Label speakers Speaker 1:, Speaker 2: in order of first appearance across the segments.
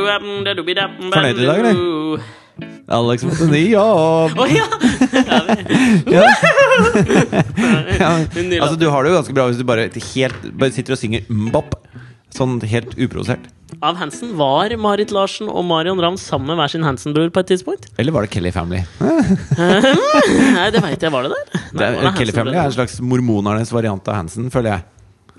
Speaker 1: Fornøyd
Speaker 2: Fornøyd
Speaker 1: i dag, eller? Alex måtte ny jobb!
Speaker 2: Å ja! ja det-
Speaker 1: Ja. Ja, men,
Speaker 2: Nydelig.
Speaker 1: altså, du har det jo ganske bra hvis du bare, helt, bare sitter og synger mbop. Sånn helt uprovosert.
Speaker 2: Av Hansen var Marit Larsen og Marion Ravn sammen med hver sin Hansen-bror på et tidspunkt?
Speaker 1: Eller var det Kelly Family?
Speaker 2: Nei, det veit jeg. Var det der? Nei, var
Speaker 1: Det er,
Speaker 2: det
Speaker 1: Kelly Family er en
Speaker 2: Hansen-brødrene?
Speaker 1: slags mormonernes variant av Hansen, føler jeg.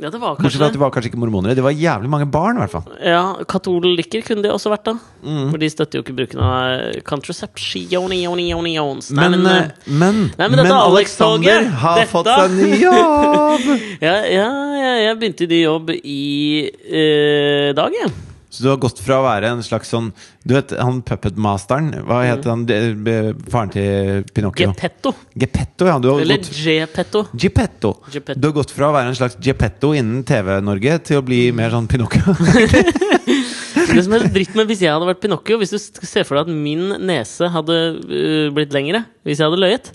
Speaker 2: Ja, det var
Speaker 1: Bortsett
Speaker 2: kanskje
Speaker 1: fra at de
Speaker 2: det.
Speaker 1: var kanskje ikke mormonere. De var jævlig mange barn, i hvert fall.
Speaker 2: Ja, Katolikker kunne de også vært, da.
Speaker 1: Mm.
Speaker 2: For de støtter jo ikke bruken av eh, contraceptionionionions. Nei,
Speaker 1: Men,
Speaker 2: men,
Speaker 1: eh,
Speaker 2: eh,
Speaker 1: men,
Speaker 2: nei, men dette
Speaker 1: Alexander
Speaker 2: Alex-toget,
Speaker 1: har
Speaker 2: dette-
Speaker 1: fått seg ny jobb!
Speaker 2: eh, ja, ja, ja, jeg begynte i ny jobb i eh, dag, jeg.
Speaker 1: Så du har gått fra å være en slags sånn Du vet han puppetmasteren? Hva
Speaker 2: Mm.
Speaker 1: het han de- be- faren til Pinocchio?
Speaker 2: Gepetto.
Speaker 1: Geppetto, ja. Du har
Speaker 2: Eller
Speaker 1: gått
Speaker 2: Gepetto.
Speaker 1: Geppetto.
Speaker 2: Geppetto.
Speaker 1: Du har gått fra å være en slags Geppetto innen TV-Norge til å
Speaker 2: Mm.
Speaker 1: bli mer sånn Pinocchio.
Speaker 2: Det som er litt dritt med hvis jeg hadde vært Pinocchio Hvis du sk- ser for deg at min nese hadde øh, blitt lengre hvis jeg hadde løyet,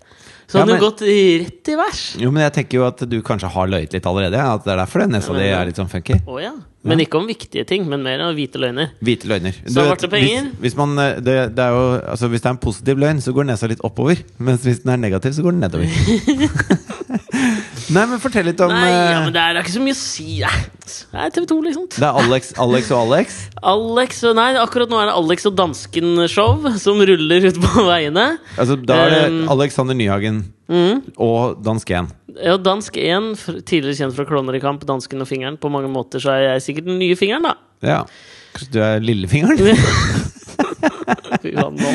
Speaker 2: så
Speaker 1: Ja,
Speaker 2: hadde den
Speaker 1: men-
Speaker 2: gått rett i vers.
Speaker 1: Jo, men jeg tenker jo at du kanskje har løyet litt allerede. At det er derfor det nesa di er litt sånn funky.
Speaker 2: Å ja. Men ikke om viktige ting, men mer av hvite løgner.
Speaker 1: Hvite løgner.
Speaker 2: Så ble det penger?
Speaker 1: Hvis, hvis, man, eh, det, det er jo, altså, hvis det er en positiv løgn, så går nesa litt oppover. Mens hvis den er negativ, så går den nedover. Nei, men fortell litt om
Speaker 2: Nei, ja, men
Speaker 1: eh,
Speaker 2: det er da ikke så mye å si. Nei, Det er TV 2, liksom.
Speaker 1: Det er Alex, Alex og Alex.
Speaker 2: Alex, nei, akkurat nå er det Alex og Dansken-show som ruller ut på veiene.
Speaker 1: Altså, da er det
Speaker 2: Um, Mm.
Speaker 1: Alexander Nyhagen og Dansken.
Speaker 2: Ja, Dansk 1, fr- tidligere kjent fra Klovner i kamp, Dansken og Fingeren. På mange måter så er jeg sikkert den nye fingeren, da.
Speaker 1: Ja. Kanskje du er lillefingeren?
Speaker 2: Fy faen, nå.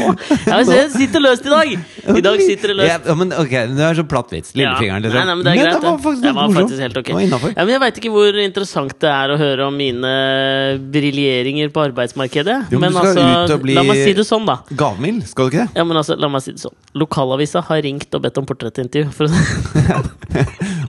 Speaker 2: Ja, men se, det sitter løst i dag! I dag sitter det løst.
Speaker 1: Ja, ja, men ok, det er så platt vits.
Speaker 2: Ja.
Speaker 1: Lillefingeren, liksom.
Speaker 2: Nei, nei, men det er greit.
Speaker 1: var faktisk
Speaker 2: det
Speaker 1: litt
Speaker 2: var
Speaker 1: morsomt.
Speaker 2: faktisk helt ok.
Speaker 1: Det var innenfor.
Speaker 2: Ja, men jeg veit ikke hvor interessant det er å høre om mine eh, briljeringer på arbeidsmarkedet.
Speaker 1: Jo, men
Speaker 2: men
Speaker 1: du skal ut
Speaker 2: altså,
Speaker 1: og bli-
Speaker 2: la meg si det sånn, da.
Speaker 1: Gavmild, skal du ikke det?
Speaker 2: Ja, men altså, la meg si det sånn. Lokalavisa har ringt og bedt om portrettintervju. For å...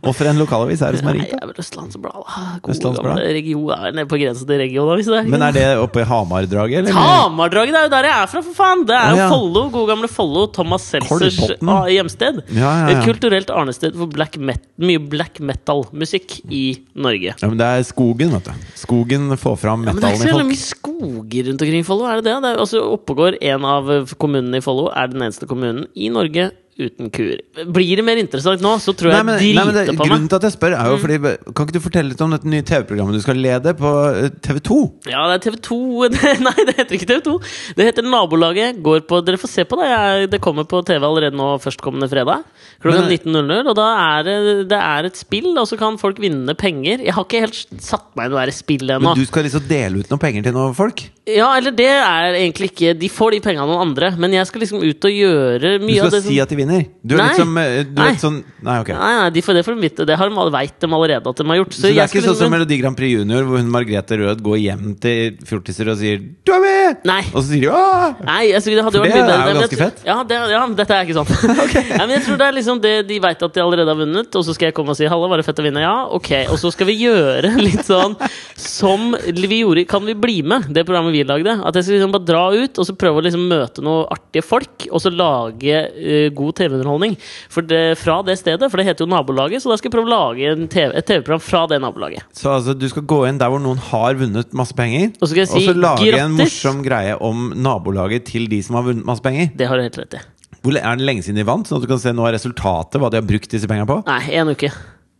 Speaker 1: Og for en lokalavis er det som har
Speaker 2: Nei,
Speaker 1: ringt.
Speaker 2: jeg
Speaker 1: da.
Speaker 2: er vel Østlandsbladet. da. Gode
Speaker 1: Østlandsbladet.
Speaker 2: gamle region. Jeg er nede på grensa til regionavisa. der, ikke
Speaker 1: Men
Speaker 2: sant?
Speaker 1: er det oppe i Hamar-draget, eller?
Speaker 2: Hamardraget! Det er jo der jeg er fra, for faen! Det er jo
Speaker 1: Ja, ja.
Speaker 2: Follo, gode gamle Follo. Thomas Seltzers
Speaker 1: Kolbotn.
Speaker 2: ah, hjemsted.
Speaker 1: Ja, ja, ja.
Speaker 2: Et kulturelt arnested for black met mye black metal-musikk i Norge.
Speaker 1: Ja, men det er skogen, vet du. Skogen får fram
Speaker 2: Men det er ikke
Speaker 1: metallen
Speaker 2: så
Speaker 1: i
Speaker 2: jævlig
Speaker 1: folk.
Speaker 2: mye skoger rundt omkring i Follo, er det det? det er, altså, Oppegård, en av eh, kommunene i Follo, er den eneste kommunen i Norge uten kuer. Blir det mer interessant nå, så tror
Speaker 1: Nei,
Speaker 2: jeg
Speaker 1: men,
Speaker 2: jeg
Speaker 1: nei, men det,
Speaker 2: driter på Mm.
Speaker 1: grunnen
Speaker 2: meg.
Speaker 1: til at jeg spør, er jo fordi Kan ikke du fortelle litt om dette nye TV-programmet du skal lede på eh, TV2?
Speaker 2: Ja, det er TV 2 Nei, det heter ikke TV 2. Det heter Nabolaget. Går på, dere får se på det. Jeg, det kommer på TV allerede nå førstkommende fredag. Klokka
Speaker 1: Men-
Speaker 2: 19.00. Og da er det, det er et spill, og så kan folk vinne penger. Jeg har ikke helt satt meg i noe her spill ennå.
Speaker 1: Men du skal liksom dele ut noen penger til noen folk?
Speaker 2: Ja, eller det er egentlig ikke De får de pengene av noen andre, men jeg skal liksom ut og gjøre
Speaker 1: Du
Speaker 2: mye
Speaker 1: skal
Speaker 2: av det som
Speaker 1: si at de vinner? Du er
Speaker 2: Nei.
Speaker 1: liksom eh, du
Speaker 2: Nei.
Speaker 1: vet sånn Nei, ok.
Speaker 2: Nei, nei, de får det får de vite. Det har de, veit de allerede at de har gjort. Så,
Speaker 1: Så det
Speaker 2: jeg
Speaker 1: er ikke
Speaker 2: skal
Speaker 1: sånn som
Speaker 2: liksom-
Speaker 1: Melodi Grand Prix Junior, hvor hun Margrethe Rød går hjem til fjortiser og sier 'Du er med!'
Speaker 2: Nei.
Speaker 1: Og så sier de 'Åh!'
Speaker 2: Nei, jeg synes det hadde
Speaker 1: For
Speaker 2: vært
Speaker 1: det
Speaker 2: mye
Speaker 1: er jo
Speaker 2: bedre. men
Speaker 1: ganske
Speaker 2: jeg-
Speaker 1: fett.
Speaker 2: Ja, det, ja, men dette er ikke sånn. Nei, men jeg tror det er liksom det de veit at de allerede har vunnet, og så skal jeg komme og si 'halla, var det fett å vinne'? Ja, ok. Og så skal vi gjøre litt sånn som vi gjorde i Kan vi bli med? Det programmet vi lagde. At jeg skal liksom bare dra ut og så prøve å liksom møte noen artige folk, og så lage eh, god TV-underholdning For det, fra det stedet. For det heter jo nabolaget, så da skal jeg prøve å lage en TV, et TV-program fra det nabolaget.
Speaker 1: Så altså, du skal gå inn der hvor noen har vunnet masse penger,
Speaker 2: Og så skal jeg si
Speaker 1: så lage en
Speaker 2: «Grattis!»
Speaker 1: morsom greie om nabolaget til de som har vunnet masse penger.
Speaker 2: Det har du helt rett i.
Speaker 1: Hvor le- Er det lenge siden de vant, sånn at du kan se noe av resultatet, hva de har brukt disse pengene på?
Speaker 2: Nei, en uke.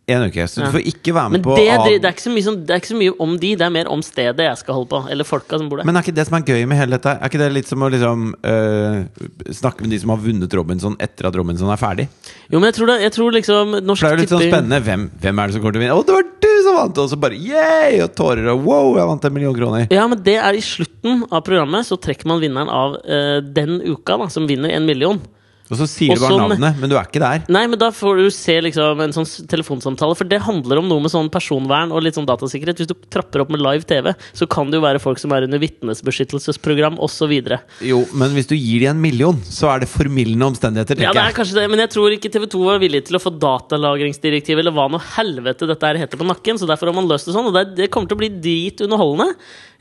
Speaker 1: En uke, Så du får ikke være med
Speaker 2: Men
Speaker 1: på
Speaker 2: det,
Speaker 1: av-
Speaker 2: det, det, er ikke så mye, som, det er ikke så mye om de, det er mer om stedet jeg skal holde på. Eller folka som bor der.
Speaker 1: Men er ikke det som er gøy med hele dette? Er ikke det litt som å liksom øh, snakke med de som har vunnet Robinson etter at Robinson er ferdig?
Speaker 2: jo, men jeg tror, det, jeg tror liksom
Speaker 1: For
Speaker 2: Norsk
Speaker 1: det er jo litt sånn
Speaker 2: Tipping
Speaker 1: spennende. Hvem, hvem er det som kommer til å vinne? Å, det var du som vant! Og så bare yeah! Og tårer og wow, jeg vant en million kroner.
Speaker 2: Ja, men det er i slutten av programmet, så trekker man vinneren av eh, den uka, da, som vinner en million.
Speaker 1: Og så sier
Speaker 2: Og
Speaker 1: du bare
Speaker 2: sånn-
Speaker 1: navnet, men du er ikke der.
Speaker 2: Nei, men da får du se liksom en sånn s- telefonsamtale, for det handler om noe med sånn personvern og litt sånn datasikkerhet. Hvis du trapper opp med live TV, så kan det jo være folk som er under vitnesbeskyttelsesprogram osv.
Speaker 1: Jo, men hvis du gir de en million, så er det formildende omstendigheter,
Speaker 2: Ja, det er
Speaker 1: tenker jeg.
Speaker 2: kanskje det, men jeg tror ikke TV2 var villig til å få datalagringsdirektivet eller hva nå helvete dette her heter på nakken, så derfor har man løst det sånn. Og det, er- det kommer til å bli drit underholdende.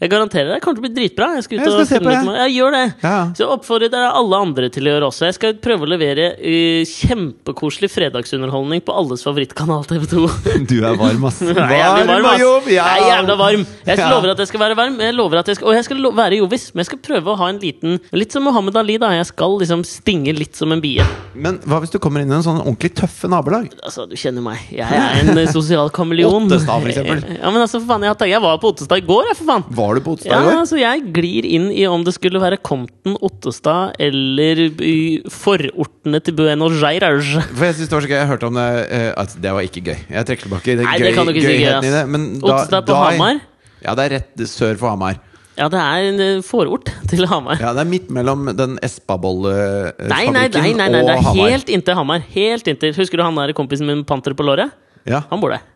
Speaker 2: Jeg garanterer det. Det kommer til å bli dritbra. Jeg skal ut
Speaker 1: Jeg skal
Speaker 2: og
Speaker 1: se på
Speaker 2: finne ut
Speaker 1: det.
Speaker 2: med- Ja, gjør det.
Speaker 1: Ja.
Speaker 2: Så jeg oppfordrer dere alle andre til å gjøre også. Jeg skal prøve prøve å levere eh, kjempekoselig fredagsunderholdning på alles favorittkanal TV2.
Speaker 1: Du er varm, ass.
Speaker 2: Nei, jeg er jævlig varm, ass.
Speaker 1: jobb, ja.
Speaker 2: Jeg er jævla varm. Jeg
Speaker 1: Ja.
Speaker 2: lover at jeg skal være varm, jeg lover at jeg skal, og jeg skal lo være jovis. Men jeg skal prøve å ha en liten Litt som Mohammed Ali, da. Jeg skal liksom stinge litt som en bie.
Speaker 1: Men hva hvis du kommer inn i en sånn ordentlig tøffe nabolag?
Speaker 2: Altså, du kjenner meg. Jeg er en eh, sosial kameleon.
Speaker 1: Ottestad, for eksempel.
Speaker 2: Ja, men altså, for faen, jeg, har tatt- jeg var på Ottestad i går, jeg, for faen.
Speaker 1: Var du på
Speaker 2: Ja,
Speaker 1: Ottestad i går?
Speaker 2: altså Jeg glir inn i om det skulle være Compton, Ottestad eller i forortene til Buenos Aires.
Speaker 1: For jeg synes det var så gøy, jeg hørte om det eh, at det var ikke gøy. Jeg trekker tilbake. Det er
Speaker 2: Nei,
Speaker 1: gøy,
Speaker 2: det kan du ikke si gøy,
Speaker 1: gøyheten
Speaker 2: ass.
Speaker 1: i det. Men da,
Speaker 2: Ottestad på
Speaker 1: da,
Speaker 2: Hamar?
Speaker 1: Ja, det er rett sør for Hamar.
Speaker 2: Ja, det er en eh, forort til Hamar.
Speaker 1: Ja, Det er midt mellom den
Speaker 2: Nei, nei, nei, nei, nei, det
Speaker 1: Espabolle-fabrikken og
Speaker 2: er
Speaker 1: Hamar.
Speaker 2: helt inntil Hamar. Helt inntil. Husker du han der kompisen min med panter på låret?
Speaker 1: Ja.
Speaker 2: Han bor der.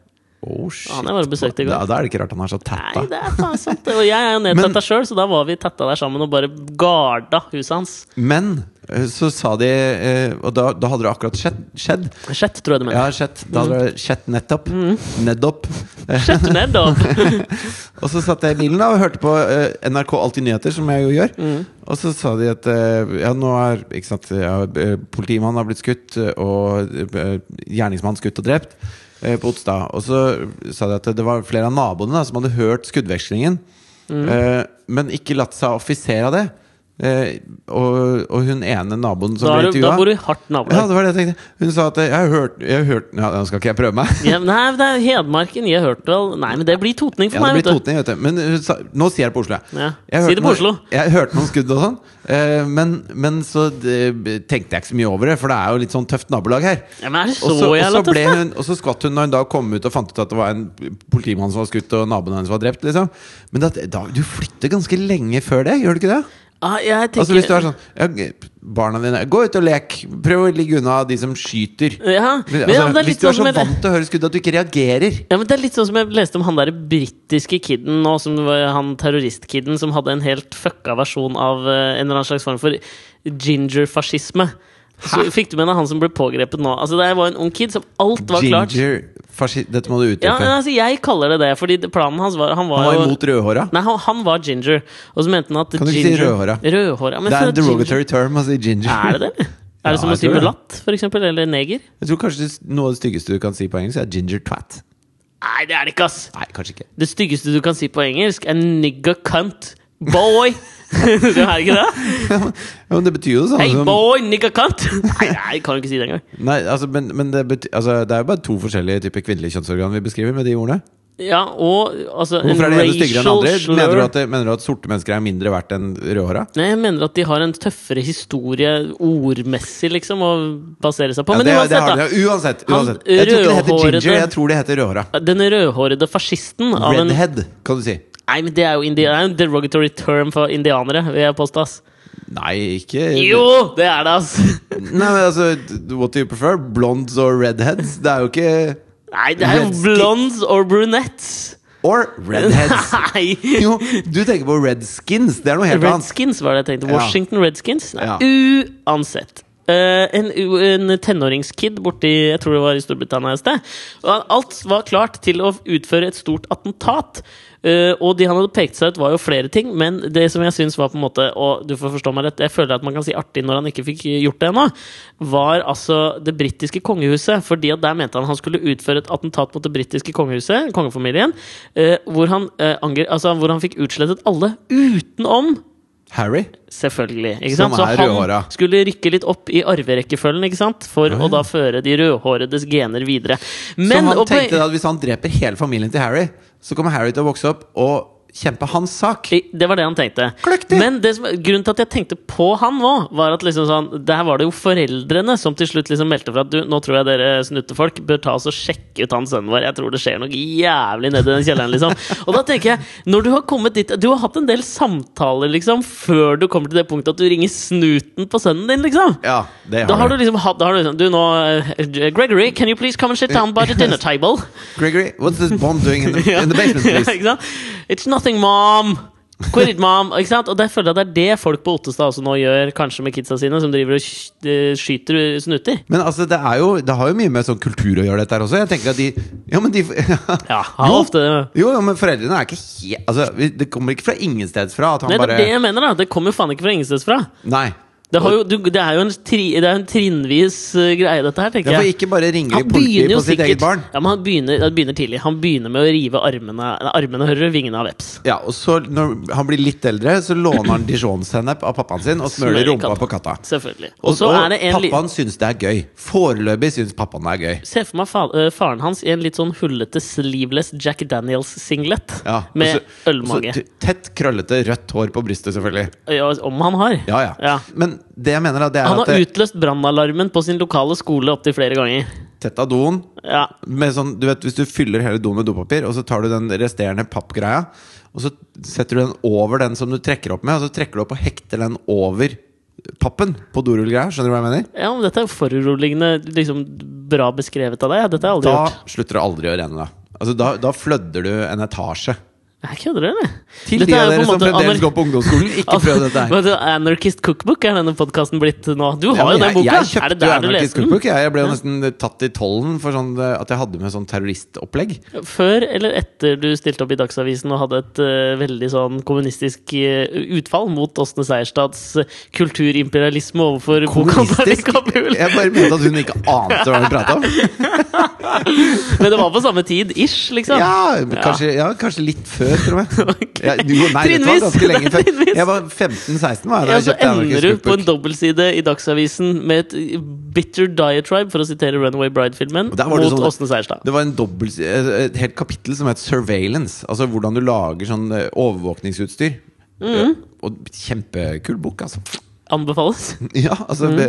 Speaker 1: Oh, shit.
Speaker 2: Han har jeg bare besøkt i går.
Speaker 1: Da, da er det ikke rart han er så
Speaker 2: Nei,
Speaker 1: tatta.
Speaker 2: det er faen sant. det. Og jeg er jo nedtatta sjøl, så da var vi tatta der sammen og bare garda huset hans.
Speaker 1: Men eh, så sa de eh, Og da, da hadde det akkurat skjedd. skjedd.
Speaker 2: Sjett, tror jeg du
Speaker 1: Ja,
Speaker 2: mener.
Speaker 1: skjedd. Da hadde det skjedd nettopp.
Speaker 2: Mm.
Speaker 1: Nettopp.
Speaker 2: Sjett ned, da.
Speaker 1: Og så satt jeg i bilen da og hørte på eh, NRK Alltid Nyheter, som jeg jo gjør.
Speaker 2: Mm.
Speaker 1: Og så sa de at eh, ja, nå er ikke sant, ja, eh, politimannen har blitt skutt, eh, og eh, gjerningsmannen skutt og drept eh, på Otstad. Og så sa de at det var flere av naboene da, som hadde hørt skuddvekslingen,
Speaker 2: Mm.
Speaker 1: eh, men ikke latt seg affisere av det. Eh, og, og hun ene naboen som
Speaker 2: Da,
Speaker 1: ble
Speaker 2: er du, da bor
Speaker 1: intervjua
Speaker 2: du i hardt
Speaker 1: ja,
Speaker 2: nabolag.
Speaker 1: det var det jeg tenkte. Hun sa at eh, jeg har hørt, jeg har hørt ja, Nå skal ikke jeg prøve meg.
Speaker 2: Ja, nei, det er Hedmarken. Jeg hørte vel Nei, men det blir totning for
Speaker 1: Ja,
Speaker 2: meg,
Speaker 1: det blir
Speaker 2: vet du.
Speaker 1: totning, vet du. Men uh, sa- nå sier jeg det på Oslo.
Speaker 2: Ja.
Speaker 1: Jeg
Speaker 2: Si
Speaker 1: hørte
Speaker 2: det på
Speaker 1: noen-
Speaker 2: Oslo.
Speaker 1: Jeg hørte noen skudd og sånn, eh, men, men så eh, tenkte jeg ikke så mye over det, for det er jo litt sånn tøft nabolag her.
Speaker 2: Ja, men er det
Speaker 1: Og
Speaker 2: så
Speaker 1: så, og så
Speaker 2: jævla
Speaker 1: ble
Speaker 2: tøft, da?
Speaker 1: hun, og så skvatt hun når hun da kom ut og fant ut at det var en politimann som var skutt, og naboen hennes var drept, liksom. Men det at- da, du flytter ganske lenge før det, gjør du ikke det?
Speaker 2: Ah, jeg tenker,
Speaker 1: Altså Hvis du er sånn ja, g- Barna dine, gå ut og lek. Prøv å ligge unna de som skyter.
Speaker 2: ja, men,
Speaker 1: Men,
Speaker 2: ja, men
Speaker 1: altså,
Speaker 2: det er
Speaker 1: hvis
Speaker 2: litt
Speaker 1: du
Speaker 2: sånn
Speaker 1: er så
Speaker 2: som jeg,
Speaker 1: vant til å høre skudd at du ikke reagerer
Speaker 2: ja, men det er litt sånn som jeg leste om han der britiske kiden nå, som var han terroristkiden som hadde en helt fucka versjon av eh, en eller annen slags form for ginger-fascisme. Så fikk du med deg han som ble pågrepet nå. Altså Det var en ung kid som alt var klart.
Speaker 1: Ginger fasci- Dette må du utdype.
Speaker 2: Ja, men altså Jeg kaller det det, fordi det- planen hans var Han var,
Speaker 1: Han var
Speaker 2: jo
Speaker 1: imot rødhåra.
Speaker 2: Nei, han, han var ginger. Og så mente han at
Speaker 1: Kan du ikke si
Speaker 2: ginger,
Speaker 1: rødhåra?
Speaker 2: Rødhåra, men
Speaker 1: Det er
Speaker 2: så
Speaker 1: en
Speaker 2: ginger-
Speaker 1: derogatory term å si ginger.
Speaker 2: Er det det? Er det
Speaker 1: Ja,
Speaker 2: som å
Speaker 1: jeg
Speaker 2: si
Speaker 1: tror det.
Speaker 2: mulatt, for eksempel? Eller neger?
Speaker 1: Jeg tror kanskje det- noe av det styggeste du kan si på engelsk, er ginger twat.
Speaker 2: Nei, det er det ikke, ass!
Speaker 1: Nei, kanskje ikke.
Speaker 2: Det styggeste du kan si på engelsk, er nigga cunt. Boy! du er ikke det?
Speaker 1: Ja, men det betyr jo det samme
Speaker 2: Hey
Speaker 1: som
Speaker 2: boy, nigga cunt! Nei, nei, kan du ikke si det engang.
Speaker 1: Nei, altså, men, men det, bety, altså, det er jo bare to forskjellige typer kvinnelige kjønnsorgan vi beskriver med de ordene.
Speaker 2: Ja, og altså en
Speaker 1: Hvorfor er det ene styggere enn
Speaker 2: racial
Speaker 1: andre?
Speaker 2: slur-
Speaker 1: Mener du, at, det- mener du at sorte mennesker er mindre verdt enn rødhåra?
Speaker 2: Nei, jeg mener at de har en tøffere historie ordmessig, liksom, å basere seg på.
Speaker 1: Ja,
Speaker 2: Men
Speaker 1: det, det
Speaker 2: uansett,
Speaker 1: har
Speaker 2: da.
Speaker 1: de jo. Uansett.
Speaker 2: Han
Speaker 1: uansett. Jeg tror ikke det heter
Speaker 2: rødhårede-
Speaker 1: ginger, jeg tror det heter rødhåra.
Speaker 2: Den rødhårede fascisten av en
Speaker 1: Redhead, kan du si.
Speaker 2: Nei, men det er jo indi det er jo en derogatory term for indianere, vil jeg påstå. ass.
Speaker 1: Nei, ikke
Speaker 2: Jo, det er det, ass!
Speaker 1: Nei, men altså, What do you prefer? Blondes or redheads? Det er jo ikke
Speaker 2: Nei, det er jo
Speaker 1: Redskins.
Speaker 2: blondes or brunettes.
Speaker 1: Or redheads.
Speaker 2: Nei!
Speaker 1: Jo, du tenker på Redskins. Det er noe helt annet.
Speaker 2: Redskins var det jeg tenkte.
Speaker 1: Ja.
Speaker 2: Washington Redskins. Nei,
Speaker 1: Ja.
Speaker 2: Uansett. Eh, en, u- en tenåringskid borti jeg tror det var i Storbritannia et sted. Og han- alt var klart til å utføre et stort attentat. Eh, og de han hadde pekt seg ut, var jo flere ting, men det som jeg syns var på en måte Og du får forstå meg rett, jeg føler at man kan si artig når han ikke fikk gjort det ennå, var altså det britiske kongehuset. Fordi at der mente han han skulle utføre et attentat mot det britiske kongehuset, kongefamilien, eh, hvor, han, eh, angre, altså, hvor han fikk utslettet alle utenom
Speaker 1: Harry?
Speaker 2: Selvfølgelig. ikke
Speaker 1: Som
Speaker 2: sant? Så
Speaker 1: er
Speaker 2: han
Speaker 1: rødhåra.
Speaker 2: skulle rykke litt opp i arverekkefølgen ikke sant? for å da føre de rødhåredes gener videre. Men
Speaker 1: så han
Speaker 2: og poen-
Speaker 1: tenkte at hvis han dreper hele familien til Harry, så kommer Harry til å vokse opp og kjempe hans sak.
Speaker 2: I- Det var det han tenkte.
Speaker 1: Kløktig!
Speaker 2: Men det som, grunnen til at jeg tenkte på han nå, var at liksom sånn, der var det jo foreldrene som til slutt liksom meldte fra at du, nå tror jeg dere snuttefolk bør ta oss og sjekke ut han sønnen vår. Jeg tror det skjer noe jævlig nede i den kjelleren, liksom. Og da tenker jeg, når du har kommet dit Du har hatt en del samtaler, liksom, før du kommer til det punktet at du ringer snuten på sønnen din, liksom.
Speaker 1: Ja, det
Speaker 2: Da har
Speaker 1: har
Speaker 2: du
Speaker 1: du.
Speaker 2: liksom hatt da har du, liksom, du nå, eh, Gregory, can you please come and sit down by the dinner table?
Speaker 1: Gregory, what's this bomb doing in the, in the basement,
Speaker 2: Ja,
Speaker 1: please?
Speaker 2: ikke sant? It's nothing, mom! Quit it, mom! Ikke sant? Og det føler jeg det er det folk på Ottestad også nå gjør, kanskje med kidsa sine, som driver og sk- eh, skyter snuter.
Speaker 1: Men altså, det, er jo, det har jo mye med sånn kultur å gjøre, dette her også. Jeg tenker at de Ja, men de
Speaker 2: Ja, har
Speaker 1: Jo.
Speaker 2: ofte det.
Speaker 1: Jo, ja, men foreldrene er ikke helt Altså, vi- det kommer ikke fra ingensteds fra at han
Speaker 2: Nei, det
Speaker 1: bare
Speaker 2: er det jeg mener, da. Det kommer jo faen ikke fra ingensteds fra.
Speaker 1: Nei.
Speaker 2: Det, har jo, du, det er jo en, tri, det er jo en trinnvis eh, greie, dette her,
Speaker 1: Ja,
Speaker 2: tenker
Speaker 1: for
Speaker 2: jeg.
Speaker 1: ikke bare ringer de
Speaker 2: Han
Speaker 1: politiet
Speaker 2: begynner jo
Speaker 1: på sitt eget
Speaker 2: sikkert
Speaker 1: barn.
Speaker 2: Ja, men han begynner, han begynner tidlig. Han begynner med å rive armene nei, Armene hører du, vingene av veps.
Speaker 1: Ja, og så Når han blir litt eldre, så låner han dijon-sennep av pappaen sin og smører
Speaker 2: Smører
Speaker 1: rumpa
Speaker 2: katta.
Speaker 1: på katta.
Speaker 2: Selvfølgelig.
Speaker 1: Og,
Speaker 2: Og så
Speaker 1: og
Speaker 2: er det en liten
Speaker 1: pappaen syns det er gøy. Foreløpig syns pappaen det er gøy.
Speaker 2: Se for meg fa øh, faren hans i en litt sånn hullete, sleeveless Jack Daniels-singlet.
Speaker 1: Ja, og
Speaker 2: med
Speaker 1: så-
Speaker 2: ølmage.
Speaker 1: og så t- Tett, krøllete, rødt hår på brystet, selvfølgelig.
Speaker 2: Ja, om han har.
Speaker 1: Ja, ja.
Speaker 2: Ja.
Speaker 1: Men det jeg mener, da, det er
Speaker 2: Han
Speaker 1: at
Speaker 2: har
Speaker 1: det,
Speaker 2: utløst brannalarmen på sin lokale skole opptil flere ganger.
Speaker 1: tett av doen
Speaker 2: Ja,
Speaker 1: med sånn, du vet, Hvis du fyller hele doen med dopapir, og så tar du den resterende pappgreia, og så setter du den over den som du trekker opp med, og så trekker du opp og hekter den over pappen på dorullgreia. Skjønner du hva jeg mener?
Speaker 2: ja men Dette er foruroligende liksom, bra beskrevet av deg. Ja, Dette har jeg aldri
Speaker 1: Da
Speaker 2: gjort.
Speaker 1: slutter det aldri å renne. Da Altså, da, da flødder du en etasje.
Speaker 2: Jeg kødder, eller?
Speaker 1: Til de av dere som fremdeles
Speaker 2: anar-
Speaker 1: går på ungdomsskolen, ikke
Speaker 2: Altså,
Speaker 1: prøv dette her.
Speaker 2: Hva heter det? Anarchist Cookbook er denne podkasten blitt nå. Du har jo
Speaker 1: Ja,
Speaker 2: den
Speaker 1: men
Speaker 2: boka!
Speaker 1: Jeg, jeg
Speaker 2: er liksom?
Speaker 1: kjøpte
Speaker 2: det
Speaker 1: jo
Speaker 2: der du
Speaker 1: Anarkist
Speaker 2: leste den?
Speaker 1: Cookbook. Jeg, jeg ble jo nesten tatt i tollen for sånn eh, at jeg hadde med sånn terroristopplegg.
Speaker 2: Før eller etter du stilte opp i Dagsavisen og hadde et eh, veldig sånn kommunistisk eh, utfall mot Åsne Seierstads eh, kulturimperialisme overfor bokhandleren i
Speaker 1: Kommunistisk.
Speaker 2: Kabul?
Speaker 1: Jeg bare mente at hun ikke ante hva hun prata om.
Speaker 2: Men det var på samme tid, ish, liksom?
Speaker 1: Ja, kanskje, ja, kanskje litt før, tror jeg.
Speaker 2: Ok.
Speaker 1: Ja, jo, nei, det var
Speaker 2: Trinnvis.
Speaker 1: ganske lenge før.
Speaker 2: Trinnvis.
Speaker 1: Jeg var 15-16 var jeg da
Speaker 2: Ja,
Speaker 1: jeg
Speaker 2: så
Speaker 1: kjøpte
Speaker 2: ender
Speaker 1: Anarkist
Speaker 2: du på en
Speaker 1: Cookbook.
Speaker 2: dobbeltside i Dagsavisen med et bitter diatribe, for å sitere Runaway Bride-filmen,
Speaker 1: Og der var det
Speaker 2: mot
Speaker 1: sånn-
Speaker 2: Åsne Seierstad.
Speaker 1: Det var en dobbelt, et helt kapittel som het 'Surveillance'. Altså hvordan du lager sånn eh, overvåkningsutstyr.
Speaker 2: Mm.
Speaker 1: Eh, Og kjempekul bok, altså.
Speaker 2: Anbefales.
Speaker 1: Ja, altså,
Speaker 2: Mm.
Speaker 1: det,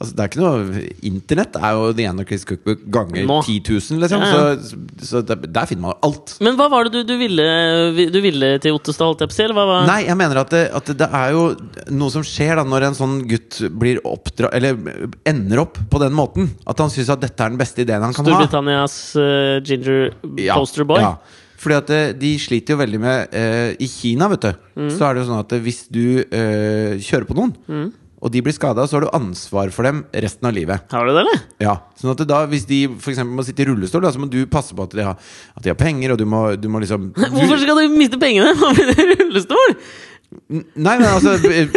Speaker 1: altså det er ikke noe Internett er jo The Anarchist Cookbook ganger
Speaker 2: Nå.
Speaker 1: 10 000, liksom.
Speaker 2: Ja, ja.
Speaker 1: Så, så der, der finner man jo alt.
Speaker 2: Men hva var det du, du, ville, du ville til Ottestad, holdt jeg på å si? Eller hva var
Speaker 1: Nei, jeg mener at det, at det er jo noe som skjer da når en sånn gutt blir oppdra... Eller ender opp på den måten. At han syns at dette er den beste ideen han kan ha.
Speaker 2: Storbritannias eh, Ginger Posterboy?
Speaker 1: ja. Fordi at eh, de sliter jo veldig med eh, I Kina, vet du,
Speaker 2: Mm.
Speaker 1: så er det jo sånn at eh, hvis du eh, kjører på noen,
Speaker 2: Mm.
Speaker 1: og de blir skada, så har du ansvar for dem resten av livet.
Speaker 2: Har du det, eller?
Speaker 1: Ja, sånn at det da Hvis de for eksempel må sitte i rullestol, da, så må du passe på at de har, at de har penger, og du må, du må liksom du,
Speaker 2: Hvorfor skal du miste pengene på min rullestol?
Speaker 1: Nei, men altså Jeg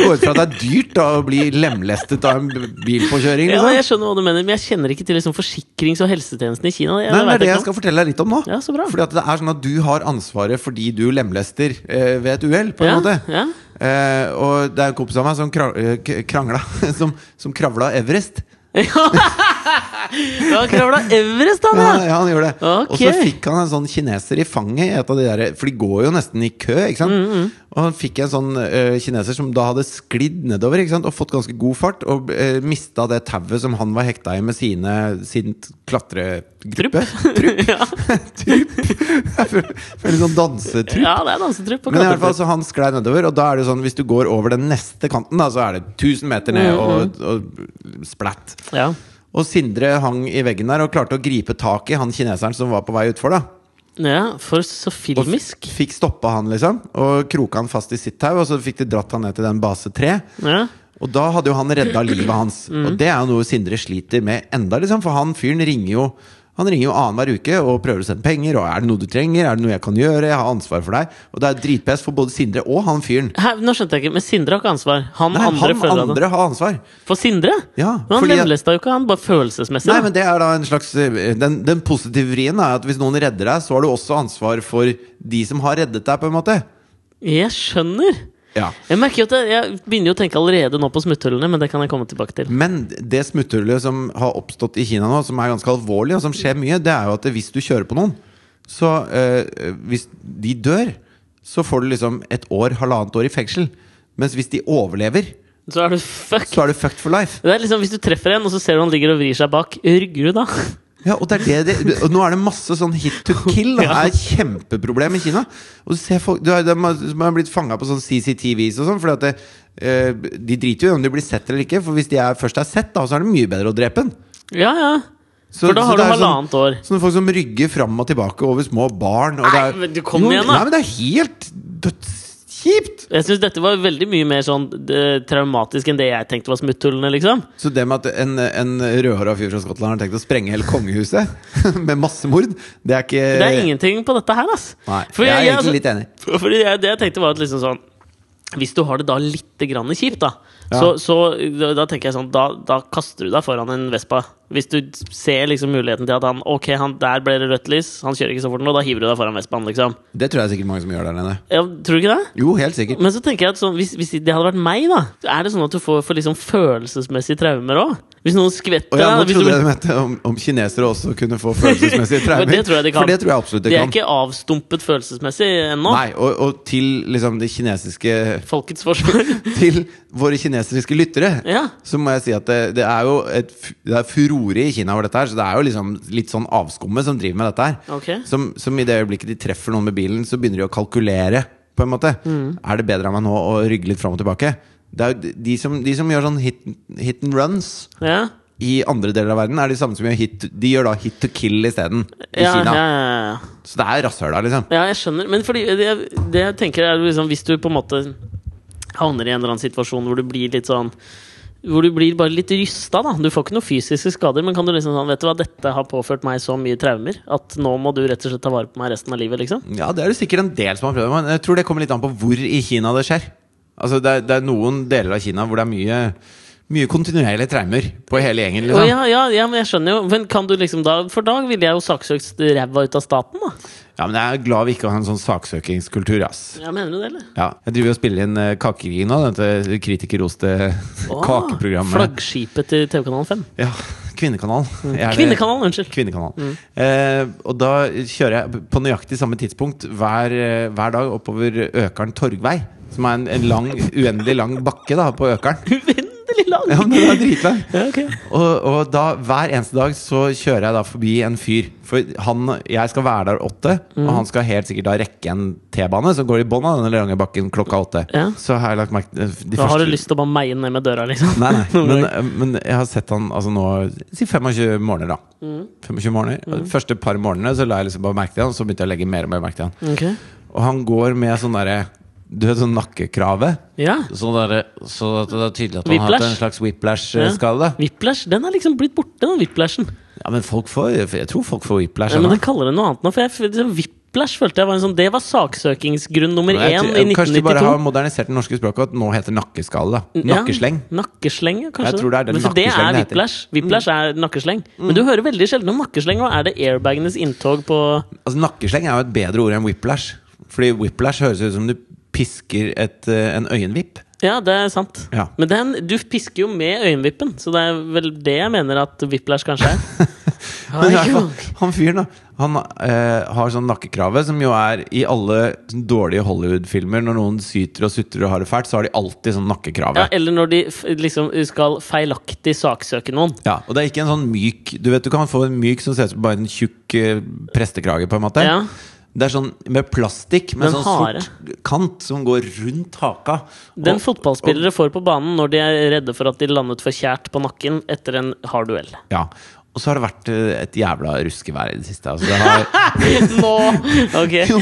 Speaker 1: går ut fra at det er dyrt da å bli lemlestet av en bilpåkjøring.
Speaker 2: Ja,
Speaker 1: Liksom.
Speaker 2: jeg skjønner hva du mener, men jeg kjenner ikke til liksom forsikrings- og helsetjenesten i Kina. Jeg,
Speaker 1: Nei, men Det
Speaker 2: vet
Speaker 1: er det jeg
Speaker 2: ikke om-
Speaker 1: skal fortelle deg litt om nå.
Speaker 2: Ja, så bra.
Speaker 1: Fordi at det er sånn at Du har ansvaret fordi du lemlester eh, ved et uhell, på en
Speaker 2: ja,
Speaker 1: måte.
Speaker 2: Ja.
Speaker 1: Eh, og det er en kompis av meg som kra- eh, k- krangla Som, som kravla Everest.
Speaker 2: Da kravla Everest, han,
Speaker 1: Ja,
Speaker 2: ja!
Speaker 1: ja, han gjorde det.
Speaker 2: Ok.
Speaker 1: Og så fikk han en sånn kineser i fanget, i et av de der, for de går jo nesten i kø. ikke sant?
Speaker 2: Mm,
Speaker 1: Og han fikk en sånn eh, kineser som da hadde sklidd nedover ikke sant? og fått ganske god fart, og uh, mista det tauet som han var hekta i med sine, sin klatregruppe. Trupp.
Speaker 2: ja.
Speaker 1: Veldig sånn dansetrupp.
Speaker 2: ja, det er dansetrupp på
Speaker 1: Men i hvert fall
Speaker 2: Katteberg.
Speaker 1: så han sklei nedover, og da er det jo sånn hvis du går over den neste kanten, da, så er det 1000 meter ned og, og splatt.
Speaker 2: Ja.
Speaker 1: Og Sindre hang i veggen der og klarte å gripe tak i han kineseren som var på vei utfor. da
Speaker 2: ja, for så
Speaker 1: og
Speaker 2: filmisk.
Speaker 1: f- fikk stoppa han, liksom. Og kroka han fast i sitt tau, og så fikk de dratt han ned til den base 3.
Speaker 2: Ja.
Speaker 1: Og da hadde jo han redda livet hans. Og det er jo noe Sindre sliter med enda, liksom. For han fyren ringer jo Han ringer jo annenhver uke og prøver å sende penger. Og er det noe du trenger? Er det noe jeg kan gjøre? Jeg har ansvar for deg. Og det er dritpest for både Sindre og han fyren.
Speaker 2: Hæ, nå skjønte jeg ikke, men Sindre har ikke ansvar. Han
Speaker 1: Nei,
Speaker 2: andre føler at
Speaker 1: han
Speaker 2: han-
Speaker 1: andre har ansvar.
Speaker 2: For Sindre?
Speaker 1: Ja,
Speaker 2: men han
Speaker 1: fordi at-
Speaker 2: lemlesta jo ikke, han bare følelsesmessig.
Speaker 1: Nei,
Speaker 2: da.
Speaker 1: men det er da en slags eh, Den, den positive vrien er at hvis noen redder deg, så har du også ansvar for de som har reddet deg, på en måte.
Speaker 2: Jeg skjønner!
Speaker 1: Ja
Speaker 2: Jeg merker jo at jeg, jeg begynner jo å tenke allerede nå på smutthullene, men det kan jeg komme tilbake til.
Speaker 1: Men det smutthullet som har oppstått i Kina nå, som er ganske alvorlig, og som skjer mye, det er jo at hvis du kjører på noen, så eh, hvis de dør, så får du liksom et år, halvannet år i fengsel. Mens hvis de overlever,
Speaker 2: Så er du fuck!
Speaker 1: så er du fucked for life.
Speaker 2: Det er liksom Hvis du treffer en, og så ser du han ligger og vrir seg bak, rygger du da?
Speaker 1: Ja, og, det er det, det, og nå er det masse sånn hit to kill. Det er et kjempeproblem i Kina. Og du ser folk du er, De har de har blitt fanga på sånn CCTVs og sånn. Fordi at det, eh, De driter jo i om de blir sett eller ikke, for hvis de er, først er sett, da, så er det mye bedre å drepe en.
Speaker 2: Ja, ja.
Speaker 1: Så-
Speaker 2: For da
Speaker 1: så
Speaker 2: har du
Speaker 1: det er jo sånn-
Speaker 2: halvannet år.
Speaker 1: Sånne folk som rygger fram og tilbake over små barn. Og
Speaker 2: Nei,
Speaker 1: det er,
Speaker 2: men du kom igjen, da.
Speaker 1: Nei, men det er helt dødskjipt!
Speaker 2: Jeg syns dette var veldig mye mer sånn eh, traumatisk enn det jeg tenkte var smutthullene, liksom.
Speaker 1: Så det med at en, en rødhåra fyr fra Skottland har tenkt å sprenge hele kongehuset med massemord, det er ikke
Speaker 2: Det er ingenting på dette her, ass.
Speaker 1: Eh. Nei,
Speaker 2: For
Speaker 1: jeg er
Speaker 2: altså-
Speaker 1: egentlig litt enig.
Speaker 2: Fordi jeg, det jeg tenkte var at liksom sånn Hvis du har det da litt grann kjipt, da
Speaker 1: Ja.
Speaker 2: Så, så da tenker jeg sånn da, da kaster du deg foran en Vespa. Hvis du ser liksom muligheten til at han Ok, han, der ble det rødt lys, han kjører ikke så fort nå, da hiver du deg foran Vespaen, liksom.
Speaker 1: Det tror jeg sikkert mange som gjør der nede.
Speaker 2: Ja, tror du ikke det?
Speaker 1: Jo, helt sikkert.
Speaker 2: Men så tenker jeg at sånn, hvis, hvis det hadde vært meg, da Er det sånn at du får, får liksom følelsesmessige traumer òg? Hvis noen skvetter
Speaker 1: Og ja, nå
Speaker 2: hvis du-
Speaker 1: trodde jeg du mente om, om kinesere også kunne få følelsesmessige traumer.
Speaker 2: Men det tror jeg de kan.
Speaker 1: For det tror jeg absolutt de,
Speaker 2: De er
Speaker 1: kan.
Speaker 2: ikke avstumpet følelsesmessig ennå.
Speaker 1: Nei, og, og til liksom det kinesiske
Speaker 2: Folkets forsvar.
Speaker 1: Til våre kinesiske lyttere.
Speaker 2: ja.
Speaker 1: Så må jeg si at det, det er jo et, f- Det er furore i Kina over dette her, så det er jo liksom litt sånn avskummet som driver med dette her.
Speaker 2: Ok.
Speaker 1: Som, som i det øyeblikket de treffer noen med bilen, så begynner de å kalkulere. På en måte
Speaker 2: Mm.
Speaker 1: Er det bedre av meg nå å rygge litt fram og tilbake? Det er jo de- de som, de som gjør sånn hit, hit and runs
Speaker 2: ja.
Speaker 1: i andre deler av verden, er de samme som gjør hit De gjør da hit to kill isteden. I
Speaker 2: Ja,
Speaker 1: Kina.
Speaker 2: ja, ja, ja.
Speaker 1: Så det er rasshøla, liksom.
Speaker 2: Ja, jeg skjønner. Men fordi det, jeg- det jeg tenker er liksom Hvis du på en måte havner i en eller annen situasjon hvor du blir litt sånn hvor du blir bare litt rysta, da. Du får ikke noen fysiske skader, men kan du liksom sånn Vet du hva, dette har påført meg så mye traumer at nå må du rett og slett ta vare på meg resten av livet, liksom.
Speaker 1: Ja, det er det sikkert en del som har prøvd, men jeg tror det kommer litt an på hvor i Kina det skjer. Altså, det er, det er noen deler av Kina hvor det er mye, mye kontinuerlige traumer på hele gjengen.
Speaker 2: Å,
Speaker 1: Liksom.
Speaker 2: ja, ja, ja, men jeg skjønner jo. Men kan du liksom da For da ville jeg jo saksøkt ræva ut av staten, da.
Speaker 1: Ja, men jeg er glad vi ikke har en sånn saksøkingskultur, ass.
Speaker 2: Ja, mener du det, eller?
Speaker 1: Ja, jeg driver og spiller inn eh, Kakekrigen nå, dette kritikerroste
Speaker 2: Å,
Speaker 1: kakeprogrammet.
Speaker 2: Flaggskipet til TV-kanalen 5.
Speaker 1: Ja, Kvinnekanalen. Jeg er det-
Speaker 2: Mm. Kvinnekanalen, unnskyld.
Speaker 1: Kvinnekanalen. Eh, og da kjører jeg på nøyaktig samme tidspunkt hver, eh, hver dag oppover Økeren Torgvei. Som er en, en lang, uendelig lang bakke da, på Økeren.
Speaker 2: Uendelig lang!
Speaker 1: Ja, men den er dritlang.
Speaker 2: Ja, ok.
Speaker 1: Og, og da, hver eneste dag så kjører jeg da forbi en fyr. For han, jeg skal være der åtte,
Speaker 2: Mm.
Speaker 1: og han skal helt sikkert da rekke en T-bane som går i bånn av denne lange bakken klokka åtte.
Speaker 2: Ja.
Speaker 1: Så har jeg lagt merke de
Speaker 2: Da har
Speaker 1: første-
Speaker 2: du lyst til å bare meie ned med døra, liksom.
Speaker 1: Nei, nei. Men, eh, men jeg har sett han altså nå Si 25 morgener, da.
Speaker 2: Mm.
Speaker 1: 25 morgener. Og de Første par morgenene så la jeg liksom bare merke til han, og så begynte jeg å legge mer og mer merke til han.
Speaker 2: Ok.
Speaker 1: Og han går med sånn derre Du vet sånn nakkekrave?
Speaker 2: Ja.
Speaker 1: Sånn derre- så at det er tydelig at han har hatt en
Speaker 2: Whiplash?
Speaker 1: slags whiplash-skade.
Speaker 2: Whiplash, den er liksom blitt borte, den whiplashen.
Speaker 1: Ja, men folk får Jeg tror folk får whiplash.
Speaker 2: Ja, men
Speaker 1: ennå.
Speaker 2: den kaller det noe annet nå, for jeg, det, whiplash følte jeg var en sånn Det var saksøkingsgrunn nummer
Speaker 1: Men jeg
Speaker 2: én
Speaker 1: tror-
Speaker 2: i
Speaker 1: Kanskje de bare har
Speaker 2: 1992.
Speaker 1: modernisert det norske språket, og at nå heter nakkeskalle. da. Nakkesleng.
Speaker 2: Mm, Ja, nakkesleng, ja, kanskje.
Speaker 1: Jeg tror det er den
Speaker 2: Men for det
Speaker 1: nakkesleng
Speaker 2: er
Speaker 1: det heter. Mm.
Speaker 2: whiplash. Whiplash er nakkesleng. Men du hører veldig sjelden om nakkesleng, og er det airbagenes inntog på
Speaker 1: Altså, nakkesleng er jo et bedre ord enn whiplash. Fordi whiplash høres ut som du pisker et, eh, en øyenvipp.
Speaker 2: Ja, det er sant.
Speaker 1: Ja.
Speaker 2: Men den, du fisker jo med øyenvippen, så det er vel det jeg mener at whiplash kanskje er. Ai,
Speaker 1: Men i hvert
Speaker 2: jo.
Speaker 1: fall, han fyren, da. Han eh, har sånn nakkekrave som jo er i alle sånn dårlige Hollywood-filmer. Når noen syter og sutrer og har det fælt, så har de alltid sånn
Speaker 2: ja,
Speaker 1: nakkekrave.
Speaker 2: eller når de f- liksom skal feilaktig saksøke noen.
Speaker 1: Ja, og det er ikke en sånn myk Du vet, du kan få en myk som ser ut som bare en tjukk eh, prestekrage, på en måte.
Speaker 2: Ja.
Speaker 1: Det er sånn med plastikk med
Speaker 2: Den
Speaker 1: sånn sort kant som går rundt haka.
Speaker 2: Den
Speaker 1: Og-
Speaker 2: fotballspillere får på banen når de er redde for at de landet for kjært på nakken etter en hard duell.
Speaker 1: Ja. Og så har det vært eh, et jævla ruskevær i det siste. Altså, det har,
Speaker 2: Nå! Ok.
Speaker 1: jo,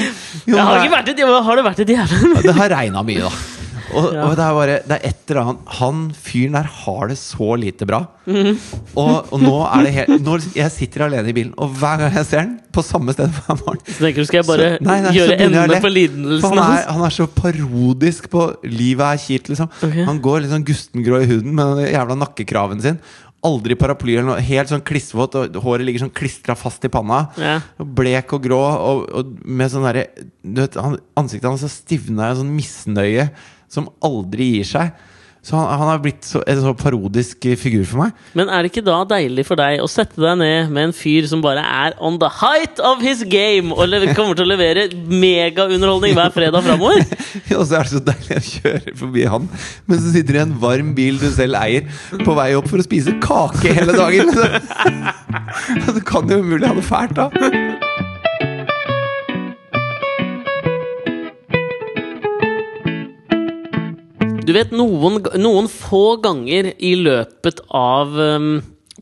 Speaker 1: jo,
Speaker 2: Det har, ikke
Speaker 1: det,
Speaker 2: vært et, jævla- har det vært et jævla
Speaker 1: det har regna mye, da. Og, og det er bare Det er et eller annet Han fyren der har det så lite bra. Og, og nå er det helt Når jeg sitter alene i bilen, og hver gang jeg ser den, på samme sted hver morgen
Speaker 2: Så tenker du, skal jeg bare
Speaker 1: så- nei, nei, så
Speaker 2: gjøre
Speaker 1: begynner jeg
Speaker 2: ende
Speaker 1: å le.
Speaker 2: på
Speaker 1: For
Speaker 2: lidelsen
Speaker 1: han er,
Speaker 2: hans?
Speaker 1: han er så parodisk på 'livet er kjipt', liksom.
Speaker 2: Ok.
Speaker 1: Han går litt sånn gustengrå i huden med den jævla nakkekraven sin. Aldri paraply eller noe. Helt sånn klissvåt, og håret ligger sånn klistra fast i panna.
Speaker 2: Ja.
Speaker 1: Og Blek og grå, og, og med sånn derre du vet, han- Ansiktet hans er stivna i en sånn misnøye som aldri gir seg. Så han, han har blitt så, en så parodisk figur for meg.
Speaker 2: Men er det ikke da deilig for deg å sette deg ned med en fyr som bare er on the height of his game, og le- kommer til å levere megaunderholdning hver fredag framover?
Speaker 1: Og så er det så deilig å kjøre forbi han mens du sitter i en varm bil du selv eier, på vei opp for å spise kake hele dagen. Du kan jo umulig ha det fælt da.
Speaker 2: Du vet, noen, noen få ganger i løpet av um,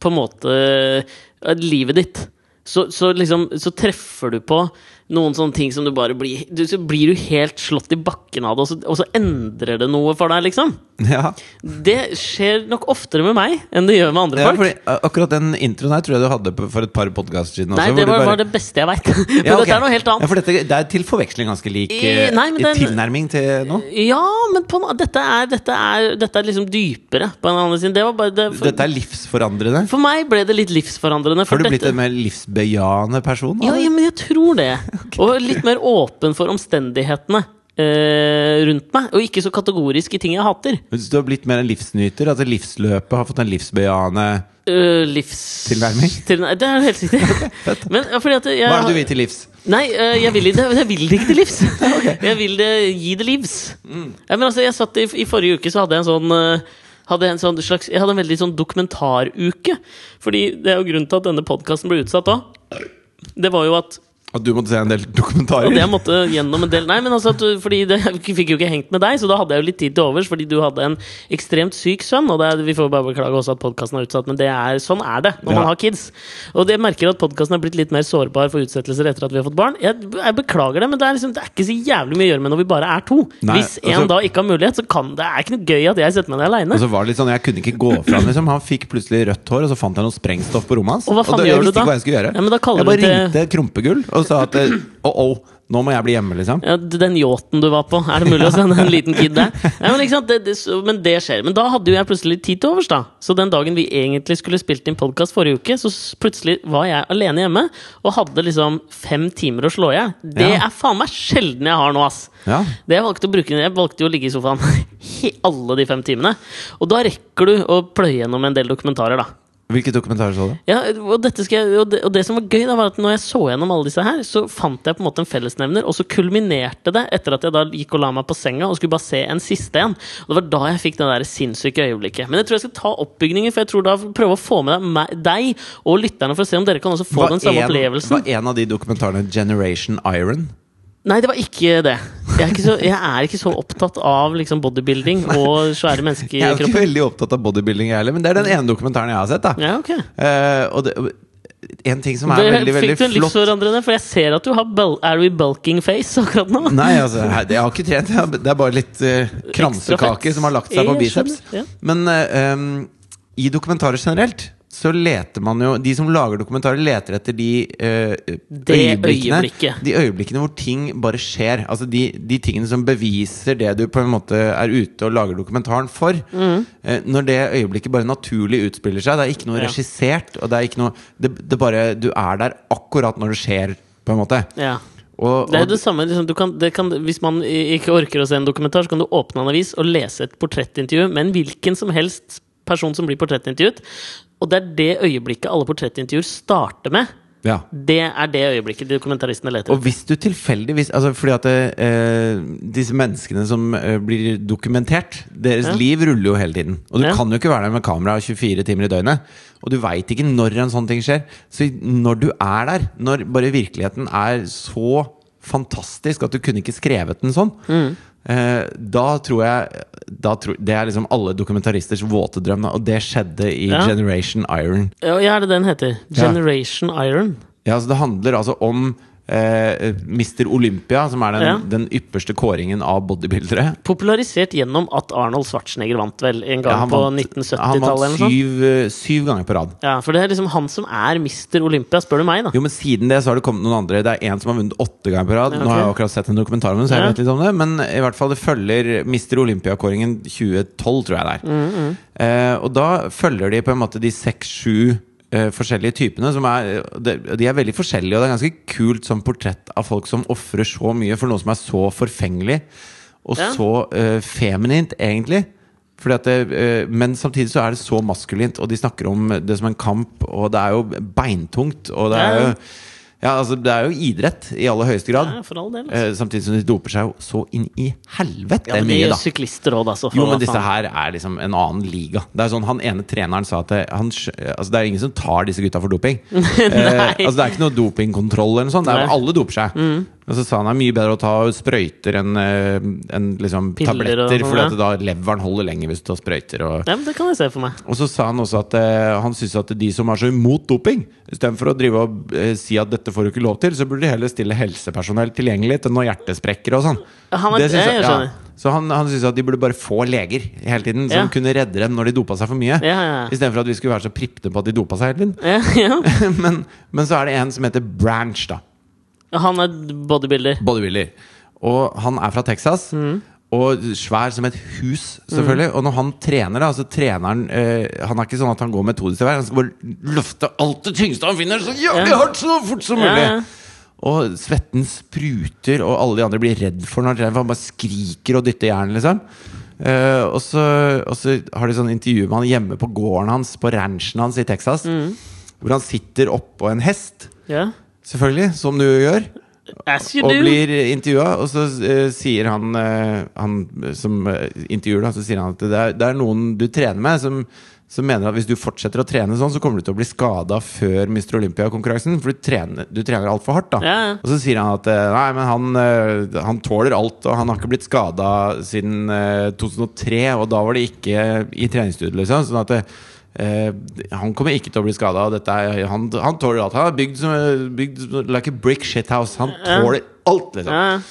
Speaker 2: på en måte eh, livet ditt, så, så liksom så treffer du på noen sånne ting som du bare blir du, Så blir du helt slått i bakken av det, og så, og så endrer det noe for deg, liksom.
Speaker 1: Ja.
Speaker 2: Det skjer nok oftere med meg enn det gjør med andre
Speaker 1: Ja,
Speaker 2: folk.
Speaker 1: fordi eh, akkurat den introen her tror jeg du hadde på- for et par podkaster siden.
Speaker 2: Nei,
Speaker 1: også, Altså, hvor
Speaker 2: det
Speaker 1: du
Speaker 2: var,
Speaker 1: bare-
Speaker 2: var det beste jeg veit. Men
Speaker 1: Ja, ok.
Speaker 2: dette er noe helt
Speaker 1: Ja,
Speaker 2: annet.
Speaker 1: for dette, det er til forveksling ganske lik eh,
Speaker 2: I- nei, men den-
Speaker 1: tilnærming til noe.
Speaker 2: Ja, men på, en måte- dette, er, dette, er, dette er liksom dypere, på en annen side. Det var bare det, for,
Speaker 1: Dette er livsforandrende.
Speaker 2: for meg ble det litt livsforandrende. For
Speaker 1: Har du blitt
Speaker 2: dette,
Speaker 1: en mer livsbejaende person? da?
Speaker 2: ja, ja, men jeg tror det. Og litt mer åpen for omstendighetene eh, rundt meg. Og ikke så kategorisk i ting jeg hater.
Speaker 1: Men Du har blitt mer en livsnyter? At livsløpet har fått en livsbejaende
Speaker 2: Eh, livs...
Speaker 1: Tilnærming?
Speaker 2: Til, det er helt riktig. Men, ja, fordi at jeg,
Speaker 1: Hva er det du vil til livs?
Speaker 2: Nei, eh, jeg vil, det, jeg vil det ikke til livs. Jeg vil det gi det livs.
Speaker 1: Mm.
Speaker 2: Ja, men altså, jeg satt i, I forrige uke så hadde jeg en sånn eh, hadde jeg en sånn slags, jeg hadde en veldig sånn dokumentaruke. Fordi det er jo grunnen til at denne podkasten ble utsatt òg. Det var jo at
Speaker 1: At du måtte se en del
Speaker 2: og
Speaker 1: dokumentarer?
Speaker 2: det jeg måtte gjennom en del Nei, men altså, at du- fordi det, jeg fikk jo ikke hengt med deg, så da hadde jeg jo litt tid til overs, fordi du hadde en ekstremt syk sønn, og det er, vi får jo bare beklage også at podkasten er utsatt, men det er, sånn er det når
Speaker 1: Ja.
Speaker 2: man har kids. Og det jeg merker at podkasten er blitt litt mer sårbar for utsettelser etter at vi har fått barn. Jeg, jeg beklager det, men det er, liksom, det er ikke så jævlig mye å gjøre med når vi bare er to.
Speaker 1: Nei,
Speaker 2: Hvis en
Speaker 1: altså-
Speaker 2: da ikke har mulighet, så kan det, er ikke noe gøy at jeg setter meg ned aleine.
Speaker 1: Og så var det litt sånn, Jeg kunne ikke gå fra han. liksom Han fikk plutselig rødt hår, og så fant jeg noe sprengstoff på rommet hans.
Speaker 2: Og hva faen
Speaker 1: da-
Speaker 2: gjør
Speaker 1: jeg
Speaker 2: du
Speaker 1: visste
Speaker 2: da?
Speaker 1: ikke hva jeg skulle gjøre
Speaker 2: Ja, men da kaller
Speaker 1: Jeg bare
Speaker 2: du til-
Speaker 1: ringte Krumpegull og sa at eh, oh, oh, nå må jeg bli hjemme, liksom.
Speaker 2: Ja, d- den yachten du var på, er det mulig å sende en liten kid der? Nei, men, ikke sant? Det, det, så- men det skjer. Men da hadde jo jeg plutselig litt tid til overs, da. Så den dagen vi egentlig skulle spilt inn podkast forrige uke, så s- plutselig var jeg alene hjemme og hadde liksom fem timer å slå i hjel. Det
Speaker 1: Ja.
Speaker 2: er faen meg sjelden jeg har nå, ass.
Speaker 1: Ja.
Speaker 2: Det jeg valgte å bruke Jeg valgte jo å ligge i sofaen i alle de fem timene. Og da rekker du å pløye gjennom en del dokumentarer, da.
Speaker 1: Hvilke dokumentarer så du?
Speaker 2: Ja, og, dette skal jeg, og, det, og det som var gøy, da, var at når jeg så gjennom alle disse her, så fant jeg på en måte en fellesnevner, og så kulminerte det etter at jeg da gikk og la meg på senga og skulle bare se en siste en. Og det var da jeg fikk det der sinnssyke øyeblikket. Men jeg tror jeg skal ta oppbygningen, for jeg tror da prøve å få med deg, meg, deg og lytterne for å se om dere kan også få den samme opplevelsen.
Speaker 1: var en av de dokumentarene Generation Iron?
Speaker 2: Nei, det var ikke det. Jeg er ikke så, jeg er ikke så opptatt av liksom bodybuilding og svære
Speaker 1: Jeg er jo
Speaker 2: menneskekropper.
Speaker 1: ikke veldig opptatt av bodybuilding, jeg heller, men det er den ene dokumentaren jeg har sett. da
Speaker 2: Ja, ok.
Speaker 1: Eh, og det, og en ting som er
Speaker 2: Det
Speaker 1: veldig,
Speaker 2: fikk
Speaker 1: veldig
Speaker 2: du en
Speaker 1: flott
Speaker 2: livsforandrende, for jeg ser at du har bul er du i bulking face akkurat nå.
Speaker 1: Nei, altså, her- jeg har ikke trent. jeg har- Det er bare litt eh,
Speaker 2: Ekstra
Speaker 1: kransekake
Speaker 2: fett.
Speaker 1: som har lagt seg på
Speaker 2: Jeg
Speaker 1: biceps.
Speaker 2: skjønner, ja.
Speaker 1: Men eh, em, i dokumentarer generelt så leter man jo De som lager dokumentarer, leter etter de eh, øyeblikkene
Speaker 2: øyeblikket.
Speaker 1: De øyeblikkene hvor ting bare skjer. Altså de, de tingene som beviser det du på en måte er ute og lager dokumentaren for.
Speaker 2: Mm.
Speaker 1: Eh, når det øyeblikket bare naturlig utspiller seg. Det er ikke noe
Speaker 2: Ja.
Speaker 1: regissert. Og det er ikke noe det, det bare, Du er der akkurat når det skjer, på en måte.
Speaker 2: Ja.
Speaker 1: Og,
Speaker 2: Det er
Speaker 1: og
Speaker 2: jo det samme, liksom, du kan, det kan, Hvis man i- ikke orker å se en dokumentar, så kan du åpne en avis og lese et portrettintervju med en hvilken som helst person som blir portrettintervjuet. Og det er det øyeblikket alle portrettintervjuer starter med.
Speaker 1: ja.
Speaker 2: Det er det øyeblikket de dokumentaristene leter
Speaker 1: Og hvis du tilfeldigvis altså Fordi at eh, disse menneskene som eh, blir dokumentert, deres
Speaker 2: Ja.
Speaker 1: liv ruller jo hele tiden. Og du
Speaker 2: Ja.
Speaker 1: kan jo ikke være der med kamera 24 timer i døgnet. Og du veit ikke når en sånn ting skjer. Så når du er der, når bare virkeligheten er så fantastisk at du kunne ikke skrevet den sånn,
Speaker 2: Mm.
Speaker 1: eh, da tror jeg da tror, Det er liksom alle dokumentaristers våte drøm, da, og det skjedde i
Speaker 2: Ja.
Speaker 1: Generation Iron.
Speaker 2: Ja, ja, er det den heter?
Speaker 1: Ja.
Speaker 2: Generation Iron.
Speaker 1: Ja, altså Det handler altså om eh, Mr. Olympia, som er den,
Speaker 2: Ja.
Speaker 1: den ypperste kåringen av bodybuildere.
Speaker 2: Popularisert gjennom at Arnold Schwarzenegger vant vel en gang
Speaker 1: Ja,
Speaker 2: på
Speaker 1: vant- han
Speaker 2: 1970-tallet.
Speaker 1: vant
Speaker 2: eller noe sånt.
Speaker 1: syv, eh, syv ganger på rad.
Speaker 2: Ja, for det er liksom han som er Mr. Olympia, spør du meg, da.
Speaker 1: Jo, men Siden det så har det kommet noen andre. Det er en som har vunnet åtte ganger på rad.
Speaker 2: Ja, ok.
Speaker 1: Nå har jeg akkurat sett en dokumentar om det, så jeg
Speaker 2: Ja.
Speaker 1: vet litt om det. Men i hvert fall det følger Mr. Olympia-kåringen 2012, tror jeg det er.
Speaker 2: Mm,
Speaker 1: Eh, og da følger de på en måte de seks-sju eh, forskjellige typene. Som er, de, de er veldig forskjellige, og det er ganske kult som portrett av folk som ofrer så mye for noe som er så forfengelig og
Speaker 2: Ja.
Speaker 1: så eh, feminint, egentlig. Fordi at det, eh, men samtidig så er det så maskulint, og de snakker om det som en kamp, og det er jo beintungt. Og det er jo,
Speaker 2: Ja.
Speaker 1: ja, altså, det er jo idrett i aller høyeste grad.
Speaker 2: Ja, for all del. Altså.
Speaker 1: Eh, samtidig som de doper seg jo så inn i helvete
Speaker 2: Ja, men de
Speaker 1: mye,
Speaker 2: er jo
Speaker 1: da.
Speaker 2: syklister òg, da. Så, for
Speaker 1: Jo,
Speaker 2: hva
Speaker 1: men disse
Speaker 2: faen.
Speaker 1: her er liksom en annen liga. Det er sånn, Han ene treneren sa at det, han, skj- altså, det er ingen som tar disse gutta for doping. Eh, altså Det er ikke noe dopingkontroll eller noe sånt. Det er,
Speaker 2: Nei. Mm.
Speaker 1: alle doper seg. Og så sa han det er mye bedre å ta sprøyter enn eh, enn liksom
Speaker 2: Piller og
Speaker 1: tabletter,
Speaker 2: sånn,
Speaker 1: for
Speaker 2: ja.
Speaker 1: at da leveren holder lenger hvis du tar sprøyter. Og,
Speaker 2: Ja, men det kan jeg se for meg.
Speaker 1: og så sa han også at eh, han syns at de som er så imot doping, istedenfor å drive og eh, si at dette får du ikke lov til, så burde de heller stille helsepersonell tilgjengelig til når hjertet sprekker og sånn.
Speaker 2: Han er-
Speaker 1: Det syns
Speaker 2: jeg
Speaker 1: jeg-
Speaker 2: skjønner.
Speaker 1: Så han, han syns at de burde bare få leger hele tiden, som
Speaker 2: Ja.
Speaker 1: kunne redde dem når de dopa seg for mye.
Speaker 2: Ja, ja, ja.
Speaker 1: Istedenfor at vi skulle være så pripte på at de dopa seg hele tiden.
Speaker 2: Ja, ja.
Speaker 1: men, men så er det en som heter Branch, da.
Speaker 2: Han er bodybuilder.
Speaker 1: Bodybuilder. Og han er fra Texas.
Speaker 2: Mm.
Speaker 1: Og svær som et hus, selvfølgelig. Og når han trener, da, så trener han eh, Han er ikke sånn at han går metodisk til verks. Han skal bare løfte alt det tyngste han finner, så jævlig
Speaker 2: Ja.
Speaker 1: hardt så fort som
Speaker 2: Ja,
Speaker 1: mulig.
Speaker 2: ja.
Speaker 1: Og svetten spruter, og alle de andre blir redd for når han trener, for han bare skriker og dytter jern, liksom. Eh, og, så, og så har de sånn intervju med han hjemme på gården hans, på ranchen hans i Texas.
Speaker 2: Mm.
Speaker 1: Hvor han sitter oppå en hest,
Speaker 2: Ja.
Speaker 1: selvfølgelig, som du gjør.
Speaker 2: As you
Speaker 1: Og
Speaker 2: do.
Speaker 1: blir intervjua, og så eh, sier han, eh, han som eh, intervjuer, da, så sier han at det er, det er noen du trener med, som, som mener at hvis du fortsetter å trene sånn, så kommer du til å bli skada før Mr. Olympia-konkurransen, for du trener, du trener altfor hardt, da.
Speaker 2: Ja, ja.
Speaker 1: Og så sier han at eh, nei, men han, eh, han tåler alt, og han har ikke blitt skada siden eh, 2003, og da var det ikke i treningsstudio, liksom. Sånn at eh, han kommer ikke til å bli skada. Han, han tåler alt. Han er bygd, som, bygd som- like a brick shithouse. Han
Speaker 2: Ja.
Speaker 1: tåler alt, liksom.
Speaker 2: Ja, ja.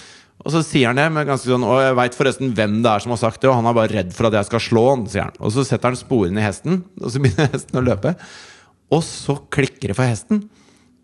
Speaker 1: Og så sier han det med ganske sånn Og jeg veit forresten hvem det er som har sagt det, og han er bare redd for at jeg skal slå han, sier han. Og så setter han sporene i hesten, og så begynner hesten å løpe. Og så klikker det for hesten.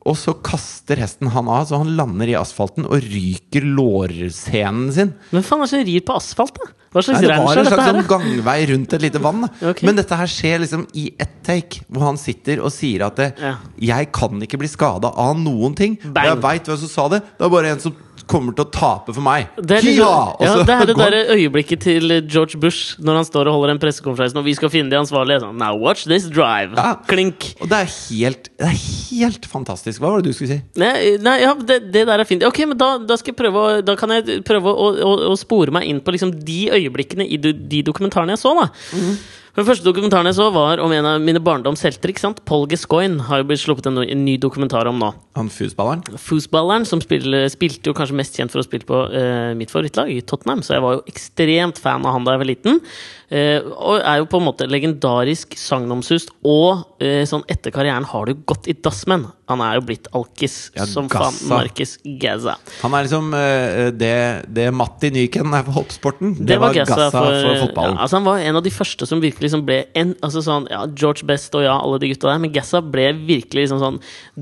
Speaker 1: Og så kaster hesten han av, så han lander i asfalten og ryker lårsenen sin.
Speaker 2: Hvem faen er det som rir på asfalt, da? Hva slags
Speaker 1: Nei, det
Speaker 2: ranch
Speaker 1: var
Speaker 2: er
Speaker 1: en
Speaker 2: dette
Speaker 1: slags
Speaker 2: her?
Speaker 1: sånn gangvei rundt et lite vann. da.
Speaker 2: Ok.
Speaker 1: Men dette her skjer liksom i ett take, hvor han sitter og sier at det,
Speaker 2: Ja.
Speaker 1: 'jeg kan ikke bli skada av noen ting'. Og
Speaker 2: Bang.
Speaker 1: jeg veit hvem som sa det. Det er bare en som kommer til å tape for meg.
Speaker 2: Det er, liksom,
Speaker 1: Ja! Og
Speaker 2: ja,
Speaker 1: så
Speaker 2: det er det
Speaker 1: går han-
Speaker 2: derre øyeblikket til George Bush når han står og holder en pressekonferanse og vi skal finne de ansvarlige. Sånn, Now watch this drive.
Speaker 1: Ja.
Speaker 2: Klink.
Speaker 1: Og det er helt, det er helt fantastisk. Hva var det du skulle si?
Speaker 2: Nei, nei ja, det, det der er fint. Ok, men da, da, skal jeg prøve å, da kan jeg prøve å, å, å spore meg inn på liksom de øyeblikkene i do, de dokumentarene jeg så. da For Den første dokumentaren jeg så, var om en av mine barndoms helter. ikke sant? Paul Gascoigne har jo blitt sluppet en, no- en ny dokumentar om nå.
Speaker 1: Han fusballeren?
Speaker 2: Foosballeren som spiller, spilte jo kanskje mest kjent for å spille på eh, mitt favorittlag, i Tottenham. Så jeg var jo ekstremt fan av han da jeg var liten. Eh, og er jo på en måte legendarisk sagnomsust. Og eh, sånn etter karrieren har det jo gått i dass, men han er jo blitt alkis
Speaker 1: Ja,
Speaker 2: som faen.
Speaker 1: Gaza.
Speaker 2: Markis Gaza.
Speaker 1: Han er liksom eh, det, det Matti Nyken er for hoppsporten. Det,
Speaker 2: Det var altså,
Speaker 1: Gaza for,
Speaker 2: ja,
Speaker 1: fotballen.
Speaker 2: altså han var en av de første som virkelig liksom ble en, altså sånn, ja, George Best og ja, alle de gutta der, men Gaza ble virkelig liksom sånn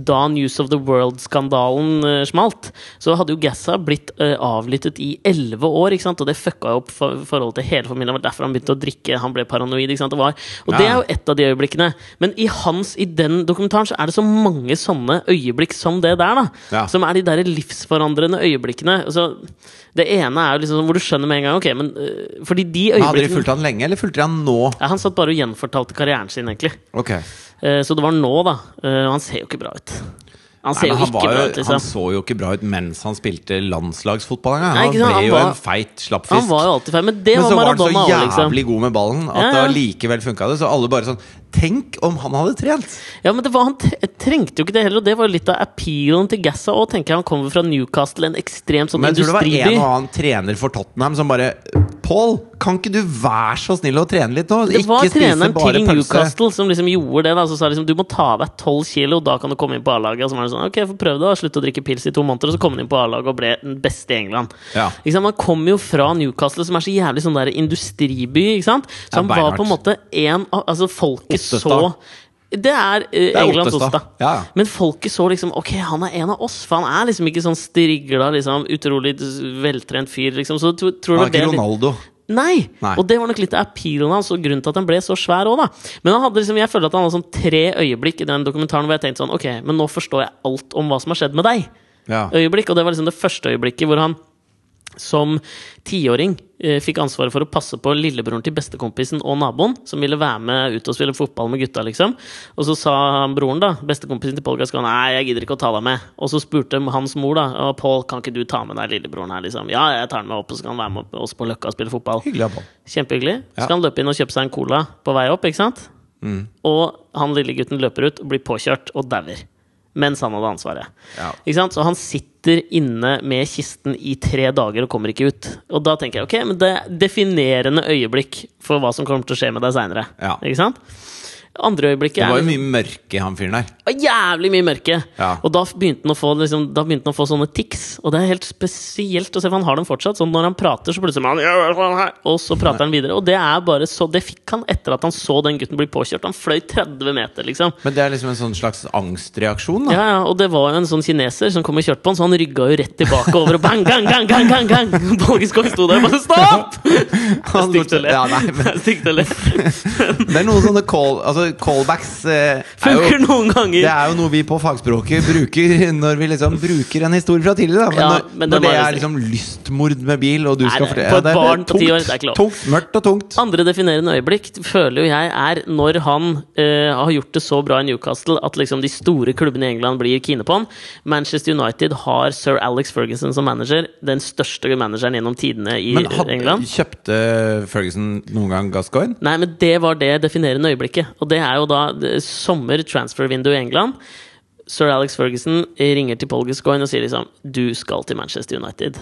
Speaker 2: da News of the World-skandalen eh, smalt, så hadde jo Gaza blitt eh, avlyttet i elleve år, ikke sant? og det fucka jo opp for, forholdet til hele familien. Det var derfor han begynte å drikke, han ble paranoid. ikke sant? Og, var, og det er
Speaker 1: Ja.
Speaker 2: jo et av de øyeblikkene. Men i hans, i den dokumentaren så er det så mange sånne øyeblikk som det der, da.
Speaker 1: Ja.
Speaker 2: Som er de der livsforandrende øyeblikkene. Altså, det ene er jo liksom sånn hvor du skjønner med en gang ok, men, øh, Fordi de
Speaker 1: Men Hadde de
Speaker 2: øyeblikkene
Speaker 1: fulgt han lenge, eller fulgte de han nå?
Speaker 2: ja, Han satt bare og gjenfortalte karrieren sin, egentlig.
Speaker 1: Ok
Speaker 2: Eh, så det var nå, da. Eh, og han ser jo ikke bra ut. Han ser
Speaker 1: Nei, men
Speaker 2: jo
Speaker 1: han,
Speaker 2: ikke
Speaker 1: var
Speaker 2: bra
Speaker 1: jo,
Speaker 2: ut, liksom.
Speaker 1: han så jo ikke bra ut mens han spilte landslagsfotball engang.
Speaker 2: Nei,
Speaker 1: Han
Speaker 2: ikke sant, han
Speaker 1: ble jo
Speaker 2: var-
Speaker 1: en feit slappfisk.
Speaker 2: Han var jo alltid feil, men det
Speaker 1: Men
Speaker 2: var
Speaker 1: så var han så
Speaker 2: Maradona òg, liksom.
Speaker 1: jævlig god med ballen at
Speaker 2: Ja, ja.
Speaker 1: det allikevel funka det. Så alle bare sånn Tenk om han hadde trent!
Speaker 2: Ja, men det var, Han tre- trengte jo ikke det heller, og det var jo litt av appealen til Gassa òg, tenker jeg. Han kommer fra Newcastle, en ekstremt sånn
Speaker 1: Men jeg tror det var
Speaker 2: industriby.
Speaker 1: en og annen trener for Tottenham som bare Paul, kan ikke du være så snill å trene litt nå?
Speaker 2: Det var
Speaker 1: ikke spise
Speaker 2: treneren
Speaker 1: bare
Speaker 2: til
Speaker 1: pølse.
Speaker 2: Newcastle som liksom gjorde det. Da, som sa liksom, du må ta av deg 12 kilo, da kan du komme inn på A-laget. Og så var det sånn, ok, få prøve det, da. Slutt å drikke pils i to måneder. Og så kom han inn på A-laget og ble den beste i England.
Speaker 1: Ja.
Speaker 2: Ikke sant? Man kommer jo fra Newcastle, som er så jævlig sånn der industriby. Ikke sant? Så
Speaker 1: Ja,
Speaker 2: han var
Speaker 1: beinhardt.
Speaker 2: på en måte en av Altså, folket
Speaker 1: Ottestad.
Speaker 2: så Det er, eh,
Speaker 1: er
Speaker 2: Englands
Speaker 1: Ottestad.
Speaker 2: Ottestad.
Speaker 1: Ja, ja.
Speaker 2: Men folket så liksom Ok, han er en av oss. For han er liksom ikke sånn strigla, liksom, utrolig veltrent fyr, liksom. Så tro- tror
Speaker 1: Han
Speaker 2: du
Speaker 1: er ikke Ronaldo.
Speaker 2: Nei.
Speaker 1: Nei.
Speaker 2: Og det var nok litt av appealen hans og grunnen til at han ble så svær òg, da. Men han hadde liksom, jeg føler at han hadde sånn tre øyeblikk i den dokumentaren hvor jeg tenkte sånn Ok, men nå forstår jeg alt om hva som har skjedd med deg.
Speaker 1: Ja.
Speaker 2: Øyeblikk, Og det var liksom det første øyeblikket hvor han som tiåring eh, fikk ansvaret for å passe på lillebroren til bestekompisen og naboen, som ville være med ut og spille fotball med gutta, liksom. Og så sa han broren, da, bestekompisen til Paul Gascoigne, nei, jeg gidder ikke å ta deg med. Og så spurte hans mor, da, «Å, Paul, kan ikke du ta med deg lillebroren her, liksom? Ja, jeg tar han med opp, og så kan han være med oss på Løkka og spille fotball.
Speaker 1: Hyggelig av Paul.
Speaker 2: Kjempehyggelig. Så
Speaker 1: Ja. Mm.
Speaker 2: skal han løpe inn og kjøpe seg en cola på vei opp, ikke sant? Og han lille gutten løper ut og blir påkjørt og dauer. Mens han hadde ansvaret.
Speaker 1: Ja.
Speaker 2: Ikke sant? Så han sitter sitter inne med kisten i tre dager og kommer ikke ut. Og da tenker jeg ok, men det er definerende øyeblikk for hva som kommer til å skje med deg seinere.
Speaker 1: Ja.
Speaker 2: Ikke sant? Andre øyeblikket
Speaker 1: Det var
Speaker 2: er liksom-
Speaker 1: jo mye mørke i han fyren der.
Speaker 2: var jævlig mye mørke.
Speaker 1: Ja.
Speaker 2: Og da begynte, han å få, liksom, da begynte han å få sånne tics. Og det er helt spesielt å se, for han har dem fortsatt. Sånn når han prater, så plutselig er han her, Og så prater han videre. Og det er bare så Det fikk han etter at han så den gutten bli påkjørt. Han fløy 30 meter, liksom.
Speaker 1: Men det er liksom en sånn slags angstreaksjon, da.
Speaker 2: Ja, ja, og det var jo en sånn kineser som kom og kjørte på han, så han rygga jo rett tilbake over og bang, gang, gang, gang, gang, gang! Borgeskog sto der og bare stopp! Det er stygt å le.
Speaker 1: Ja, nei, men-
Speaker 2: Det er stygt å le.
Speaker 1: Det er noen sånne call, altså callbacks eh, er jo,
Speaker 2: Funker noen ganger.
Speaker 1: Det er jo noe vi på fagspråket bruker når vi liksom bruker en historie fra tidligere. Da. Men,
Speaker 2: Ja,
Speaker 1: når,
Speaker 2: men det
Speaker 1: når det
Speaker 2: var
Speaker 1: er liksom lystmord med bil, og du
Speaker 2: Nei,
Speaker 1: skal
Speaker 2: det-
Speaker 1: fortelle
Speaker 2: for et
Speaker 1: ja, det er
Speaker 2: barn på ti år,
Speaker 1: tungt,
Speaker 2: det er ikke lov.
Speaker 1: Tungt, mørkt og tungt.
Speaker 2: Andre definerende øyeblikk føler jo jeg er når han eh, har gjort det så bra i Newcastle at liksom de store klubbene i England blir kine på han. Manchester United har sir Alex Ferguson som manager. Den største manageren gjennom tidene i
Speaker 1: Men hadde,
Speaker 2: England.
Speaker 1: kjøpte Ferguson noen gang Gascoigne?
Speaker 2: Nei, men det var det definerende øyeblikket. Og det er jo da eh, sommer transfer-vindu i England. Sir Alex Ferguson ringer til Paul Gascoigne og sier liksom Du skal til Manchester United.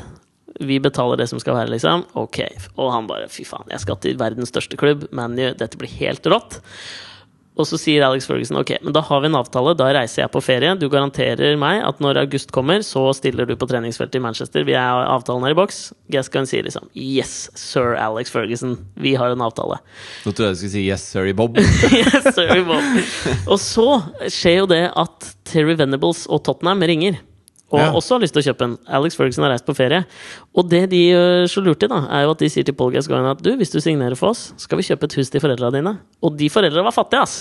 Speaker 2: Vi betaler det som skal være, liksom. Ok. Og han bare Fy faen, jeg skal til verdens største klubb, ManU. Dette blir helt rått. Og så sier Alex Ferguson ok, men da har vi en avtale, da reiser jeg på ferie. Du garanterer meg at når august kommer, så stiller du på treningsfeltet i Manchester. Vi er avtalen her i boks. Gascoigne sier liksom yes, sir Alex Ferguson, vi har en avtale.
Speaker 1: Nå trodde jeg du skulle si 'Yes, sorry, Bob'.
Speaker 2: yes, sir, vi må. Og så skjer jo det at Terry Venables og Tottenham ringer. Og
Speaker 1: Ja.
Speaker 2: også har lyst til å kjøpe en. Alex Ferguson har reist på ferie. Og det de gjør så lurt i, da, er jo at de sier til Paul Gascoigne at du, hvis du signerer for oss, skal vi kjøpe et hus til foreldra dine. Og de foreldra var fattige, ass!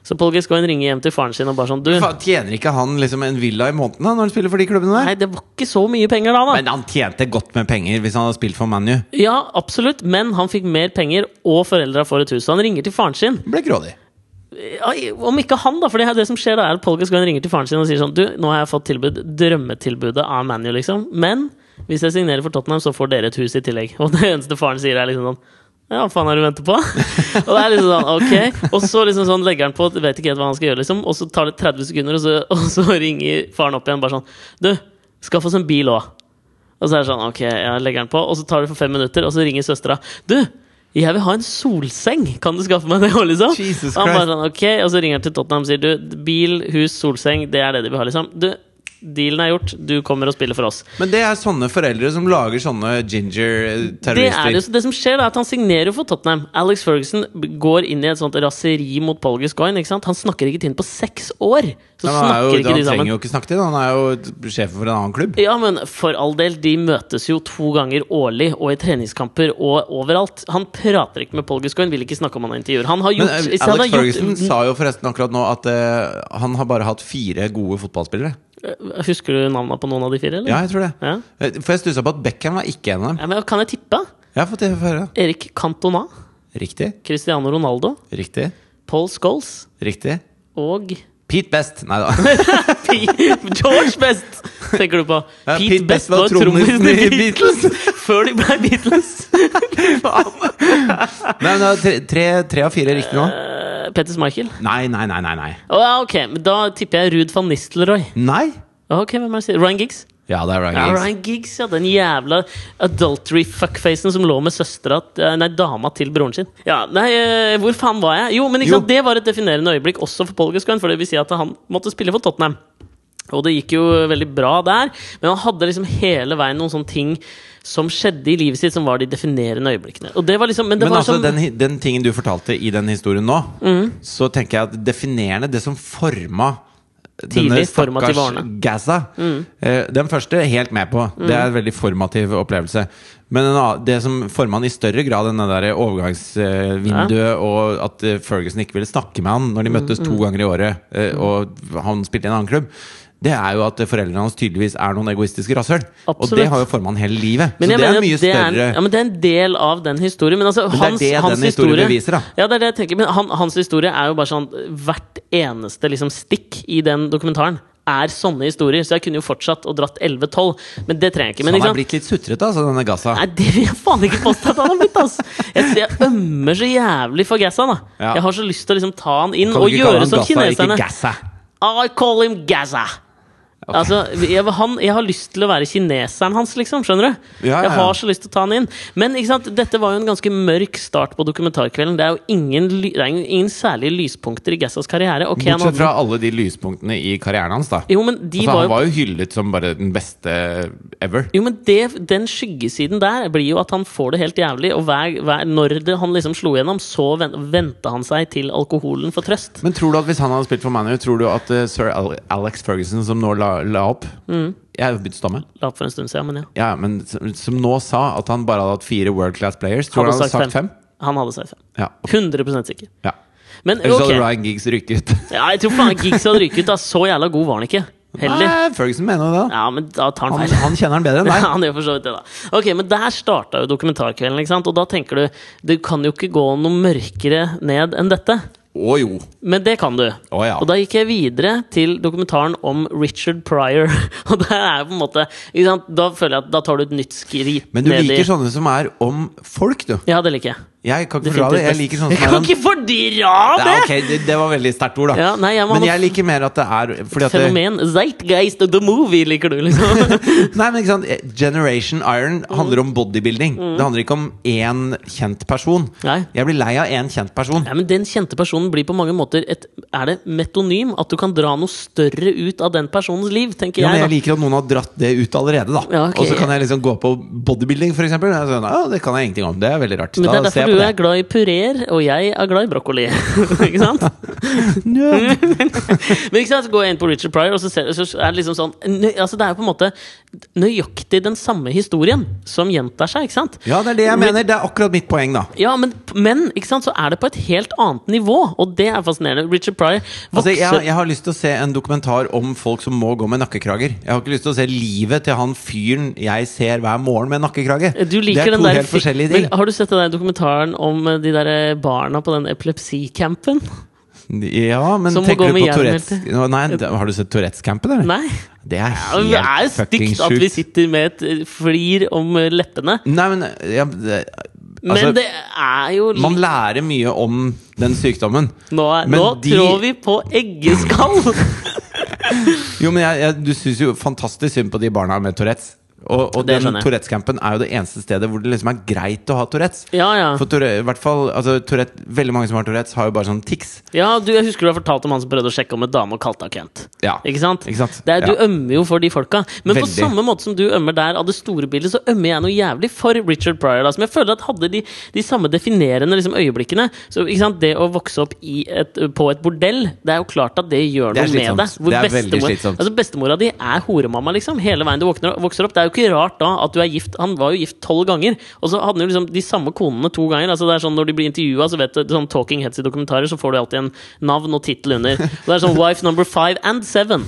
Speaker 2: Så Paul Gascoigne ringer hjem til faren sin og bare sånn Du,
Speaker 1: Faen, Tjener ikke han liksom en villa i måneden da, når han spiller for de klubbene der?
Speaker 2: nei, det var ikke så mye penger da, da.
Speaker 1: Men han tjente godt med penger hvis han hadde spilt for ManU.
Speaker 2: Ja, absolutt, men han fikk mer penger, og foreldra får et hus. Så han ringer til faren sin.
Speaker 1: Ble grådig.
Speaker 2: Ja, om ikke han, da. For det, er det som skjer da, er at Polgas går og ringer til faren sin og sier sånn Du, nå har jeg fått tilbud, drømmetilbudet av ManU, liksom. Men hvis jeg signerer for Tottenham, så får dere et hus i tillegg. Og det eneste faren sier, er liksom sånn ja, hva faen har du ventet på? og det er liksom sånn, ok. Og så liksom sånn legger han på, vet ikke helt hva han skal gjøre, liksom. Og så tar det 30 sekunder, og så, og så ringer faren opp igjen bare sånn Du, skaff oss en bil òg. Og så er det sånn, ok, jeg legger den på Og så tar det for fem minutter, og så ringer søstera Du, jeg vil ha en solseng Kan du skaffe meg det også, liksom?
Speaker 1: Jesus
Speaker 2: Og han bare
Speaker 1: Christ.
Speaker 2: sånn, ok Og så ringer han til Tottenham og sier Du, bil, hus, solseng Det er det de vil ha, liksom Du, dealen er gjort Du kommer og spiller for oss
Speaker 1: Men det er sånne foreldre som lager sånne
Speaker 2: det, er
Speaker 1: eh, ginger-terrorister.
Speaker 2: det, det som skjer da, er at han signerer jo for Tottenham Alex Ferguson b- går inn i et sånt raseri mot Paul Gascoigne Ikke sant? Han snakker ikke til ham på seks år Så
Speaker 1: Han, er
Speaker 2: snakker
Speaker 1: jo,
Speaker 2: ikke
Speaker 1: han
Speaker 2: de sammen
Speaker 1: trenger jo ikke snakke til han er jo sjefen for en annen klubb.
Speaker 2: Ja, men for all del, de møtes jo to ganger årlig, og i treningskamper og overalt. Han prater ikke med Paul Gascoigne, vil ikke snakke om han i intervjuer. Han har
Speaker 1: Men
Speaker 2: gjort
Speaker 1: eh,
Speaker 2: hvis han
Speaker 1: Alex
Speaker 2: har gjort-
Speaker 1: Ferguson sa jo forresten akkurat nå at eh, han har bare hatt fire gode fotballspillere.
Speaker 2: Eh, Husker du navnene på noen av de fire, eller?
Speaker 1: Ja, jeg tror det.
Speaker 2: Ja.
Speaker 1: Eh, For jeg stussa på at Beckham var ikke en av dem.
Speaker 2: Ja, men kan jeg tippe?
Speaker 1: Jeg har fått det høre.
Speaker 2: Erik Cantona,
Speaker 1: Riktig,
Speaker 2: Cristiano Ronaldo,
Speaker 1: riktig,
Speaker 2: Paul Scholes
Speaker 1: riktig.
Speaker 2: og
Speaker 1: Pete Best! Nei da.
Speaker 2: P George Best, tenker du på.
Speaker 1: Ja,
Speaker 2: Pete, Best var trommisen i Beatles før de ble Beatles. Fy faen.
Speaker 1: Nei, men det er tre, tre, tre av fire er riktig nå.
Speaker 2: Eh, Petter Schmeichel.
Speaker 1: Nei, nei, nei, nei. Nei?
Speaker 2: Å, ja, ok, men da tipper jeg Ruud van Nistelrooy.
Speaker 1: nei?
Speaker 2: Ok, hvem er det? som sier- Ryan Giggs?
Speaker 1: Ja, det er Ryan
Speaker 2: Ja,
Speaker 1: Giggs.
Speaker 2: Ryan Giggs, ja. Den jævla adultery-fuckfacen som lå med søstera eh, Nei, dama til broren sin. Ja, nei, eh, hvor faen var jeg? Jo, men ikke
Speaker 1: Jo.
Speaker 2: sant, det var et definerende øyeblikk også for Paul Gascoigne, for det vil si at han måtte spille for Tottenham. Og det gikk jo veldig bra der, men han hadde liksom hele veien noen sånne ting som skjedde i livet sitt, som var de definerende øyeblikkene. Og det var liksom, men det
Speaker 1: Men
Speaker 2: var
Speaker 1: altså,
Speaker 2: som, Mm.
Speaker 1: den, hi- den tingen du fortalte i den historien nå, så tenker jeg at definerende det som forma denne
Speaker 2: Tidlig formative
Speaker 1: stakkars
Speaker 2: årene.
Speaker 1: Gaza
Speaker 2: Mm.
Speaker 1: eh, Den første er jeg helt med på. Det er en veldig formativ opplevelse. Men en annen- det som forma han i større grad enn det der overgangsvinduet, og at eh, Ferguson ikke ville snakke med han når de
Speaker 2: Mm,
Speaker 1: møttes to ganger i året, eh, og han spilte i en annen klubb, det er jo at eh, foreldrene hans tydeligvis er noen egoistiske rasshøl. Og
Speaker 2: Absolutt.
Speaker 1: det har jo forma han hele livet.
Speaker 2: men
Speaker 1: så
Speaker 2: jeg
Speaker 1: det
Speaker 2: mener
Speaker 1: er
Speaker 2: at
Speaker 1: mye
Speaker 2: det er,
Speaker 1: større
Speaker 2: ja, men det er en del av den historien. Men, altså,
Speaker 1: det er
Speaker 2: hans,
Speaker 1: det den
Speaker 2: hans
Speaker 1: historien
Speaker 2: historie
Speaker 1: beviser, da.
Speaker 2: Ja, det er det jeg tenker. Men han, hans historie er jo bare sånn Hvert eneste liksom, stikk i den dokumentaren er sånne historier. Så jeg kunne jo fortsatt og dratt 11-12, men det trenger jeg ikke. Men, ikke
Speaker 1: Så han er
Speaker 2: sant?
Speaker 1: blitt litt sutrete, altså, denne Gaza.
Speaker 2: Nei, det vil jeg faen ikke påstå at han har blitt, ass! Jeg, jeg ømmer så jævlig for Gassa, da.
Speaker 1: Ja.
Speaker 2: Jeg har så lyst til å liksom ta han inn
Speaker 1: Kan du
Speaker 2: og
Speaker 1: ikke kalle
Speaker 2: gjøre
Speaker 1: han
Speaker 2: som
Speaker 1: Gaza, ikke
Speaker 2: kineserne.
Speaker 1: Gaza?
Speaker 2: I call him Gaza! Altså, jeg, han, jeg har lyst til å være kineseren hans, liksom. Skjønner du?
Speaker 1: Ja, ja,
Speaker 2: Jeg
Speaker 1: ja.
Speaker 2: har så lyst til å ta han inn. Men ikke sant? dette var jo en ganske mørk start på dokumentarkvelden. Det er jo ingen, ly- det er ingen- ingen særlige lyspunkter i Gassas karriere. Ok, han
Speaker 1: Bortsett
Speaker 2: hadde,
Speaker 1: fra alle de lyspunktene i karrieren hans, da.
Speaker 2: jo, men de
Speaker 1: altså,
Speaker 2: var
Speaker 1: han
Speaker 2: jo
Speaker 1: var jo hyllet som bare den beste ever.
Speaker 2: Jo, men det, den skyggesiden der blir jo at han får det helt jævlig. Og hver, hver, når det, han liksom slo gjennom, så venta han seg til alkoholen for trøst.
Speaker 1: Men tror du at hvis han hadde spilt for ManU, tror du at eh, sir Al Alex Ferguson, som nå la, la opp
Speaker 2: Mm.
Speaker 1: Jeg har begynt å stamme.
Speaker 2: La opp for en stund siden, men ja.
Speaker 1: Ja, men som, som nå sa at han bare hadde hatt fire world class players. Tror du han hadde sagt fem?
Speaker 2: Han hadde sagt fem.
Speaker 1: Ja.
Speaker 2: 100 sikker.
Speaker 1: ja.
Speaker 2: Men
Speaker 1: Ellers
Speaker 2: ok.
Speaker 1: hadde Ryan Giggs rykket.
Speaker 2: Ja, jeg tror faen Giggs hadde ryket ut. Da. Så jævla god var han ikke. Heller.
Speaker 1: Nei, Ferguson mener jo det. da.
Speaker 2: Ja, men da tar han
Speaker 1: Han,
Speaker 2: feil.
Speaker 1: han kjenner han bedre enn
Speaker 2: Ja,
Speaker 1: deg.
Speaker 2: han gjør for så vidt det, da. Ok, Men der starta jo dokumentarkvelden, ikke sant? og da tenker du det kan jo ikke gå noe mørkere ned enn dette.
Speaker 1: Å jo.
Speaker 2: Men det kan du.
Speaker 1: Å ja.
Speaker 2: Og da gikk jeg videre til dokumentaren om Richard Pryor. Og der er jo på en måte ikke sant? Da føler jeg at da tar du et nytt skritt
Speaker 1: Men du
Speaker 2: ned
Speaker 1: liker sånn-
Speaker 2: i
Speaker 1: sånne som er om folk, du.
Speaker 2: Ja, det liker jeg.
Speaker 1: Jeg kan ikke
Speaker 2: Definitivt
Speaker 1: fordra det. Jeg
Speaker 2: best.
Speaker 1: liker sånne
Speaker 2: Jeg
Speaker 1: som er
Speaker 2: kan
Speaker 1: om
Speaker 2: ikke fordra det!
Speaker 1: Ja, ok, det, det var veldig sterkt ord, da.
Speaker 2: Ja, nei, jeg må
Speaker 1: men
Speaker 2: ha
Speaker 1: jeg liker mer at det er fordi at det,
Speaker 2: Fenomen. Zeitgeist of the movie liker du, liksom.
Speaker 1: Nei, men ikke sant Generation Iron
Speaker 2: Mm.
Speaker 1: handler om bodybuilding. Det handler ikke om én kjent person.
Speaker 2: Nei.
Speaker 1: Jeg blir lei av én kjent person.
Speaker 2: Ja, men Den kjente personen blir på mange måter et Er det metonym? At du kan dra noe større ut av den personens liv, tenker
Speaker 1: Ja, men
Speaker 2: jeg.
Speaker 1: jeg liker at noen har dratt det ut allerede, da.
Speaker 2: Ja, ok.
Speaker 1: Og så kan jeg liksom gå på bodybuilding, for eksempel. Og Sånn, «Å, det kan jeg ingenting om. Det er veldig rart.
Speaker 2: da. Men det er
Speaker 1: Da ser
Speaker 2: derfor
Speaker 1: jeg på
Speaker 2: du
Speaker 1: det.
Speaker 2: er glad i pureer, og jeg er glad i brokkoli. ikke sant?
Speaker 1: Nerd.
Speaker 2: Men ikke sant, så går jeg inn på Richard Pryor, og så, ser, så er det liksom sånn nøy, altså Det er jo på en måte nøyaktig den samme historien som gjentar seg, ikke sant?
Speaker 1: Ja, det er det jeg
Speaker 2: Men-
Speaker 1: mener. Det er akkurat mitt poeng, da.
Speaker 2: Ja, men, men ikke sant, så er det på et helt annet nivå, og det er fascinerende. Richard Pryor
Speaker 1: Altså,
Speaker 2: vokser
Speaker 1: jeg, jeg har lyst til å se en dokumentar om folk som må gå med nakkekrager. Jeg har ikke lyst til å se livet til han fyren jeg ser hver morgen med nakkekrage.
Speaker 2: Du liker
Speaker 1: det er
Speaker 2: den
Speaker 1: to
Speaker 2: der
Speaker 1: helt
Speaker 2: fi-
Speaker 1: forskjellige
Speaker 2: Men
Speaker 1: ting.
Speaker 2: Har du sett den der dokumentaren om eh, de der eh, barna på den epilepsicampen?
Speaker 1: Ja, men
Speaker 2: Som må gå
Speaker 1: tenker du
Speaker 2: med
Speaker 1: på Tourettes
Speaker 2: jernhjelm
Speaker 1: Nå, Nei, det- Har du sett Tourettes-campen, eller?
Speaker 2: Nei.
Speaker 1: Det
Speaker 2: Ja,
Speaker 1: er
Speaker 2: men
Speaker 1: helt
Speaker 2: Det er jo
Speaker 1: fucking
Speaker 2: stygt at vi
Speaker 1: sjukt.
Speaker 2: sitter med et eh, flir om eh, leppene,
Speaker 1: Nei, men ja, det,
Speaker 2: men
Speaker 1: altså,
Speaker 2: det er jo litt
Speaker 1: Man lærer mye om den sykdommen.
Speaker 2: Nå, er,
Speaker 1: men
Speaker 2: nå
Speaker 1: de-
Speaker 2: trår vi på eggeskall!
Speaker 1: Jo, men jeg, jeg, Du syns jo fantastisk synd på de barna med Tourettes. Og,
Speaker 2: Det
Speaker 1: og den
Speaker 2: skjønner jeg.
Speaker 1: Tourettes-campen er jo det eneste stedet hvor det liksom er greit å ha Tourettes.
Speaker 2: ja, ja.
Speaker 1: For Tourette, i hvert fall, altså, Tourette, Veldig mange som har Tourettes, har jo bare sånn tics.
Speaker 2: ja du, jeg husker du har fortalt om han som prøvde å sjekke om en dame og kalte henne Kent.
Speaker 1: Ja.
Speaker 2: Ikke sant?
Speaker 1: Ikke sant?
Speaker 2: Det er, du
Speaker 1: Ja.
Speaker 2: ømmer jo for de folka. Men på
Speaker 1: Veldig.
Speaker 2: samme måte som du ømmer der av det store bildet, så ømmer jeg noe jævlig for Richard Pryor. Da, som jeg føler at hadde de, de samme definerende liksom, øyeblikkene så, ikke sant? Det å vokse opp i et, på et bordell, det er jo klart at det gjør
Speaker 1: Det er
Speaker 2: noe med deg.
Speaker 1: slitsomt. Det er veldig slitsomt.
Speaker 2: altså, bestemora di er horemamma liksom, hele veien du våkner, vokser opp. Det er jo ikke rart da at du er gift. Han var jo gift tolv ganger, og så hadde han jo liksom de samme konene to ganger. Altså, det er sånn Når de blir intervjua, så vet du sånn Talking Heads i dokumentarer, så får du alltid en navn og tittel under. Og det er sånn Wife number five and seven.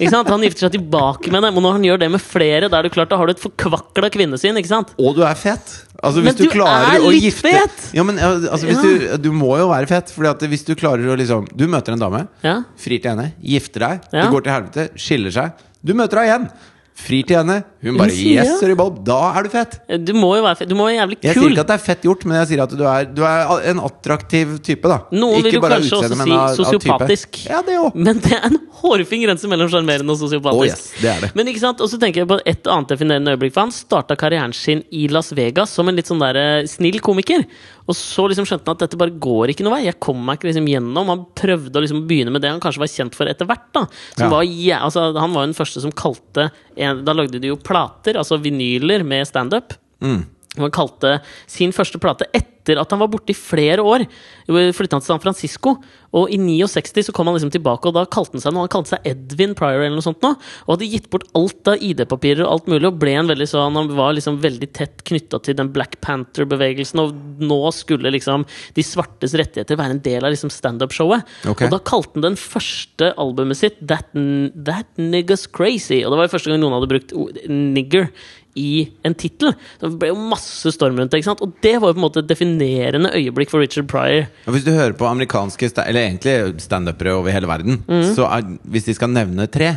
Speaker 2: Ikke sant? Han gifter seg tilbake med dem, og når han gjør det med flere, da er det klart da har du et forkvakla kvinnesyn, ikke sant?
Speaker 1: Og du er fet! Altså,
Speaker 2: Men
Speaker 1: hvis du,
Speaker 2: du
Speaker 1: klarer
Speaker 2: er
Speaker 1: å
Speaker 2: litt
Speaker 1: gifte
Speaker 2: fet!
Speaker 1: Ja, men ja, altså, hvis
Speaker 2: Ja.
Speaker 1: du, du må jo være fet. Fordi at hvis du klarer å liksom Du møter en dame,
Speaker 2: Ja.
Speaker 1: frir til henne, gifter deg,
Speaker 2: Ja.
Speaker 1: det går til helvete, skiller seg. Du møter henne igjen, frir til henne, hun bare
Speaker 2: sier
Speaker 1: Yes,
Speaker 2: ja.
Speaker 1: sorry, Bob, da er du fet!
Speaker 2: Du må jo være, fe- du må være jævlig
Speaker 1: Jeg
Speaker 2: kul.
Speaker 1: sier ikke at det er fett gjort, men jeg sier at du er, du er en attraktiv type. da
Speaker 2: Noen vil
Speaker 1: Ikke
Speaker 2: jo
Speaker 1: bare av
Speaker 2: kanskje også
Speaker 1: utseende, men
Speaker 2: si
Speaker 1: av- av type.
Speaker 2: sosiopatisk.
Speaker 1: Ja, det òg.
Speaker 2: Men det er en hårfin grense mellom sjarmerende og sosiopatisk.
Speaker 1: Oh, yes, det er det.
Speaker 2: Men ikke sant, Og så tenker jeg på et annet definerende øyeblikk. For han starta karrieren sin i Las Vegas som en litt sånn der, eh, snill komiker. Og så liksom skjønte han at dette bare går ikke noe vei. Jeg kom meg ikke liksom gjennom. Han prøvde å liksom begynne med det han kanskje var kjent for etter hvert. da som
Speaker 1: Ja.
Speaker 2: var, jæ- altså, Han var jo den første som kalte en, Da lagde de jo plater, altså vinyler, med standup. Og Han kalte sin første plate etter at han var borte i flere år. Flytta han til San Francisco, og i 69 så kom han liksom tilbake, og da kalte han seg noe. Han kalte seg Edvin Pryor eller noe sånt nå, og hadde gitt bort alt av ID-papirer og alt mulig, og ble en veldig sånn Han var liksom veldig tett knytta til den Black Panther-bevegelsen, og nå skulle liksom de svartes rettigheter være en del av liksom standup-showet.
Speaker 1: Ok.
Speaker 2: Og da kalte han den første albumet sitt That, N- That Nigga's Crazy, og det var jo første gang noen hadde brukt ord- nigger i en tittel. Det ble jo masse storm rundt det. ikke sant? Og det var jo på en måte et definerende øyeblikk for Richard Pryor.
Speaker 1: Ja, Hvis du hører på amerikanske, sta- eller egentlig standupere over hele verden,
Speaker 2: Mm.
Speaker 1: så er, hvis de skal nevne tre,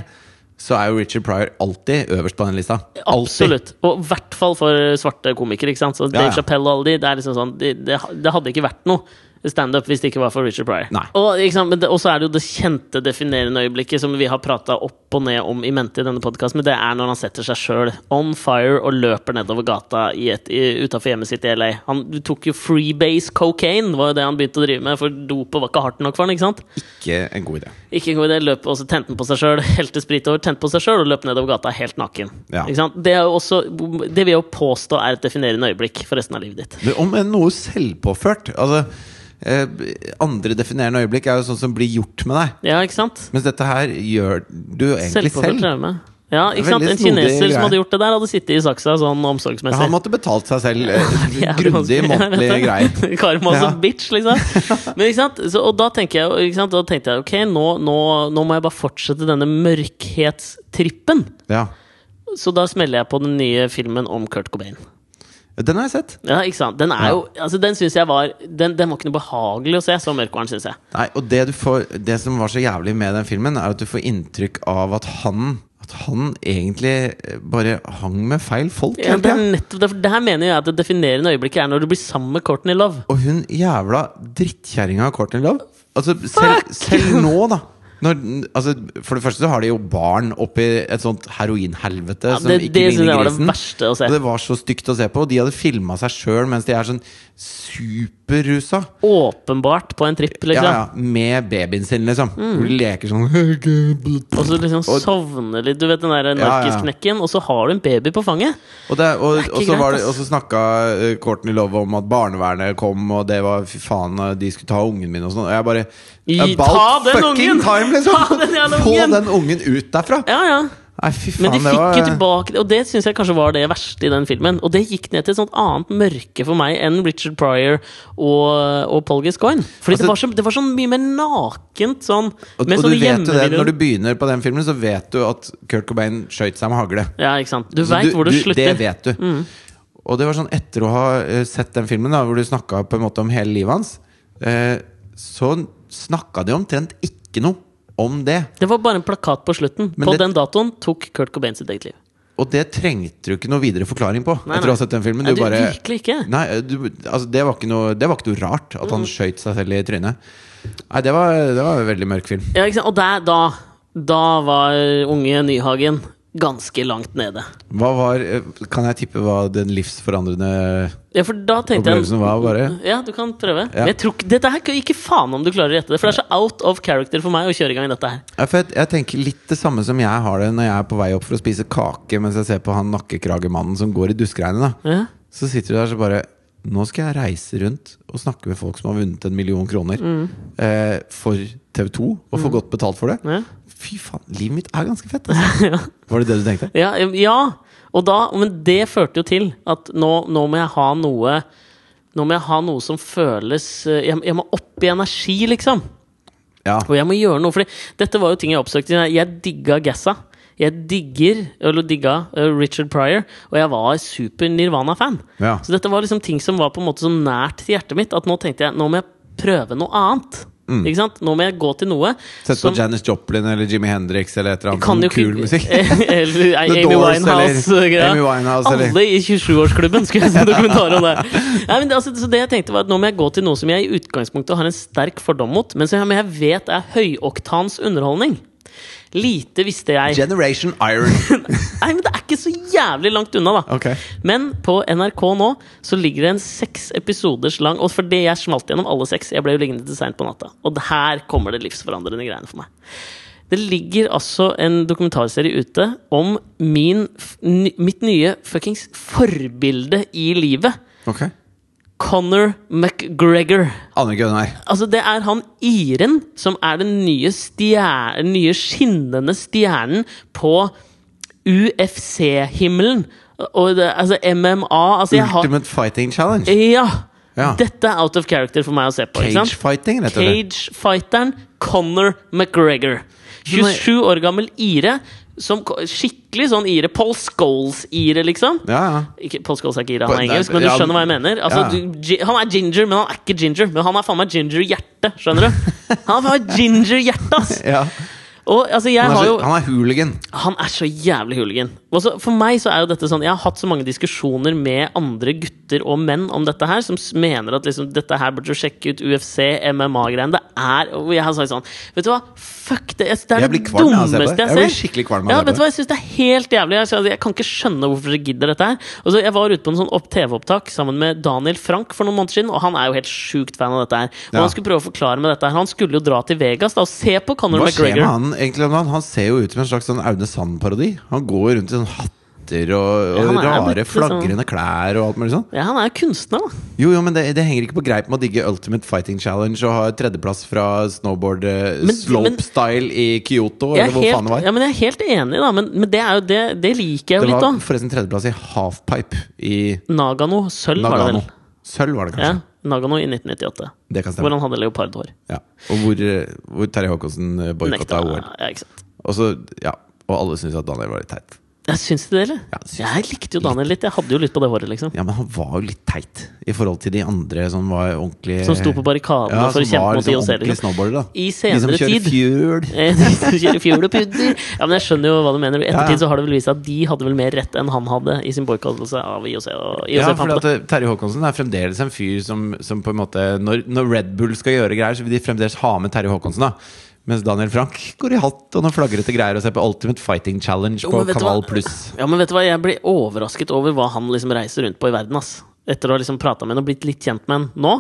Speaker 1: så er jo Richard Pryor alltid øverst på den lista. Alltid.
Speaker 2: Absolutt. Og i hvert fall for svarte komikere. ikke sant? Så Dave
Speaker 1: ja.
Speaker 2: Chappelle og alle de, det er liksom sånn, det, det, det hadde ikke vært noe standup hvis det ikke var for Richard Pryor.
Speaker 1: Nei.
Speaker 2: Og ikke sant, men det- og så er det jo det kjente definerende øyeblikket som vi har prata opp opp og ned om i mente i denne podkasten, men det er når han setter seg sjøl on fire og løper nedover gata utafor hjemmet sitt i LA. Han tok jo freebase cocaine, var jo det han begynte å drive med, for dopet var ikke hardt nok for han, ikke sant?
Speaker 1: Ikke en god idé.
Speaker 2: Ikke en god idé. Løp, og så tente han på seg sjøl, helte sprit over, tente på seg sjøl og løp nedover gata helt naken.
Speaker 1: Ja.
Speaker 2: Ikke sant? Det, er jo også, det vil jeg jo påstå er et definerende øyeblikk for resten av livet ditt.
Speaker 1: Men om enn noe selvpåført. Altså, eh, andre definerende øyeblikk er jo sånn som blir gjort med deg.
Speaker 2: Ja, ikke sant?
Speaker 1: Mens dette her gjør du jo egentlig
Speaker 2: Selvpåført
Speaker 1: selv.
Speaker 2: traume. Ja, ikke sant?
Speaker 1: Veldig
Speaker 2: En
Speaker 1: snodig
Speaker 2: kineser som
Speaker 1: greie.
Speaker 2: hadde gjort det der, hadde sittet i saksa sånn
Speaker 1: Ja,
Speaker 2: omsorgsmessig.
Speaker 1: Han måtte betalt seg selv eh,
Speaker 2: Ja, det er
Speaker 1: grundig
Speaker 2: vanskelig.
Speaker 1: månedlig
Speaker 2: Jeg
Speaker 1: greie.
Speaker 2: vet det. Karma
Speaker 1: Ja.
Speaker 2: som bitch, liksom. Men ikke sant? Så, og da tenker jeg, jo, ikke sant? Da tenkte jeg ok, nå, nå, nå må jeg bare fortsette denne mørkhetstrippen.
Speaker 1: Ja.
Speaker 2: Så da smeller jeg på den nye filmen om Kurt Cobain.
Speaker 1: Den har jeg sett.
Speaker 2: Ja, ikke sant? Den er jo, altså den synes jeg var Den, den var ikke noe behagelig å se, så mørkvaren, synes jeg.
Speaker 1: Nei, og det, du får, det som var så jævlig med den filmen, er at du får inntrykk av at han At han egentlig eh, bare hang med feil folk.
Speaker 2: Ja,
Speaker 1: hele
Speaker 2: det er
Speaker 1: tiden.
Speaker 2: nettopp derfor. Det her mener jeg at det definerende øyeblikket er når du blir sammen med Courtney Love.
Speaker 1: Og hun jævla drittkjerringa Courtney Love altså, selv,
Speaker 2: Fuck!
Speaker 1: selv nå, da. Når, altså, for det første så har de jo barn oppi et sånt heroinhelvete
Speaker 2: Ja,
Speaker 1: som
Speaker 2: det
Speaker 1: ikke
Speaker 2: det synes jeg
Speaker 1: ligner
Speaker 2: var det
Speaker 1: grisen.
Speaker 2: verste å se.
Speaker 1: Og det var så stygt å se på. Og de hadde filma seg sjøl mens de er sånn superrusa.
Speaker 2: Åpenbart på en tripp,
Speaker 1: Ja,
Speaker 2: liksom. Mm.
Speaker 1: ja, med babyen sin, liksom. Hvor de leker sånn
Speaker 2: Og så liksom
Speaker 1: Og-
Speaker 2: sovner litt, du vet den der
Speaker 1: ja.
Speaker 2: narkisknekken, og så har du en baby på fanget.
Speaker 1: Og, det, og,
Speaker 2: ikke
Speaker 1: og så, var
Speaker 2: greit,
Speaker 1: det, og
Speaker 2: ass.
Speaker 1: så snakka eh, Courtney Love om at barnevernet kom, og det var fy faen, eh, de skulle ta ungen min og sånn. Og jeg bare
Speaker 2: I-
Speaker 1: about
Speaker 2: ta den
Speaker 1: fucking
Speaker 2: ungen!
Speaker 1: Time, liksom.
Speaker 2: Ta den jævla
Speaker 1: Få
Speaker 2: ungen!
Speaker 1: den ungen ut derfra!
Speaker 2: Ja, ja.
Speaker 1: Nei, fy faen,
Speaker 2: Men de
Speaker 1: det
Speaker 2: fikk
Speaker 1: var
Speaker 2: jo tilbake Og det syns jeg kanskje var det verste i den filmen. Og det gikk ned til et sånt annet mørke for meg enn Richard Pryor og, og Paul Gascoigne. Fordi
Speaker 1: Altså-
Speaker 2: det, var så, det var sånn mye mer nakent sånn.
Speaker 1: Og,
Speaker 2: med sånne
Speaker 1: og du vet jo det,
Speaker 2: hjemmevideoer.
Speaker 1: når du begynner på den filmen, så vet du at Kurt Cobain skøyt seg med hagle.
Speaker 2: Ja, ikke sant. Du
Speaker 1: Så
Speaker 2: veit hvor det
Speaker 1: Det
Speaker 2: slutter. Mm.
Speaker 1: vet Altså, du. Og det var sånn etter å ha eh, sett den filmen, da, hvor du snakka på en måte om hele livet hans, eh, så snakka de omtrent ikke noe om det.
Speaker 2: Det var bare en plakat på slutten.
Speaker 1: Men
Speaker 2: på
Speaker 1: det-
Speaker 2: den datoen tok Kurt Cobain sitt eget liv.
Speaker 1: Og det trengte du ikke noe videre forklaring på.
Speaker 2: Nei,
Speaker 1: etter å
Speaker 2: nei.
Speaker 1: ha sett den filmen
Speaker 2: Nei,
Speaker 1: du
Speaker 2: det-
Speaker 1: bare,
Speaker 2: virkelig ikke.
Speaker 1: Nei, du, altså, det, var ikke noe, det var ikke noe rart at
Speaker 2: Mhm.
Speaker 1: han skøyt seg selv i trynet. Nei, det var, det var en veldig mørk film.
Speaker 2: Ja, ikke sant? Og der, da, da var unge Nyhagen ganske langt nede.
Speaker 1: Hva var, eh, kan jeg tippe hva den livsforandrende
Speaker 2: Ja, for da tenkte jeg
Speaker 1: opplevelsen var? bare
Speaker 2: Ja, du kan prøve.
Speaker 1: Ja.
Speaker 2: Men jeg tror ikke, dette her kan ikke faen om du klarer å gjette det, for det er så out of character for meg å kjøre i gang dette her.
Speaker 1: Ja, for jeg, jeg tenker litt det samme som jeg har det når jeg er på vei opp for å spise kake mens jeg ser på han nakkekragemannen som går i duskregnet. da.
Speaker 2: Ja.
Speaker 1: Så sitter du der så bare Nå skal jeg reise rundt og snakke med folk som har vunnet en million kroner
Speaker 2: Mhm.
Speaker 1: eh, for TV2, og får godt betalt for det.
Speaker 2: Ja.
Speaker 1: Fy faen, livet mitt er ganske fett! Altså. Var det det du tenkte?
Speaker 2: Ja, em, ja. Og da, men det førte jo til at nå, nå må jeg ha noe Nå må jeg ha noe som føles eh, Jeg, jeg må opp i energi, liksom.
Speaker 1: Ja.
Speaker 2: Og jeg må gjøre noe, fordi dette var jo ting jeg oppsøkte. Jeg- Jeg digga Gassa. Jeg digger, eller digga eh, Richard Pryor, og jeg var super Nirvana-fan.
Speaker 1: Ja.
Speaker 2: Så dette var liksom ting som var på en måte så nært til hjertet mitt at nå tenkte jeg nå må jeg prøve noe annet.
Speaker 1: Mm.
Speaker 2: Ikke sant? Nå må jeg gå til noe
Speaker 1: Sett på Janis Joplin eller Jimi Hendrix eller et eller annet
Speaker 2: kan jo
Speaker 1: sånn
Speaker 2: ikke-
Speaker 1: kul musikk.
Speaker 2: eller
Speaker 1: The
Speaker 2: Amy
Speaker 1: Doors,
Speaker 2: Winehouse.
Speaker 1: eller
Speaker 2: greia.
Speaker 1: Amy Winehouse, eller-
Speaker 2: Alle i 27-årsklubben skulle jeg se dokumentar om det! Nei, men det, altså, så det jeg tenkte var at Nå må jeg gå til noe som jeg i utgangspunktet har en sterk fordom mot, men som jeg- men jeg vet er høyoktans underholdning. Lite visste jeg
Speaker 1: Generation Iron.
Speaker 2: Nei, men det er ikke så jævlig langt unna, da.
Speaker 1: Ok.
Speaker 2: Men på NRK nå så ligger det en seks episoders lang Og for det jeg smalt gjennom alle seks, jeg ble jo liggende til seint på natta. Og det her kommer det livsforandrende greiene for meg. Det ligger altså en dokumentarserie ute om min, f- ny, mitt nye fuckings forbilde i livet.
Speaker 1: Ok.
Speaker 2: Conor McGregor.
Speaker 1: Anne Gunnar.
Speaker 2: Altså, det er han iren som er den nye, stjer- nye skinnende stjernen på UFC-himmelen. Og det, altså MMA altså, jeg har,
Speaker 1: Ultimate Fighting Challenge.
Speaker 2: ja,
Speaker 1: Ja.
Speaker 2: Dette er out of character for meg å se på. ikke sant?
Speaker 1: Cage fighting, rett og slett.
Speaker 2: Cage-fighteren Conor McGregor. 27 år gammel ire. Som, ko- skikkelig sånn ire. Paul Scholes-ire, liksom.
Speaker 1: Ja, ja.
Speaker 2: Ikke, Paul Scholes er ikke ire, han er
Speaker 1: Nei,
Speaker 2: engelsk, men du
Speaker 1: ja,
Speaker 2: skjønner hva jeg mener. Altså,
Speaker 1: ja.
Speaker 2: du, gi- han er ginger, men han er ikke ginger. Men han er faen meg ginger i hjertet, skjønner du? Han er faen meg ginger i hjertet, ass!
Speaker 1: Ja.
Speaker 2: Og altså, jeg
Speaker 1: Han er,
Speaker 2: har
Speaker 1: så,
Speaker 2: jo
Speaker 1: han er hooligan.
Speaker 2: Han er så jævlig hooligan. Også, for meg så er jo dette sånn Jeg har hatt så mange diskusjoner med andre gutter og menn om dette her, som s- mener at liksom, dette her burde du sjekke ut UFC, MMA-greiene. Det er Og jeg har sagt sånn Vet du hva, fuck det! Jeg- Det er
Speaker 1: Jeg
Speaker 2: det
Speaker 1: blir kvalm av å se på
Speaker 2: dummeste jeg
Speaker 1: det.
Speaker 2: ser.
Speaker 1: Jeg blir skikkelig kvalm av å
Speaker 2: ja,
Speaker 1: se på
Speaker 2: vet
Speaker 1: det.
Speaker 2: du hva, jeg synes det er helt jævlig. Jeg, skjønner- jeg kan ikke skjønne hvorfor dere gidder dette her. Og så Jeg var ute på en sånn opp- TV-opptak sammen med Daniel Frank for noen måneder siden, og han er jo helt sjukt fan av dette her. Og
Speaker 1: Ja.
Speaker 2: Han skulle prøve å forklare med dette her Han skulle jo dra til Vegas da og se på Conor
Speaker 1: Hva skjer med
Speaker 2: McGregor.
Speaker 1: han egentlig om dagen? Han ser jo ut som en slags sånn Aune Sand-parodi. Han går rundt i sånn hatter
Speaker 2: Ja,
Speaker 1: og, og
Speaker 2: han er
Speaker 1: rare,
Speaker 2: blitt litt sånn-
Speaker 1: flagrende klær og alt mulig sånn.
Speaker 2: Ja, han er jo kunstner, da.
Speaker 1: Jo, jo, men det, det henger ikke på greip med å digge Ultimate Fighting Challenge og ha tredjeplass fra snowboard eh,
Speaker 2: Men- men-
Speaker 1: slope style i Kyoto,
Speaker 2: Jeg
Speaker 1: eller
Speaker 2: er
Speaker 1: hvor faen
Speaker 2: helt,
Speaker 1: det var.
Speaker 2: ja, men jeg er helt enig, da. Men, men det, er jo, det, det liker jeg jo
Speaker 1: det
Speaker 2: litt,
Speaker 1: var
Speaker 2: da.
Speaker 1: forresten tredjeplass i halfpipe i
Speaker 2: Nagano. Sølv, var det
Speaker 1: Nagano.
Speaker 2: vel.
Speaker 1: Sølv var det
Speaker 2: Ja,
Speaker 1: kanskje.
Speaker 2: Nagano i 1998.
Speaker 1: Det kan
Speaker 2: Hvor han
Speaker 1: stemme.
Speaker 2: hadde leopardhår.
Speaker 1: Ja. Og hvor, eh, hvor Terje Håkonsen eh, boikotta
Speaker 2: Nekta.
Speaker 1: OL.
Speaker 2: Ja, ikke sant.
Speaker 1: Og så, ja Og alle syntes at Daniel var litt teit.
Speaker 2: Jeg syns det, eller?
Speaker 1: Ja, syns
Speaker 2: jeg likte jo Daniel litt. Jeg hadde jo lytt på det håret, liksom.
Speaker 1: Ja, men han var jo litt teit i forhold til de andre som var ordentlig
Speaker 2: Som sto på barrikadene
Speaker 1: Eh, Ja,
Speaker 2: for å
Speaker 1: som var
Speaker 2: kjempe mot
Speaker 1: liksom
Speaker 2: IOC.
Speaker 1: ordentlige
Speaker 2: Liksom.
Speaker 1: snowboardere, da.
Speaker 2: I
Speaker 1: De som
Speaker 2: senere
Speaker 1: kjører
Speaker 2: tid
Speaker 1: fjøl.
Speaker 2: Eh, de som kjører fjol og pudder. Ja, men jeg skjønner jo hva du mener. I
Speaker 1: Ja, ja.
Speaker 2: ettertid så har det vel vist seg at de hadde vel mer rett enn han hadde i sin boikottelse av IOC. Og
Speaker 1: Ja,
Speaker 2: IOC
Speaker 1: for at eh, Terje Håkonsen er fremdeles en fyr som, som på en måte når, når Red Bull skal gjøre greier, så vil de fremdeles ha med Terje Håkonsen. da Mens Daniel Frank går i hatt og noen flagrete greier og ser på Ultimate Fighting Challenge
Speaker 2: Jo,
Speaker 1: på
Speaker 2: men vet du
Speaker 1: Kaval
Speaker 2: hva?
Speaker 1: Pluss.
Speaker 2: Ja, men vet du hva, jeg blir overrasket over hva han liksom reiser rundt på i verden, ass. Etter å ha liksom prata med han og blitt litt kjent med han nå.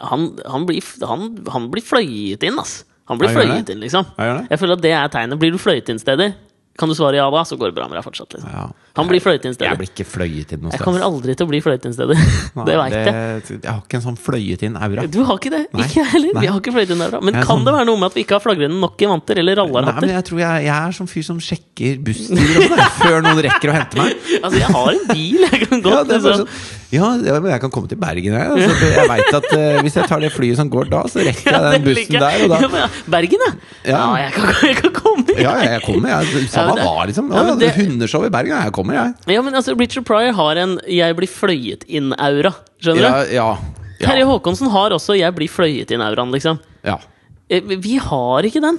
Speaker 2: Han, han, blir, han, han blir fløyet inn, ass. Han blir
Speaker 1: Ja, gjør
Speaker 2: fløyet
Speaker 1: det?
Speaker 2: inn, liksom.
Speaker 1: Ja, gjør det?
Speaker 2: Jeg føler at det er tegnet. Blir du fløyet inn steder, kan du svare ja da, så går det bra med deg fortsatt. liksom.
Speaker 1: Ja.
Speaker 2: Han blir fløyet inn
Speaker 1: Jeg
Speaker 2: steder.
Speaker 1: blir ikke fløyet inn noe
Speaker 2: Jeg kommer
Speaker 1: sted.
Speaker 2: aldri til å bli fløyet inn steder. Det veit jeg.
Speaker 1: jeg. Jeg har ikke en sånn fløyet inn aura.
Speaker 2: Du har ikke det.
Speaker 1: Nei.
Speaker 2: Ikke jeg heller.
Speaker 1: Nei.
Speaker 2: Vi har ikke fløyet inn derfra. Men
Speaker 1: Jeg er
Speaker 2: kan
Speaker 1: sånn-
Speaker 2: det være noe med at vi ikke har flagrende nok gevanter eller
Speaker 1: Nei,
Speaker 2: rallarhatter?
Speaker 1: men jeg tror jeg, jeg er sånn fyr som sjekker bussturer og sånn, jeg, før noen rekker å hente meg.
Speaker 2: Altså, jeg har en bil, jeg kan godt
Speaker 1: Ja, det er bare
Speaker 2: liksom.
Speaker 1: sånn, ja, ja, men jeg kan komme til Bergen, jeg. Altså, jeg vet at eh, Hvis jeg tar det flyet som går da, så rekker jeg
Speaker 2: det
Speaker 1: den
Speaker 2: liker
Speaker 1: bussen
Speaker 2: jeg.
Speaker 1: der. Og da,
Speaker 2: Ja, men ja, Bergen, ja. ja.
Speaker 1: Ja.
Speaker 2: jeg, kan, jeg kan komme.
Speaker 1: ja, ja, jeg kommer, jeg.
Speaker 2: Ja,
Speaker 1: Samme
Speaker 2: men det-
Speaker 1: hva, liksom.
Speaker 2: Ja,
Speaker 1: Ja,
Speaker 2: men det-
Speaker 1: Hundeshow i Bergen, ja, jeg kommer, jeg.
Speaker 2: Ja, men altså, Richard Pryor har en 'jeg blir fløyet inn'-aura. Skjønner
Speaker 1: Ja,
Speaker 2: du?
Speaker 1: ja,
Speaker 2: Terje
Speaker 1: ja,
Speaker 2: Håkonsen har også 'jeg blir fløyet inn'-auraen, liksom.
Speaker 1: ja.
Speaker 2: Eh, Vi har ikke den.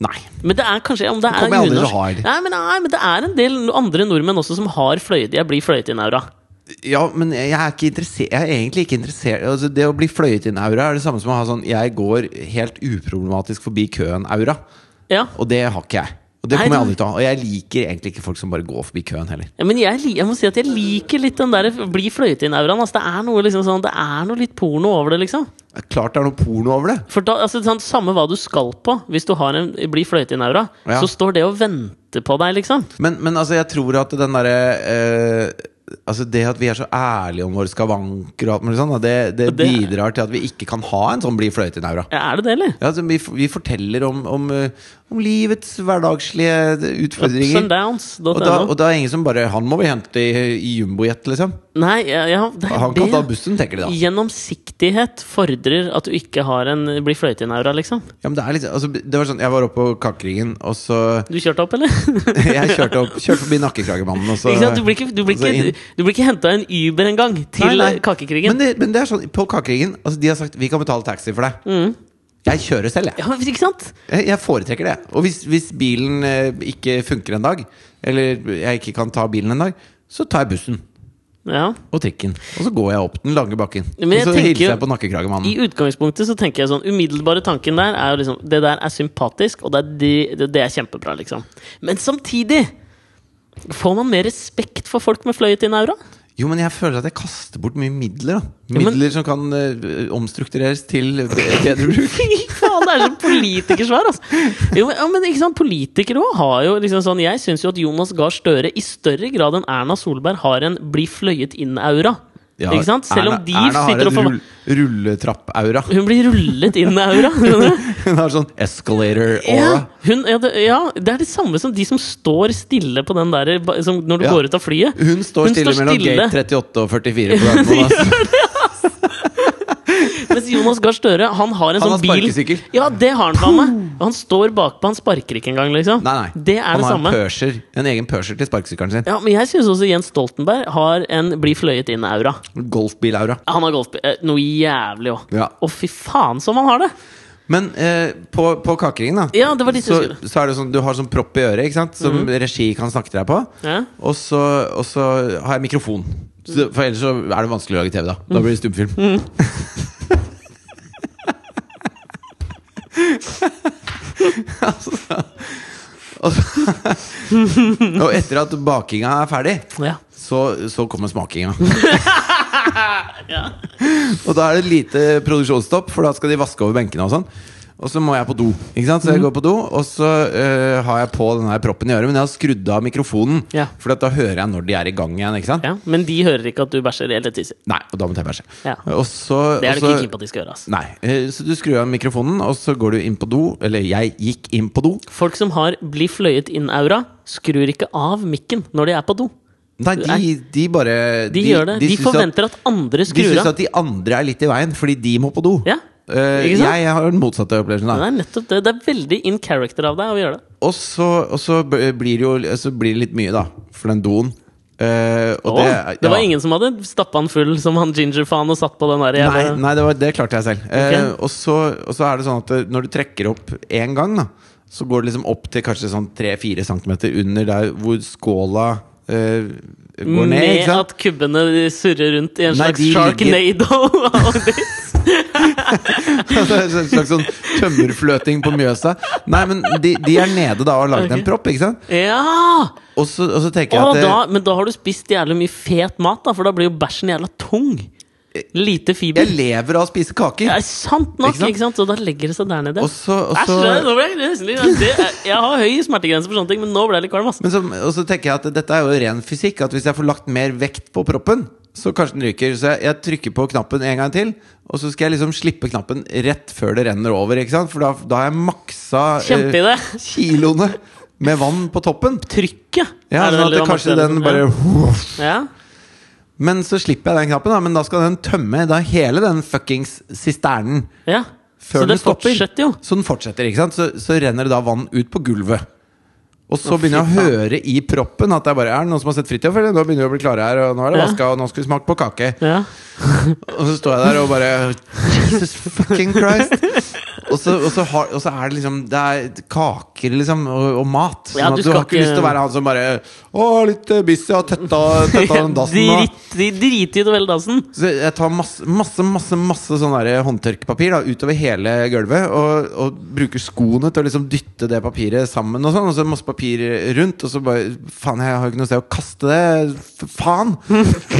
Speaker 1: Nei.
Speaker 2: Men det er kanskje om det er
Speaker 1: kommer jeg aldri til å
Speaker 2: unorsk-
Speaker 1: ha det.
Speaker 2: Nei, men, nei, men det er en del andre nordmenn også som har fløyet 'jeg blir fløyet inn'-aura.
Speaker 1: Ja, men jeg er, ikke interessert, jeg er egentlig ikke interessert altså, Det å bli fløyet inn-aura er det samme som å ha sånn 'jeg går helt uproblematisk forbi køen'-aura.
Speaker 2: Ja.
Speaker 1: Og det har ikke jeg. Og det
Speaker 2: Nei,
Speaker 1: kommer jeg
Speaker 2: du-
Speaker 1: aldri til å ha. Og jeg liker egentlig ikke folk som bare går forbi køen heller.
Speaker 2: Ja, Men jeg, li- jeg må si at jeg liker litt den der 'bli fløyet inn'-auraen. Altså, det, er noe liksom sånn, det er noe litt porno over det, liksom.
Speaker 1: Det er Klart det er noe porno over det.
Speaker 2: For da, altså, sånn, Samme hva du skal på, hvis du har en, blir fløyet inn aura,
Speaker 1: Ja.
Speaker 2: så står det og venter på deg, liksom.
Speaker 1: Men, men altså, jeg tror at den derre eh, Altså Det at vi er så ærlige om våre skavanker, og alt mulig sånn, da, det, det
Speaker 2: Og det-
Speaker 1: bidrar til at vi ikke kan ha en sånn bli fløyte-aura.
Speaker 2: Ja, er det det, eller?
Speaker 1: Ja, altså, vi, f- vi forteller om, om, eh, om livets hverdagslige eh,
Speaker 2: Ups sånn and
Speaker 1: utfordringer.
Speaker 2: downs.
Speaker 1: Og da, og da er ingen som bare 'Han må vi hente i, i jumbojet', liksom.
Speaker 2: Nei, ja, ja, det er
Speaker 1: Han kan ta
Speaker 2: det.
Speaker 1: bussen, tenker de da.
Speaker 2: Gjennomsiktighet fordrer at du ikke har en bli fløyet inn aura, liksom.
Speaker 1: Ja, men det, er liksom, altså, det var sånn, Jeg var oppe på Kakeringen, og så
Speaker 2: Du kjørte opp, eller?
Speaker 1: Jeg kjørte opp Kjørte forbi Nakkekragemannen, og så
Speaker 2: ikke sant? Du blir ikke, du blir
Speaker 1: og så altså, inn.
Speaker 2: ikke, du blir ikke henta en Uber engang til
Speaker 1: Nei, nei.
Speaker 2: kakekrigen.
Speaker 1: Men det, men det er sånn, på kakekrigen altså De har sagt vi kan betale taxi for deg.
Speaker 2: Mm.
Speaker 1: Jeg kjører selv, jeg.
Speaker 2: Ja, men ikke sant?
Speaker 1: Jeg jeg foretrekker det. Og hvis, hvis bilen eh, ikke funker en dag, eller jeg ikke kan ta bilen en dag, så tar jeg bussen
Speaker 2: Ja.
Speaker 1: og trikken. Og så går jeg opp den lange bakken. Og
Speaker 2: Men jeg
Speaker 1: så
Speaker 2: tenker
Speaker 1: hilser
Speaker 2: jo-
Speaker 1: jeg på
Speaker 2: I
Speaker 1: nakkekragemannen.
Speaker 2: utgangspunktet så tenker jeg sånn Umiddelbare tanken der er jo liksom Det der er sympatisk, og det er, de, det, det er kjempebra, liksom. Men samtidig Får man mer respekt for folk med fløyet inn aura?
Speaker 1: Jo, men jeg føler at jeg kaster bort mye midler. da
Speaker 2: men-
Speaker 1: Midler som kan eh, omstruktureres til bedre bruk.
Speaker 2: Fy faen, det er så politikersvar, altså! Jo, men, ja, men ikke sant, Politikere òg har jo liksom sånn Jeg syns jo at Jonas Gahr Støre i større grad enn Erna Solberg har en bli fløyet inn-aura.
Speaker 1: Ja,
Speaker 2: ikke sant? Selv om
Speaker 1: Erna-
Speaker 2: de
Speaker 1: Erna har
Speaker 2: sitter og
Speaker 1: en
Speaker 2: får
Speaker 1: rull, rulletrapp-aura.
Speaker 2: Hun blir rullet inn-aura.
Speaker 1: Hun har sånn escalator-aura.
Speaker 2: Ja, hun, ja, det, ja, det er det samme som de som står stille på den der ba- som når du
Speaker 1: Ja.
Speaker 2: går ut av flyet.
Speaker 1: Hun står stille mellom gate 38 og 44 på Gardermoen. Altså.
Speaker 2: Mens Jonas Gahr Støre han har en
Speaker 1: Han
Speaker 2: sånn
Speaker 1: har
Speaker 2: bil
Speaker 1: sparkesykkel.
Speaker 2: Ja, det har han faen meg! Og Han står bakpå, han sparker ikke engang, liksom.
Speaker 1: Nei, nei.
Speaker 2: Det er
Speaker 1: Han
Speaker 2: det
Speaker 1: har
Speaker 2: samme.
Speaker 1: en pørser. En egen pørser til sparkesykkelen sin.
Speaker 2: Ja, Men jeg syns også Jens Stoltenberg har en bli fløyet inn-aura.
Speaker 1: Golfbil-aura.
Speaker 2: Han har golfbil. eh, Noe jævlig òg.
Speaker 1: Ja.
Speaker 2: Å, fy faen som han har det!
Speaker 1: Men eh, på, på kakeringen, da,
Speaker 2: Ja, det var dit jeg
Speaker 1: så,
Speaker 2: skulle. Mhm.
Speaker 1: så er det sånn du har sånn propp i øret, ikke sant? som regi kan snakke til deg på.
Speaker 2: Ja.
Speaker 1: Og så, og så har jeg mikrofon. Så, for ellers så er det vanskelig å lage TV, da. Da blir det stumfilm. Altså, og, så, og etter at bakinga er ferdig,
Speaker 2: Ja.
Speaker 1: så, så kommer smakinga.
Speaker 2: Ja.
Speaker 1: Og da er det lite produksjonsstopp, for da skal de vaske over benkene og sånn. Og så må jeg på do, ikke sant? så
Speaker 2: Mhm.
Speaker 1: jeg går på do, og så eh, har jeg på den her proppen i øret, men jeg har skrudd av mikrofonen.
Speaker 2: Ja.
Speaker 1: For at da hører jeg når de er i gang igjen. ikke sant?
Speaker 2: ja. Men de hører ikke at du bæsjer eller tisser.
Speaker 1: Nei, Altså- og da må jeg bæsje.
Speaker 2: Ja.
Speaker 1: Og så,
Speaker 2: Det er du
Speaker 1: og
Speaker 2: ikke
Speaker 1: så-
Speaker 2: keen på at de skal gjøre. ass.
Speaker 1: Nei. eh, Så du skrur av mikrofonen, og så går du inn på do. Eller jeg gikk inn på do.
Speaker 2: Folk som har bli fløyet inn-aura, skrur ikke av mikken når de er på do.
Speaker 1: Nei, de, de bare
Speaker 2: De, gjør det. De,
Speaker 1: syns at,
Speaker 2: forventer at, andre
Speaker 1: De
Speaker 2: skrur
Speaker 1: syns
Speaker 2: av.
Speaker 1: at de andre er litt i veien, fordi de må på do.
Speaker 2: Ja.
Speaker 1: Eh,
Speaker 2: Ikke sant?
Speaker 1: jeg, har den motsatte opplevelsen.
Speaker 2: Det
Speaker 1: Da.
Speaker 2: er nettopp det. Det er veldig in character av deg å gjøre det.
Speaker 1: Og, så, og så b- blir det jo så blir det litt mye, da, for den doen. Eh, og
Speaker 2: Å, det,
Speaker 1: ja.
Speaker 2: var ingen som hadde stappa den full som han ginger-faen og satt på den der
Speaker 1: Nei,
Speaker 2: jævla
Speaker 1: nei det, var, det klarte jeg selv. Eh, og, så, og så er det sånn at eh, når du trekker opp én gang, da, så går det liksom opp til kanskje sånn 3-4 cm under der hvor skåla eh, går ned.
Speaker 2: Med
Speaker 1: Ikke sant?
Speaker 2: at kubbene surrer rundt i en
Speaker 1: Nei,
Speaker 2: slags
Speaker 1: de ligger-
Speaker 2: sharknado. av ditt.
Speaker 1: Altså, en slags sånn tømmerfløting på Mjøsa. Nei, men de, de er nede da og har lagd en
Speaker 2: Ok.
Speaker 1: propp, ikke sant?
Speaker 2: ja!
Speaker 1: Og så, og så tenker
Speaker 2: Å,
Speaker 1: jeg at
Speaker 2: da,
Speaker 1: eh,
Speaker 2: men da har du spist jævlig mye fet mat, da, for da blir jo bæsjen jævla tung. Lite fiber.
Speaker 1: jeg lever av å spise kaker.
Speaker 2: Det er sant nok,
Speaker 1: Eh, Ikke sant?
Speaker 2: ikke sant? Og da legger det seg der nede.
Speaker 1: Og så, og
Speaker 2: Æsj,
Speaker 1: så,
Speaker 2: det- nå ble jeg nesten litt- det er- Jeg har høy smertegrense for sånne ting, men nå ble jeg litt kvalm. ass.
Speaker 1: men så, og så tenker jeg at dette er jo ren fysikk. At hvis jeg får lagt mer vekt på proppen, så kanskje den ryker. Så jeg, jeg trykker på knappen en gang til, og så skal jeg liksom slippe knappen rett før det renner over. Ikke sant? For da, da har jeg maksa eh,
Speaker 2: Kjempeidé.
Speaker 1: kiloene med vann på toppen.
Speaker 2: Trykket.
Speaker 1: Ja,
Speaker 2: er det vel
Speaker 1: sånn at
Speaker 2: det
Speaker 1: det,
Speaker 2: man markerer
Speaker 1: kanskje den
Speaker 2: som.
Speaker 1: bare
Speaker 2: ja.
Speaker 1: Men så slipper jeg den knappen, da. Men da skal den tømme da hele den fuckings sisternen.
Speaker 2: ja. ja. Så
Speaker 1: Før
Speaker 2: det
Speaker 1: den stopper.
Speaker 2: fortsetter jo.
Speaker 1: Så den fortsetter, ikke sant? Så, så renner det da vann ut på gulvet. Og så
Speaker 2: Å, fy
Speaker 1: begynner jeg å høre i proppen at det er bare er det noen som har sett Fritjof, eller? Nå begynner vi å bli klare her, og nå er det
Speaker 2: Ja.
Speaker 1: vaska, og nå skal vi smake på kake.
Speaker 2: Ja.
Speaker 1: Og så står jeg der og bare Jesus fucking Christ! Og så, og så, har, og så er det liksom Det er kaker, liksom, og, og mat. Sånn
Speaker 2: Ja,
Speaker 1: at
Speaker 2: du
Speaker 1: du har
Speaker 2: skal
Speaker 1: ikke lyst til å
Speaker 2: ikke-
Speaker 1: være han som bare Å, litt eh, busy, har tøtta, tøtta den dassen nå.
Speaker 2: Drit- De driter i det hele dassen.
Speaker 1: Så jeg tar masse, masse, masse, masse sånn der håndtørkepapir da, utover hele gulvet. Og, og bruker skoene til å liksom dytte det papiret sammen. Og sånn Og så masse papir rundt. Og så bare Faen, jeg har jo ikke noe sted å kaste det! F faen!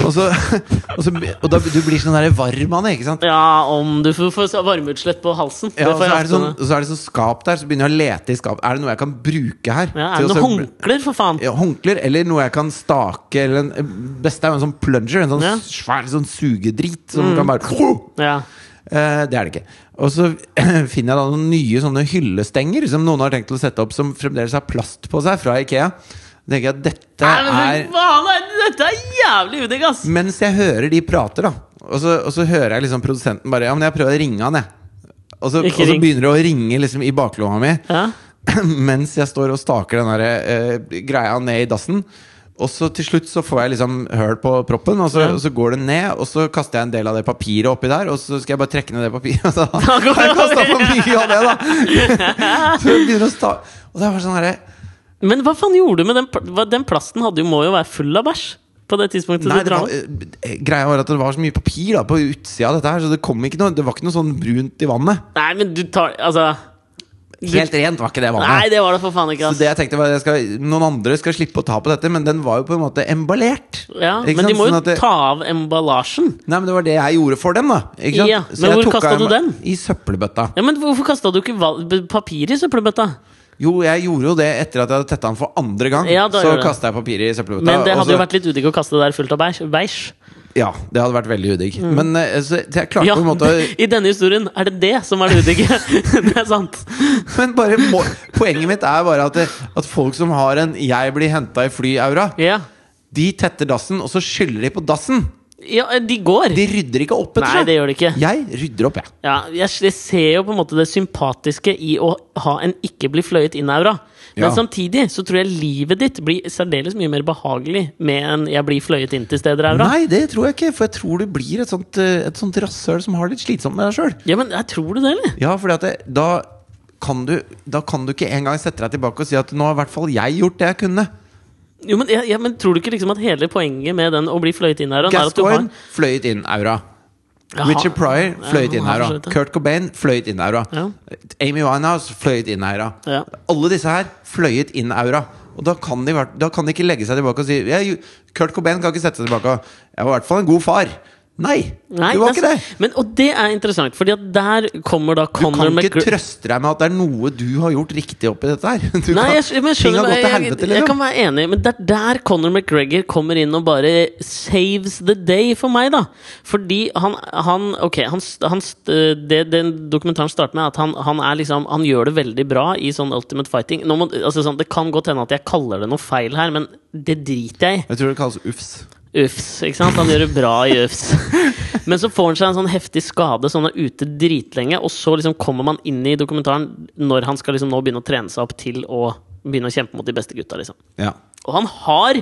Speaker 1: og så, og, så, og da du blir sånn der varm av det, ikke sant?
Speaker 2: Ja, om du får, får varmeutslett på halsen.
Speaker 1: Ja, og
Speaker 2: får
Speaker 1: så
Speaker 2: jeg
Speaker 1: er det sånn,
Speaker 2: ofte.
Speaker 1: og så er det sånn skap der, så begynner jeg å lete i skap. Er det noe jeg kan bruke her?
Speaker 2: ja, er
Speaker 1: Til
Speaker 2: det noen
Speaker 1: å så-
Speaker 2: håndklær, for faen?
Speaker 1: ja, håndklær, eller noe jeg kan stake. Eller en, eh, beste er jo en sånn plunger, en sånn
Speaker 2: Ja. Mm.
Speaker 1: svær sånn sugedrit som kan bare
Speaker 2: Ja.
Speaker 1: Eh, det er det ikke. Og så finner jeg da noen nye sånne hyllestenger som noen har tenkt å sette opp, som fremdeles har plast på seg fra Ikea. Da tenker jeg at dette
Speaker 2: Nei, men
Speaker 1: er
Speaker 2: for faen, nei, dette er jævlig udigg, ass!
Speaker 1: Mens jeg hører de prater, da, og så, og så hører jeg liksom produsenten bare Ja, men jeg prøver å ringe han, jeg. Og så, og
Speaker 2: Ikke
Speaker 1: så
Speaker 2: ring.
Speaker 1: begynner det å ringe liksom i baklomma mi
Speaker 2: Ja.
Speaker 1: mens jeg står og staker den der, eh, greia ned i dassen. Og så til slutt så får jeg liksom høl på proppen, og så,
Speaker 2: Ja.
Speaker 1: og så går det ned. Og så kaster jeg en del av det papiret oppi der, og så skal jeg bare trekke ned det papiret. Og så har
Speaker 2: går det
Speaker 1: jeg kasta
Speaker 2: over.
Speaker 1: for mye av det, da! Så jeg begynner å sta Og det er bare sånn herre
Speaker 2: Men hva faen gjorde du med den, pl- hva- den plasten? Hadde jo, må jo være full av bæsj? På det tidspunktet
Speaker 1: Nei,
Speaker 2: du
Speaker 1: det
Speaker 2: drar
Speaker 1: var,
Speaker 2: den?
Speaker 1: eh, greia var at det var så mye papir da på utsida av dette her, så det kom ikke noe Det var ikke noe sånn brunt i vannet.
Speaker 2: Nei, men du tar Altså. du-
Speaker 1: Helt rent var ikke det vannet.
Speaker 2: Nei, det var det for faen ikke,
Speaker 1: Så
Speaker 2: ass.
Speaker 1: det jeg tenkte var at jeg skal, Noen andre skal slippe å ta på dette, men den var jo på en måte emballert.
Speaker 2: Ja,
Speaker 1: Ikke
Speaker 2: men de
Speaker 1: sant?
Speaker 2: må jo
Speaker 1: Sånn at det-
Speaker 2: ta av emballasjen.
Speaker 1: Nei, men det var det jeg gjorde for dem, da. Ikke sant?
Speaker 2: Ja,
Speaker 1: Så
Speaker 2: men
Speaker 1: jeg
Speaker 2: hvor
Speaker 1: tok
Speaker 2: kastet
Speaker 1: av
Speaker 2: du
Speaker 1: meg-
Speaker 2: den?
Speaker 1: I søppelbøtta.
Speaker 2: Ja, Men hvorfor kasta du ikke val- b- papir i søppelbøtta?
Speaker 1: Jo, jeg gjorde jo det etter at jeg hadde tetta den for andre gang.
Speaker 2: Ja, da
Speaker 1: så
Speaker 2: gjør du det.
Speaker 1: kasta jeg papiret i søppelbøtta.
Speaker 2: Men det
Speaker 1: og
Speaker 2: hadde
Speaker 1: så-
Speaker 2: jo vært litt udigg å kaste det der fullt av bæsj. bæsj.
Speaker 1: Ja, det hadde vært veldig udigg. Men eh, så jeg klarte
Speaker 2: Mm. Ja,
Speaker 1: på en måte å-
Speaker 2: I denne historien er det det som er det udigge. det er sant.
Speaker 1: Men bare må, poenget mitt er bare at, det, at folk som har en 'jeg blir henta i fly-aura',
Speaker 2: Ja.
Speaker 1: de tetter dassen, og så skyller de på dassen!
Speaker 2: ja, de går.
Speaker 1: De rydder ikke opp
Speaker 2: Nei,
Speaker 1: etter
Speaker 2: det gjør de ikke.
Speaker 1: Jeg rydder opp, jeg.
Speaker 2: Ja, jeg, jeg ser jo på en måte det sympatiske i å ha en ikke bli fløyet inn-aura. Men
Speaker 1: Ja.
Speaker 2: samtidig så tror jeg livet ditt blir særdeles mye mer behagelig med en 'jeg blir fløyet inn til steder' aura.
Speaker 1: Nei, det tror jeg ikke, for jeg tror du blir et sånt, eh, et sånt rasshøl som har det litt slitsomt med deg sjøl.
Speaker 2: Ja, men jeg tror du det, eller?
Speaker 1: Ja, fordi at det, da, kan du, da kan du ikke engang sette deg tilbake og si at nå har i hvert fall jeg gjort det jeg kunne.
Speaker 2: Jo, men, ja, ja, men tror du ikke liksom at hele poenget med den å bli fløyet inn her er at du har
Speaker 1: Gascoigne fløyt inn aura.
Speaker 2: Jaha.
Speaker 1: Richard Pryor fløyt
Speaker 2: Ja, han
Speaker 1: inn
Speaker 2: har
Speaker 1: aura.
Speaker 2: for så vidt det.
Speaker 1: Kurt Cobain fløyt inn aura.
Speaker 2: Ja.
Speaker 1: Amy Winehouse fløyt inn aura.
Speaker 2: Ja.
Speaker 1: Alle disse her fløyet inn aura. Og da kan, de, hvert- da kan de ikke legge seg tilbake og si jeg, Kurt Cobain kan ikke sette seg tilbake og 'Jeg var i hvert fall en god far'. Nei,
Speaker 2: Nei,
Speaker 1: du var ikke det.
Speaker 2: altså, Men, og det er interessant, Fordi at der kommer da
Speaker 1: Du
Speaker 2: Conor
Speaker 1: kan ikke
Speaker 2: McGregor
Speaker 1: trøste deg med at det er noe du har gjort riktig oppi dette her.
Speaker 2: Nei,
Speaker 1: Du kan,
Speaker 2: jeg, skj- men jeg skjønner
Speaker 1: ting har gått til
Speaker 2: jeg,
Speaker 1: helvete,
Speaker 2: jeg, jeg kan
Speaker 1: liksom.
Speaker 2: være enig, men det er der Conor McGregor kommer inn og bare saves the day for meg, da. Fordi han, han Ok, han, s- han, s- det, den dokumentaren starter med at han, han er liksom Han gjør det veldig bra i sånn Ultimate Fighting. Nå må, altså sånn, det kan godt hende at jeg kaller det noe feil her, men det driter jeg i.
Speaker 1: Jeg tror det kalles ufs.
Speaker 2: Ufs, ikke sant? Han gjør det bra i ufs. Men så får han seg en sånn heftig skade, så han er ute dritlenge. Og så liksom kommer man inn i dokumentaren når han skal liksom nå begynne å trene seg opp til å begynne å kjempe mot de beste gutta. liksom
Speaker 1: Ja.
Speaker 2: Og han har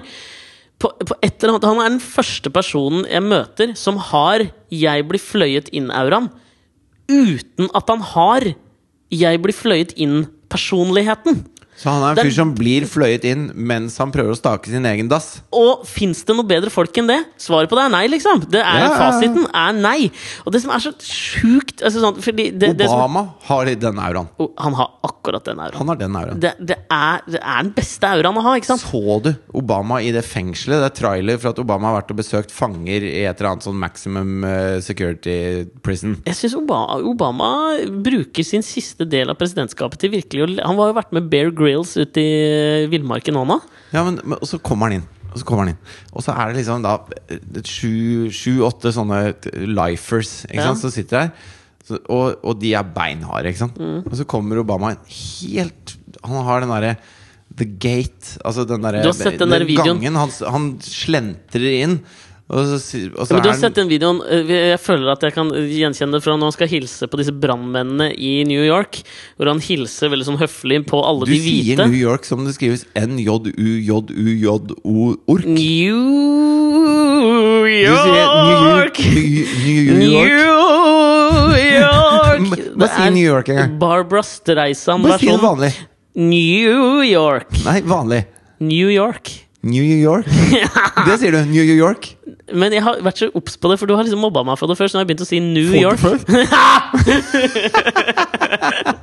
Speaker 2: på, på et eller annet, Han er den første personen jeg møter som har 'jeg blir fløyet inn'-auraen uten at han har 'jeg blir fløyet inn'-personligheten.
Speaker 1: Så han er en
Speaker 2: Den-
Speaker 1: fyr som blir fløyet inn mens han prøver å stake sin egen dass.
Speaker 2: Og fins det noe bedre folk enn det? Svaret på det er nei, liksom. Det er
Speaker 1: Ja, ja, ja.
Speaker 2: Fasiten er nei. Og det som er så sjukt altså, sånn, fordi det, det som,
Speaker 1: Obama har den auraen.
Speaker 2: oh, Han har akkurat den auraen.
Speaker 1: Han har den auraen.
Speaker 2: Det, det, er, det er den beste auraen å ha, ikke sant?
Speaker 1: Så du Obama i det fengselet? Det er trailer for at Obama har vært og besøkt fanger i et eller annet sånn maximum eh, security prison.
Speaker 2: Jeg syns Obama, Obama bruker sin siste del av presidentskapet til virkelig å le- Han var jo vært med Bear Grills ute i eh, villmarken nå nå.
Speaker 1: Ja, men, men, og så kommer han inn. Og så kommer han inn Og så er det liksom da sju-åtte sånne t- lifers ikke
Speaker 2: Ja.
Speaker 1: sant, som sitter der. Så, og, og de er beinharde, ikke sant.
Speaker 2: Mm.
Speaker 1: Og så kommer Obama inn helt Han har den derre The Gate. Altså den derre
Speaker 2: Du har sett den der videoen.
Speaker 1: gangen. Han, s- han slentrer inn. Og så, si- og så
Speaker 2: Men du har
Speaker 1: er
Speaker 2: sett
Speaker 1: han
Speaker 2: den videoen. eh, Jeg føler at jeg kan gjenkjenne det fra når han skal hilse på disse brannmennene i New York. Hvor han hilser veldig sånn høflig på alle
Speaker 1: Du
Speaker 2: de hvite.
Speaker 1: sier New York som det skrives N-J-U-J-U-J-O-ork.
Speaker 2: New
Speaker 1: Du sier
Speaker 2: York!
Speaker 1: New, New,
Speaker 2: New
Speaker 1: New York.
Speaker 2: York!
Speaker 1: Bare- bare si New York en gang.
Speaker 2: Barbara
Speaker 1: Bare si det
Speaker 2: Streisand-versjonen.
Speaker 1: vanlig.
Speaker 2: New York.
Speaker 1: Nei, vanlig.
Speaker 2: New York.
Speaker 1: New York? Det sier du. New York.
Speaker 2: Men jeg har vært så obs på det, for du har liksom mobba meg for det før. Så nå har jeg begynt å si New
Speaker 1: Får du
Speaker 2: York.
Speaker 1: prøvd?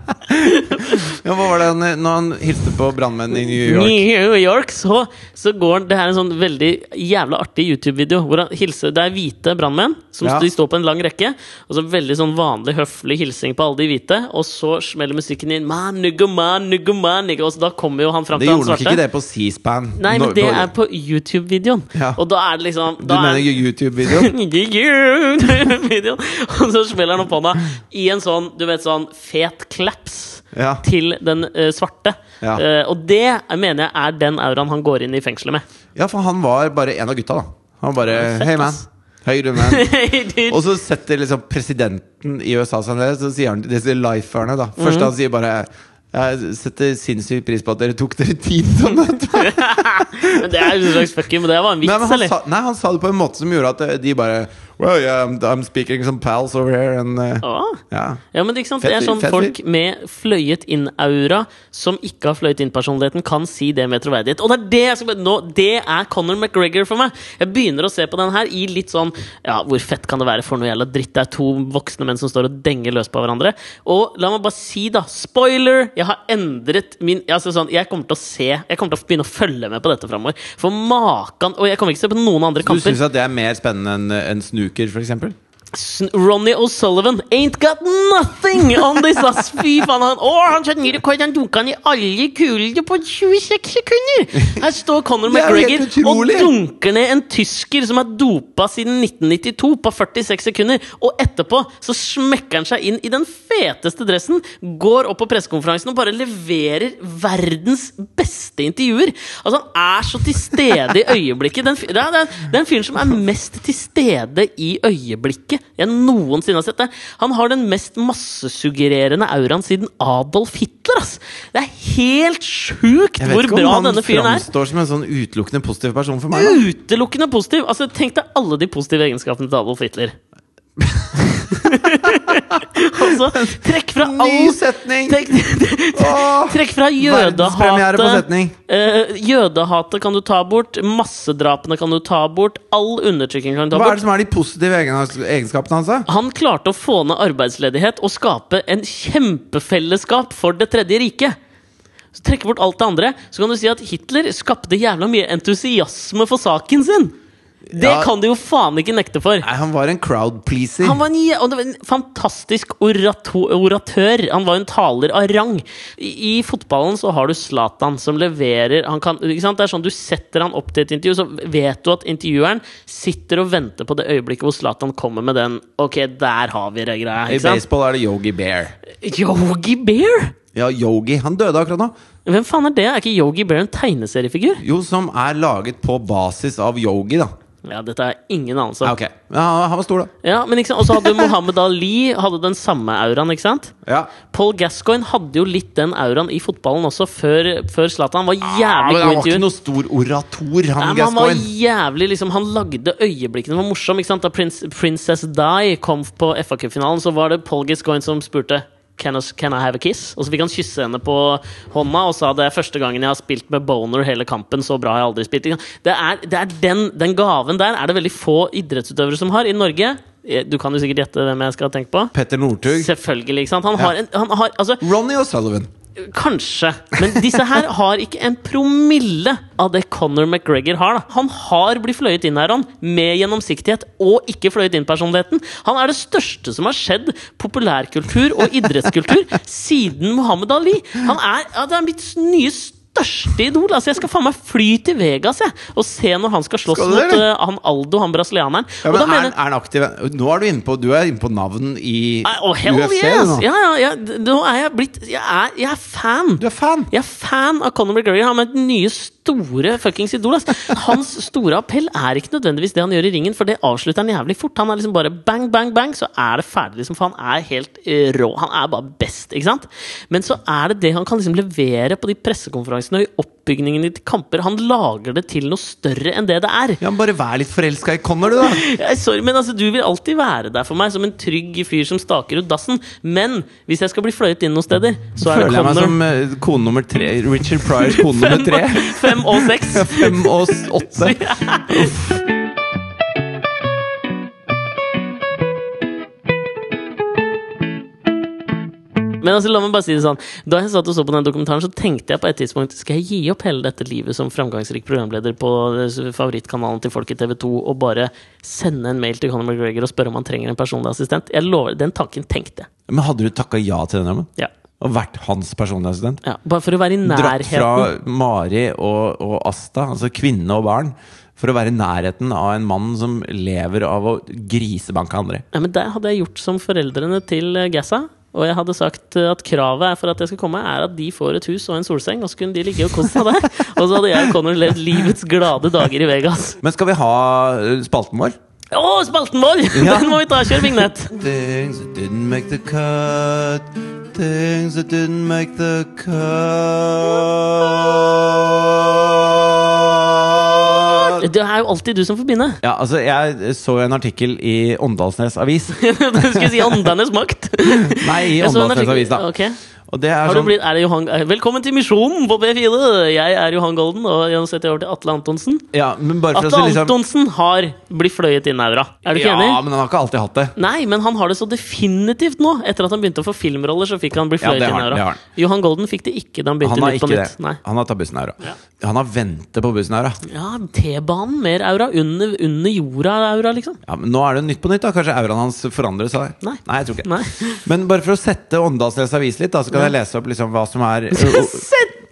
Speaker 1: Ja, hva var det han, når han hilste på brannmenn i New York?
Speaker 2: New York, så, så går han- Det her er en sånn veldig jævla artig YouTube-video. Hvor han hilser, Det er hvite brannmenn. som
Speaker 1: Ja.
Speaker 2: st- De står på en lang rekke. Og så veldig sånn vanlig høflig hilsing på alle de hvite. Og så smeller musikken inn. Man, nigga, man, nigga, man, nigga. Og så da kommer jo han fram
Speaker 1: Det
Speaker 2: til han
Speaker 1: gjorde nok ikke
Speaker 2: svarte.
Speaker 1: det på C-SPAN.
Speaker 2: Nei, men
Speaker 1: Nå-
Speaker 2: det
Speaker 1: nå-
Speaker 2: er på YouTube-videoen.
Speaker 1: Ja.
Speaker 2: Og da er det liksom
Speaker 1: Du
Speaker 2: da er-
Speaker 1: mener YouTube-videoen?
Speaker 2: YouTube-videoen. Og så smeller han opp hånda i en sånn, du vet, sånn fet claps
Speaker 1: Ja.
Speaker 2: til den eh, svarte.
Speaker 1: Ja.
Speaker 2: Eh, og det eh, mener jeg er den auraen han går inn i fengselet med.
Speaker 1: ja, for han var bare en av gutta, da. Han var bare
Speaker 2: Fett,
Speaker 1: Hei, man.
Speaker 2: ass.
Speaker 1: Hei, du, man.
Speaker 2: Dude.
Speaker 1: Og så setter liksom presidenten i USA seg ned, så sier han til disse liferne, da.
Speaker 2: Mhm.
Speaker 1: Først han sier bare jeg setter sinnssykt pris på at dere tok dere tid til å møte meg.
Speaker 2: Men det er jo en slags fucking, men det var en
Speaker 1: Nei, men
Speaker 2: vits,
Speaker 1: han
Speaker 2: eller?
Speaker 1: sa, nei, han sa det på en måte som gjorde at eh, de bare Well, yeah, I'm, I'm speaking some pals over here and eh,
Speaker 2: Ah.
Speaker 1: Ja.
Speaker 2: Ja, men det, er ikke sant?
Speaker 1: Fett
Speaker 2: det er
Speaker 1: fyr,
Speaker 2: sånn
Speaker 1: fett fyr.
Speaker 2: folk med fløyet inn-aura som ikke har fløyet inn-personligheten, kan si det med troverdighet. Og det er det jeg skal bare- nå, det er Conor McGregor for meg! Jeg begynner å se på den her i litt sånn Ja, hvor fett kan det være for noe jævla dritt? Det er to voksne menn som står og denger løs på hverandre. Og la meg bare si, da, spoiler! Jeg har endret min altså sånn, Jeg kommer til å se Jeg kommer til å begynne å følge med på dette framover. For makan Og jeg kommer ikke til å se på noen andre
Speaker 1: Du
Speaker 2: kamper.
Speaker 1: syns at det er mer spennende enn eh, enn snooker, f.eks.?
Speaker 2: Sn- Ronny O'Sullivan ain't got nothing on this, ass! Fy faen, han Å, han satte ny rekord! Han dunka den i alle kulene på 26 sekunder! Her står Conor
Speaker 1: Det er jo
Speaker 2: McGregor
Speaker 1: helt
Speaker 2: og
Speaker 1: utrolig.
Speaker 2: dunker ned en tysker som er dopa siden 1992, på 46 sekunder. Og etterpå så smekker han seg inn i den feteste dressen, går opp på pressekonferansen og bare leverer verdens beste intervjuer! Altså, han er så til stede i øyeblikket. Den, fyr- det er- det er- det er en fyr som er mest til stede i øyeblikket jeg noensinne har sett. Det. Han har den mest massesuggererende auraen siden Adolf Hitler! framstår, ass! Det er helt sjukt hvor bra denne fyren er.
Speaker 1: framstår som en sånn utelukkende positiv person for meg. Da.
Speaker 2: Utelukkende positiv! Altså, Tenk deg alle de positive egenskapene til Adolf Hitler. altså, trekk fra
Speaker 1: Ny
Speaker 2: all
Speaker 1: setning!
Speaker 2: Trekk,
Speaker 1: Åh,
Speaker 2: trekk fra
Speaker 1: Verdenspremiere på
Speaker 2: jødehatet
Speaker 1: setning.
Speaker 2: eh, Jødehatet kan du ta bort, massedrapene kan du ta bort, all undertrykking kan du ta
Speaker 1: Hva er
Speaker 2: bort.
Speaker 1: det som er de positive egenas- egenskapene hans, da?
Speaker 2: Han klarte å få ned arbeidsledighet og skape en kjempefellesskap for Det tredje riket. Så trekke bort alt det andre, så kan du si at Hitler skapte jævla mye entusiasme for saken sin! Det
Speaker 1: Ja.
Speaker 2: kan du jo faen ikke nekte for.
Speaker 1: Nei, han var en crowd pleaser.
Speaker 2: Han var en, jæ- og det var en fantastisk orato, oratør. Han var en taler av rang. I, I fotballen så har du Zlatan, som leverer han kan, ikke sant? Det er sånn, Du setter han opp til et intervju, så vet du at intervjueren sitter og venter på det øyeblikket hvor Zlatan kommer med den Ok, der har vi det greia.
Speaker 1: I
Speaker 2: Ikke sant?
Speaker 1: baseball er det Yogi Bear.
Speaker 2: Yogi Bear!
Speaker 1: Ja, Yogi. Han døde akkurat nå.
Speaker 2: Hvem faen er det? Er ikke Yogi Bear en tegneseriefigur?
Speaker 1: Jo, som er laget på basis av yogi, da.
Speaker 2: Ja, dette har jeg ingen anelse
Speaker 1: Ja,
Speaker 2: om.
Speaker 1: ok. Men han, han var stor, da.
Speaker 2: Ja, men ikke sant? Og så hadde Mohammed Ali hadde den samme auraen, ikke sant?
Speaker 1: Ja.
Speaker 2: Paul Gascoigne hadde jo litt den auraen i fotballen også, før, før Zlatan. Han var
Speaker 1: Ah,
Speaker 2: jævlig
Speaker 1: men
Speaker 2: god
Speaker 1: han var ikke
Speaker 2: intervju.
Speaker 1: noe stor orator,
Speaker 2: Nei,
Speaker 1: han
Speaker 2: men han var
Speaker 1: Gascoigne.
Speaker 2: jævlig, liksom, han lagde øyeblikkene. Det var morsom, ikke sant? Da Prince, Princess Di kom på FA-cupfinalen, så var det Paul Gascoigne som spurte Can I, can I have a kiss? Og så fikk han kysse henne på hånda og sa det er første gangen jeg har spilt med boner hele kampen. Så bra har jeg aldri spilt. Ikke sant? Det er, det er den, den gaven der er det veldig få idrettsutøvere som har i Norge. eh, Du kan jo sikkert gjette hvem jeg skal tenke på.
Speaker 1: Petter Northug.
Speaker 2: Selvfølgelig. ikke sant? Han har en, han har, altså,
Speaker 1: Ronny O'Sullivan.
Speaker 2: Kanskje. Men disse her har ikke en promille av det Conor McGregor har. Da. Han har blitt fløyet inn her, han, med gjennomsiktighet og ikke fløyet inn personligheten. Han er det største som har skjedd populærkultur og idrettskultur siden Muhammad Ali. Han er, ja, det er mitt nye største idol. Altså, jeg skal faen meg fly til Vegas jeg, og se når han skal slåss
Speaker 1: Skal du det,
Speaker 2: mot
Speaker 1: eller?
Speaker 2: eh, han Aldo, han brasilianeren.
Speaker 1: Ja,
Speaker 2: Og
Speaker 1: men
Speaker 2: da mener-
Speaker 1: er, er han aktiv? Nå er du inne på, du er inne på navn i
Speaker 2: Nei, oh, hell
Speaker 1: UFC.
Speaker 2: yes!
Speaker 1: nå.
Speaker 2: Ja, ja, ja. d- Nå er jeg blitt Jeg er, jeg er fan.
Speaker 1: Du er fan.
Speaker 2: Jeg er fan av Conor McGregor. Han er den nye store fuckings idol. ass. Hans store appell er ikke nødvendigvis det han gjør i ringen, for det avslutter han jævlig fort. Han er liksom bare bang, bang, bang, så er det ferdig, liksom, for han er helt eh, rå. Han er bare best, ikke sant? Men så er det det han kan liksom levere på de pressekonferansene og i oppbygningen i kamper. Han lager det til noe større enn det det er.
Speaker 1: Ja, men bare vær litt forelska i Connor, du, da.
Speaker 2: Jeg er Sorry, men altså, du vil alltid være der for meg som en trygg fyr som staker ut dassen. Men hvis jeg skal bli fløyet inn noen steder, så er det
Speaker 1: Føler jeg meg
Speaker 2: Connor.
Speaker 1: som eh, kone nummer tre. Richard Pryors kone nummer tre.
Speaker 2: Fem og seks.
Speaker 1: Fem og s- åtte.
Speaker 2: Men altså, la meg bare si det sånn Da jeg satt og så på den dokumentaren, så tenkte jeg på et tidspunkt Skal jeg gi opp hele dette livet som framgangsrik programleder på eh, favorittkanalen til folk i TV 2 og bare sende en mail til Conor McGregor og spørre om han trenger en personlig assistent? Jeg lover, Den tanken tenkte jeg.
Speaker 1: Men hadde du takka ja til den jobben?
Speaker 2: Ja.
Speaker 1: Og vært hans personlige assistent?
Speaker 2: ja. Bare for å være i
Speaker 1: dratt
Speaker 2: nærheten.
Speaker 1: fra Mari og, og Asta, altså kvinne og barn, for å være i nærheten av en mann som lever av å grisebanke andre.
Speaker 2: Ja, men Der hadde jeg gjort som foreldrene til eh, Gassa. Og jeg hadde sagt eh, at kravet er for at jeg skal komme, er at de får et hus og en solseng. Og så kunne de ligge og kose seg der. Og så hadde jeg og Connor levd livets glade dager i Vegas.
Speaker 1: Men skal vi ha eh, spalten vår?
Speaker 2: Å, spalten vår!
Speaker 1: Ja.
Speaker 2: Den må vi ta! Kjør vignett!
Speaker 1: Things that didn't make the cut. Things that didn't make the cut.
Speaker 2: Det er jo alltid du som får begynne.
Speaker 1: Ja, altså, jeg så en artikkel i Åndalsnes Avis.
Speaker 2: Du skulle si åndenes makt.
Speaker 1: Nei, i
Speaker 2: Jeg så en
Speaker 1: Åndalsnes
Speaker 2: artikkel-
Speaker 1: Avis, da.
Speaker 2: Ok.
Speaker 1: Og det er
Speaker 2: Har du
Speaker 1: sånn
Speaker 2: blitt, er det Johan, eh, velkommen til Misjonen på B4! Jeg er Johan Golden, og nå setter jeg over til Atle Antonsen.
Speaker 1: ja, men bare for
Speaker 2: Atle
Speaker 1: å si liksom,
Speaker 2: Antonsen har blitt fløyet inn aura. Er du ikke
Speaker 1: Ja,
Speaker 2: enig?
Speaker 1: men han har ikke alltid hatt det.
Speaker 2: Nei, men han har det så definitivt nå. Etter at han begynte å få filmroller, så fikk han bli
Speaker 1: Ja,
Speaker 2: fløyet
Speaker 1: det
Speaker 2: inn
Speaker 1: har han,
Speaker 2: her.
Speaker 1: det
Speaker 2: da.
Speaker 1: har han.
Speaker 2: Johan Golden fikk det ikke da han begynte
Speaker 1: Han har
Speaker 2: Nytt på
Speaker 1: ikke det.
Speaker 2: Nytt. Nei.
Speaker 1: Han har tatt bussen her også. Han har ventet på bussen her da.
Speaker 2: Ja, T-banen, mer aura. Under, under jorda-aura, liksom.
Speaker 1: Ja, men nå er det nytt på nytt, da. Kanskje auraen hans forandrer seg?
Speaker 2: Nei.
Speaker 1: jeg tror ikke
Speaker 2: Nei.
Speaker 1: Men bare for å sette Åndalsnes Avis litt, da, så kan jeg lese opp liksom hva som er
Speaker 2: Sette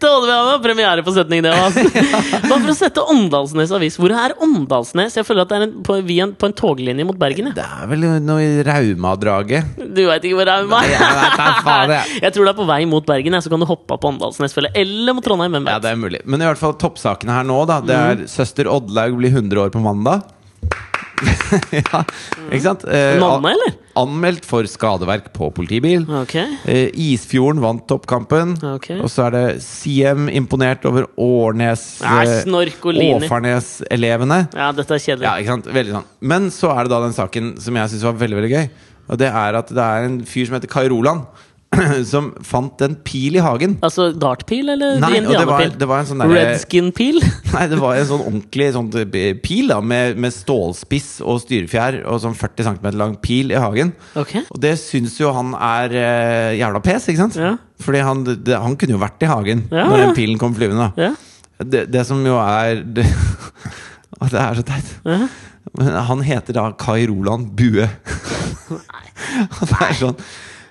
Speaker 2: Åndalsnes! Premiere på setning, det var altså. Bare for å sette Åndalsnes avis. Hvor er Åndalsnes? Jeg føler at det er en, på, vi er en, på en toglinje mot Bergen. Jeg,
Speaker 1: Det er vel noe i Raumadraget.
Speaker 2: du veit ikke hvor det er
Speaker 1: Jeg
Speaker 2: meg?
Speaker 1: vet da faen, jeg.
Speaker 2: Jeg tror det er på vei mot Bergen, jeg, så kan du hoppe av på Åndalsnes. føler jeg. Eller mot Trondheim. Hvem vet?
Speaker 1: Ja,
Speaker 2: Mm.
Speaker 1: det er mulig. Men i hvert fall toppsakene her nå, da. Det er søster Oddlaug blir 100 år på mandag. ja, ikke sant? Eh,
Speaker 2: Nanne, eller?
Speaker 1: Anmeldt for skadeverk på politibil.
Speaker 2: Ok.
Speaker 1: Eh, Isfjorden vant toppkampen.
Speaker 2: Ah, Ok.
Speaker 1: Og så er det Siem imponert over Årnes
Speaker 2: Nei,
Speaker 1: eh,
Speaker 2: snork og liner.
Speaker 1: Åfarnes-elevene.
Speaker 2: Ja, dette er kjedelig.
Speaker 1: Ja, ikke sant? Veldig sånn. Men så er det da den saken som jeg syns var veldig veldig gøy. Og det er at det er en fyr som heter Kai Roland, som fant en pil i hagen.
Speaker 2: Altså dartpil eller
Speaker 1: Nei, og det var,
Speaker 2: indianerpil?
Speaker 1: det var en sånn derre-
Speaker 2: Redskin-pil?
Speaker 1: Nei, det var en sånn ordentlig sånn eh, pil da med, med stålspiss og styrefjær og sånn 40 cm lang pil i hagen.
Speaker 2: Ok.
Speaker 1: Og det syns jo han er eh, jævla pes, ikke sant?
Speaker 2: Ja.
Speaker 1: Fordi han, det, han kunne jo vært i hagen
Speaker 2: Ja,
Speaker 1: når
Speaker 2: ja.
Speaker 1: den pilen kom flyvende. da.
Speaker 2: Ja.
Speaker 1: Det, det som jo er det, Å, det er så teit.
Speaker 2: Ja.
Speaker 1: Men han heter da Kai Roland Bue. Og det er sånn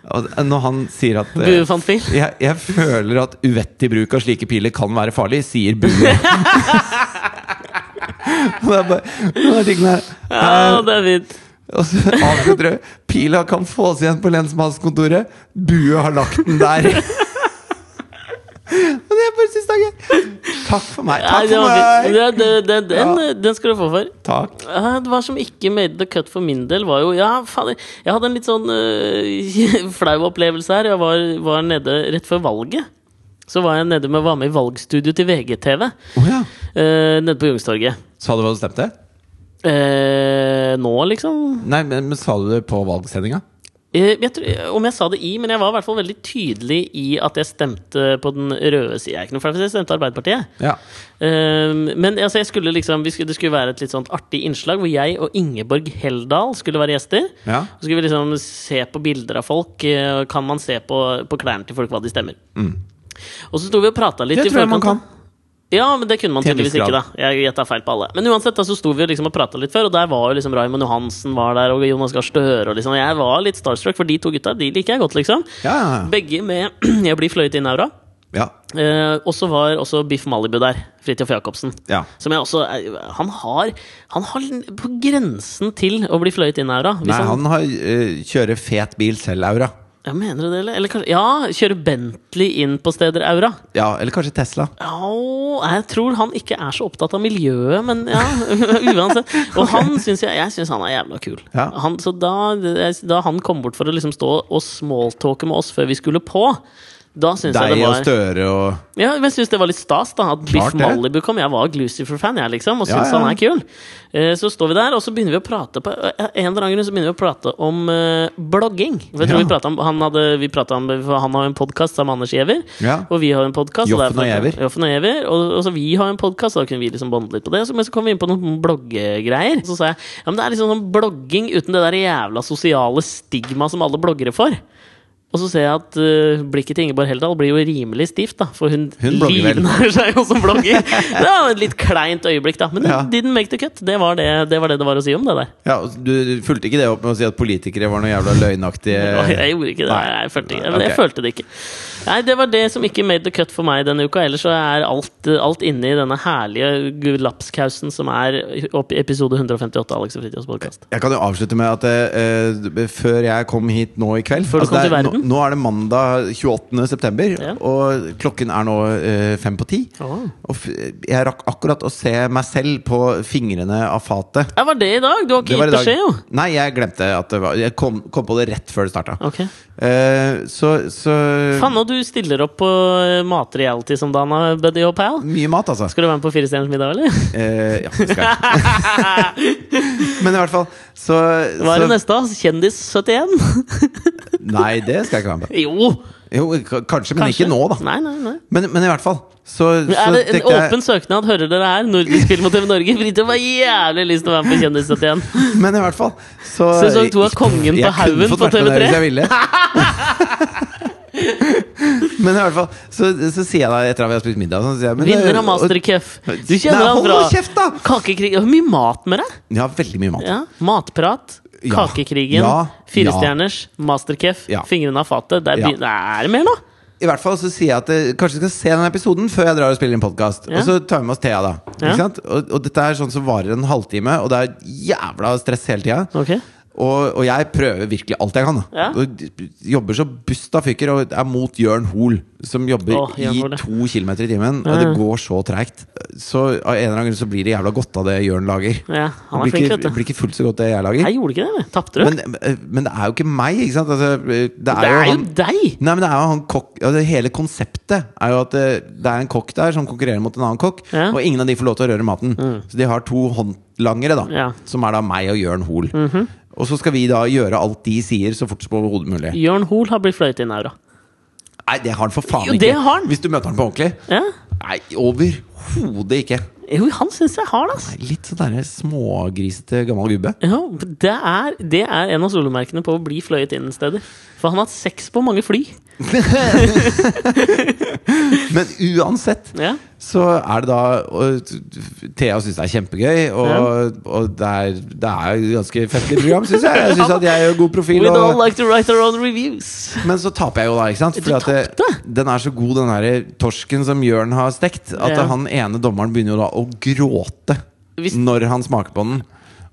Speaker 1: og Når han sier at eh,
Speaker 2: Bue fant pil.
Speaker 1: Jeg, jeg føler at uvettig bruk av slike piler kan være farlig, sier Bue. Og det er bare, og det er ting der,
Speaker 2: Ja, det er fint.
Speaker 1: og så avslutter du Pila kan fås igjen på lensmannskontoret Bue har lagt den der Og det er bare siste dagen Takk for meg
Speaker 2: Nei,
Speaker 1: Takk
Speaker 2: det
Speaker 1: for
Speaker 2: var fint.
Speaker 1: meg
Speaker 2: Det, det, det, den,
Speaker 1: Ja.
Speaker 2: den skal du få for.
Speaker 1: Takk
Speaker 2: Ja, Det var som ikke made the cut for min del, var jo Ja, fader. Jeg hadde en litt sånn øh, flau opplevelse her. Jeg var, var nede rett før valget. Så var jeg nede med var med i valgstudio til VGTV.
Speaker 1: Åja,
Speaker 2: øh, nede på Youngstorget.
Speaker 1: sa du hva du stemte?
Speaker 2: Eh, nå, liksom?
Speaker 1: Nei, men, men sa du det på valgsendinga?
Speaker 2: Eh, Jeg tror, om jeg sa det i, men jeg var i hvert fall veldig tydelig i at jeg stemte på den røde sida. Ikke noe flaut, jeg stemte Arbeiderpartiet.
Speaker 1: Ja
Speaker 2: Ehm, men altså, jeg skulle liksom, vi skulle, det skulle være et litt sånt artig innslag hvor jeg og Ingeborg Heldal skulle være gjester.
Speaker 1: Ja.
Speaker 2: Så skulle vi liksom se på bilder av folk. eh, Kan man se på, på klærne til folk hva de stemmer? Og så sto vi og prata litt.
Speaker 1: Mm.
Speaker 2: i
Speaker 1: Det tror jeg man
Speaker 2: forkant, da. Ja, men det kunne man
Speaker 1: Til en
Speaker 2: tydeligvis
Speaker 1: viss
Speaker 2: ikke, da.
Speaker 1: grad.
Speaker 2: Jeg gjetta feil på alle. Men uansett, da så sto vi og liksom og prata litt før, og der var jo liksom Raymond Johansen var der, og Jonas Gahr Støre og liksom Jeg var litt starstruck, for de to gutta, de liker jeg godt, liksom.
Speaker 1: Ja, ja,
Speaker 2: Begge med Jeg blir fløyet inn aura.
Speaker 1: ja,
Speaker 2: Eh, og så var også Biff Malibu der. Fridtjof Jacobsen.
Speaker 1: ja.
Speaker 2: Som jeg også er- Han har Han har l- på grensen til å bli fløyet inn aura. Hvis
Speaker 1: Nei, han har, eh, kjører fet bil selv, Aura
Speaker 2: Ja, mener du det, eller? eller kanskje, ja, kjøre Bentley inn på steder aura.
Speaker 1: Ja, eller kanskje Tesla
Speaker 2: Au, jeg tror han ikke er så opptatt av miljøet, men ja, uansett. Og han synes jeg, jeg syns han er jævla kul.
Speaker 1: Ja.
Speaker 2: Han, så da, da han kom bort for å liksom stå og smalltalke med oss før vi skulle på, da syns jeg
Speaker 1: Deg
Speaker 2: det
Speaker 1: og
Speaker 2: var
Speaker 1: Støre og
Speaker 2: ja, men jeg synes det var litt stas da at Biff
Speaker 1: Klart det.
Speaker 2: Malibu kom. Jeg var Glucifer-fan, jeg, liksom, og
Speaker 1: Ja,
Speaker 2: syns
Speaker 1: ja.
Speaker 2: han er kul. Eh, Så står vi der, og så begynner vi å prate på eh, En eller annen grunn så begynner vi å prate om eh, blogging. For Jeg tror
Speaker 1: Ja.
Speaker 2: vi pratet om, han, hadde, vi pratet om for Han har jo en podkast sammen med Anders Giæver,
Speaker 1: Ja.
Speaker 2: og vi har jo en podkast.
Speaker 1: Joffen og Giæver.
Speaker 2: Joffen og Giæver. Og, og så vi har jo en podkast, da kunne vi liksom bonde litt på det. Så, men så kom vi inn på noen bloggegreier. Så sa jeg ja, men det er liksom sånn blogging uten det der jævla sosiale stigma som alle bloggere får. Og så ser jeg at eh, blikket til Ingeborg Heldal blir jo rimelig stivt, da. For hun,
Speaker 1: Hun blogger vel.
Speaker 2: livnærer seg jo som blogger. det var et litt kleint øyeblikk, da. Men
Speaker 1: Ja.
Speaker 2: didn't make the cut. Det var det, det var det det var å si om det der.
Speaker 1: ja, og du fulgte ikke det opp med å si at politikere var noe jævla løgnaktige
Speaker 2: Nei, Jeg gjorde ikke det.
Speaker 1: Eh, Nei.
Speaker 2: Jeg følte, ikke.
Speaker 1: Nei,
Speaker 2: jeg
Speaker 1: ok.
Speaker 2: følte det ikke. Nei, Det var det som ikke made the cut for meg denne uka. Ellers så er alt, alt inne i denne herlige gulapskausen som er opp i episode 158 av Alex og Fritjofs podkast.
Speaker 1: Jeg kan jo avslutte med at eh, eh, før jeg kom hit nå i kveld
Speaker 2: Før du kom
Speaker 1: det er,
Speaker 2: til verden?
Speaker 1: nå, nå er det mandag 28. september,
Speaker 2: Ja.
Speaker 1: og klokken er nå eh, fem på ti. Og f jeg rakk akkurat å se meg selv på fingrene av fatet.
Speaker 2: Det var det i dag! Du har ikke
Speaker 1: var i
Speaker 2: gitt
Speaker 1: dag.
Speaker 2: beskjed, jo!
Speaker 1: Nei, jeg glemte at det var Jeg kom, kom på det rett før det starta.
Speaker 2: Ok
Speaker 1: Eh, så, så
Speaker 2: Faen, og du stiller opp på eh, matreality som Dana Buddy og Pal.
Speaker 1: Mye mat, altså.
Speaker 2: Skal du være med på Fire stjerners middag, eller?
Speaker 1: Eh, ja, det skal jeg. Men i hvert fall, så,
Speaker 2: Hva er det
Speaker 1: så
Speaker 2: neste? ass? Kjendis 71?
Speaker 1: Nei, det skal jeg ikke være med på.
Speaker 2: Jo!
Speaker 1: Jo, k- kanskje, men ikke nå, da.
Speaker 2: Nei, nei, nei.
Speaker 1: Men, men i hvert fall, så, så
Speaker 2: Er det en
Speaker 1: tenkte jeg-
Speaker 2: åpen søknad, hører dere her? Nordisk film og TV Norge. Fridtjof har jævlig lyst til å være med på Kjendis 71.
Speaker 1: Men i hvert fall så,
Speaker 2: Sesong to av Kongen på
Speaker 1: Jeg kunne
Speaker 2: haugen
Speaker 1: fått
Speaker 2: på
Speaker 1: vært med
Speaker 2: TV3.
Speaker 1: der Hvis jeg ville. Men i hvert fall så, så sier jeg da etter at vi har spist middag sånn, så sier jeg, men,
Speaker 2: Vinner av
Speaker 1: og-
Speaker 2: Masterchef. Du
Speaker 1: Nei,
Speaker 2: kjenner han
Speaker 1: hold
Speaker 2: bra.
Speaker 1: nå kjeft, da!
Speaker 2: Kakekrig Har du mye mat med deg?
Speaker 1: Ja, veldig mye mat.
Speaker 2: Ja. Matprat.
Speaker 1: Ja.
Speaker 2: Kakekrigen.
Speaker 1: Ja. Ja.
Speaker 2: Firestjerners. Masterchef.
Speaker 1: Ja.
Speaker 2: Fingrene av fatet. Der
Speaker 1: Ja.
Speaker 2: begyn- Nei, Er det mer nå?
Speaker 1: I hvert fall så sier jeg at eh, kanskje vi skal se den episoden før jeg drar og spiller inn podkast.
Speaker 2: Ja.
Speaker 1: Og så tar vi med oss Thea, da.
Speaker 2: Ja.
Speaker 1: Ikke sant? Og, og dette er sånn som varer en halvtime, og det er jævla stress hele tida.
Speaker 2: Ok.
Speaker 1: Og, og jeg prøver virkelig alt jeg kan. da.
Speaker 2: Ja.
Speaker 1: Og d- Jobber så busta fyker, og er mot Jørn Hoel, som jobber
Speaker 2: Åh, Jørn Hoel, ja.
Speaker 1: i to kilometer i timen. Og det går så treigt. Så av en eller annen grunn så blir det jævla godt av det Jørn lager.
Speaker 2: Ja, han
Speaker 1: Det
Speaker 2: er flink,
Speaker 1: blir,
Speaker 2: vet
Speaker 1: ikke,
Speaker 2: du.
Speaker 1: blir ikke fullt så godt det jeg lager.
Speaker 2: Jeg gjorde ikke det, eller? Tapte du?
Speaker 1: Men, eh, men det er jo ikke meg, ikke sant? Altså, det
Speaker 2: det
Speaker 1: er jo
Speaker 2: er jo
Speaker 1: han
Speaker 2: deg!
Speaker 1: Nei, men det er jo han kokk altså, Hele konseptet er jo at det, det er en kokk der som konkurrerer mot en annen kokk,
Speaker 2: Ja. Mm.
Speaker 1: og ingen av de får lov til å røre maten. Så de har to håndlangere, da,
Speaker 2: Ja. Mhm.
Speaker 1: som er da meg og Jørn Hoel. Og så skal vi da gjøre alt de sier, så fort som overhodet mulig.
Speaker 2: Jørn Hoel har blitt fløyet inn her, da.
Speaker 1: Nei, det har han for faen
Speaker 2: Jo,
Speaker 1: ikke!
Speaker 2: det har han.
Speaker 1: Hvis du møter han på ordentlig.
Speaker 2: Ja?
Speaker 1: Nei, overhodet ikke.
Speaker 2: Jo, han syns jeg har det, altså.
Speaker 1: Nei, Litt sånn derre smågrisete gammel gubbe.
Speaker 2: Ja, det er, det er en av solomerkene på å bli fløyet inn steder. For han har hatt sex på mange fly.
Speaker 1: Men uansett
Speaker 2: Ja.
Speaker 1: så er det da og, Thea syns det er kjempegøy, og, og det, er, det er jo ganske festlig program, syns jeg. Jeg synes at jeg er jo god profil.
Speaker 2: We'd all
Speaker 1: Og,
Speaker 2: like to write our own reviews.
Speaker 1: men så taper jeg jo da, ikke sant?
Speaker 2: Du
Speaker 1: Fordi at det, den er så god, den der torsken som Jørn har stekt, at
Speaker 2: Ja.
Speaker 1: han ene dommeren begynner jo da å gråte
Speaker 2: Hvis-
Speaker 1: når han smaker på den.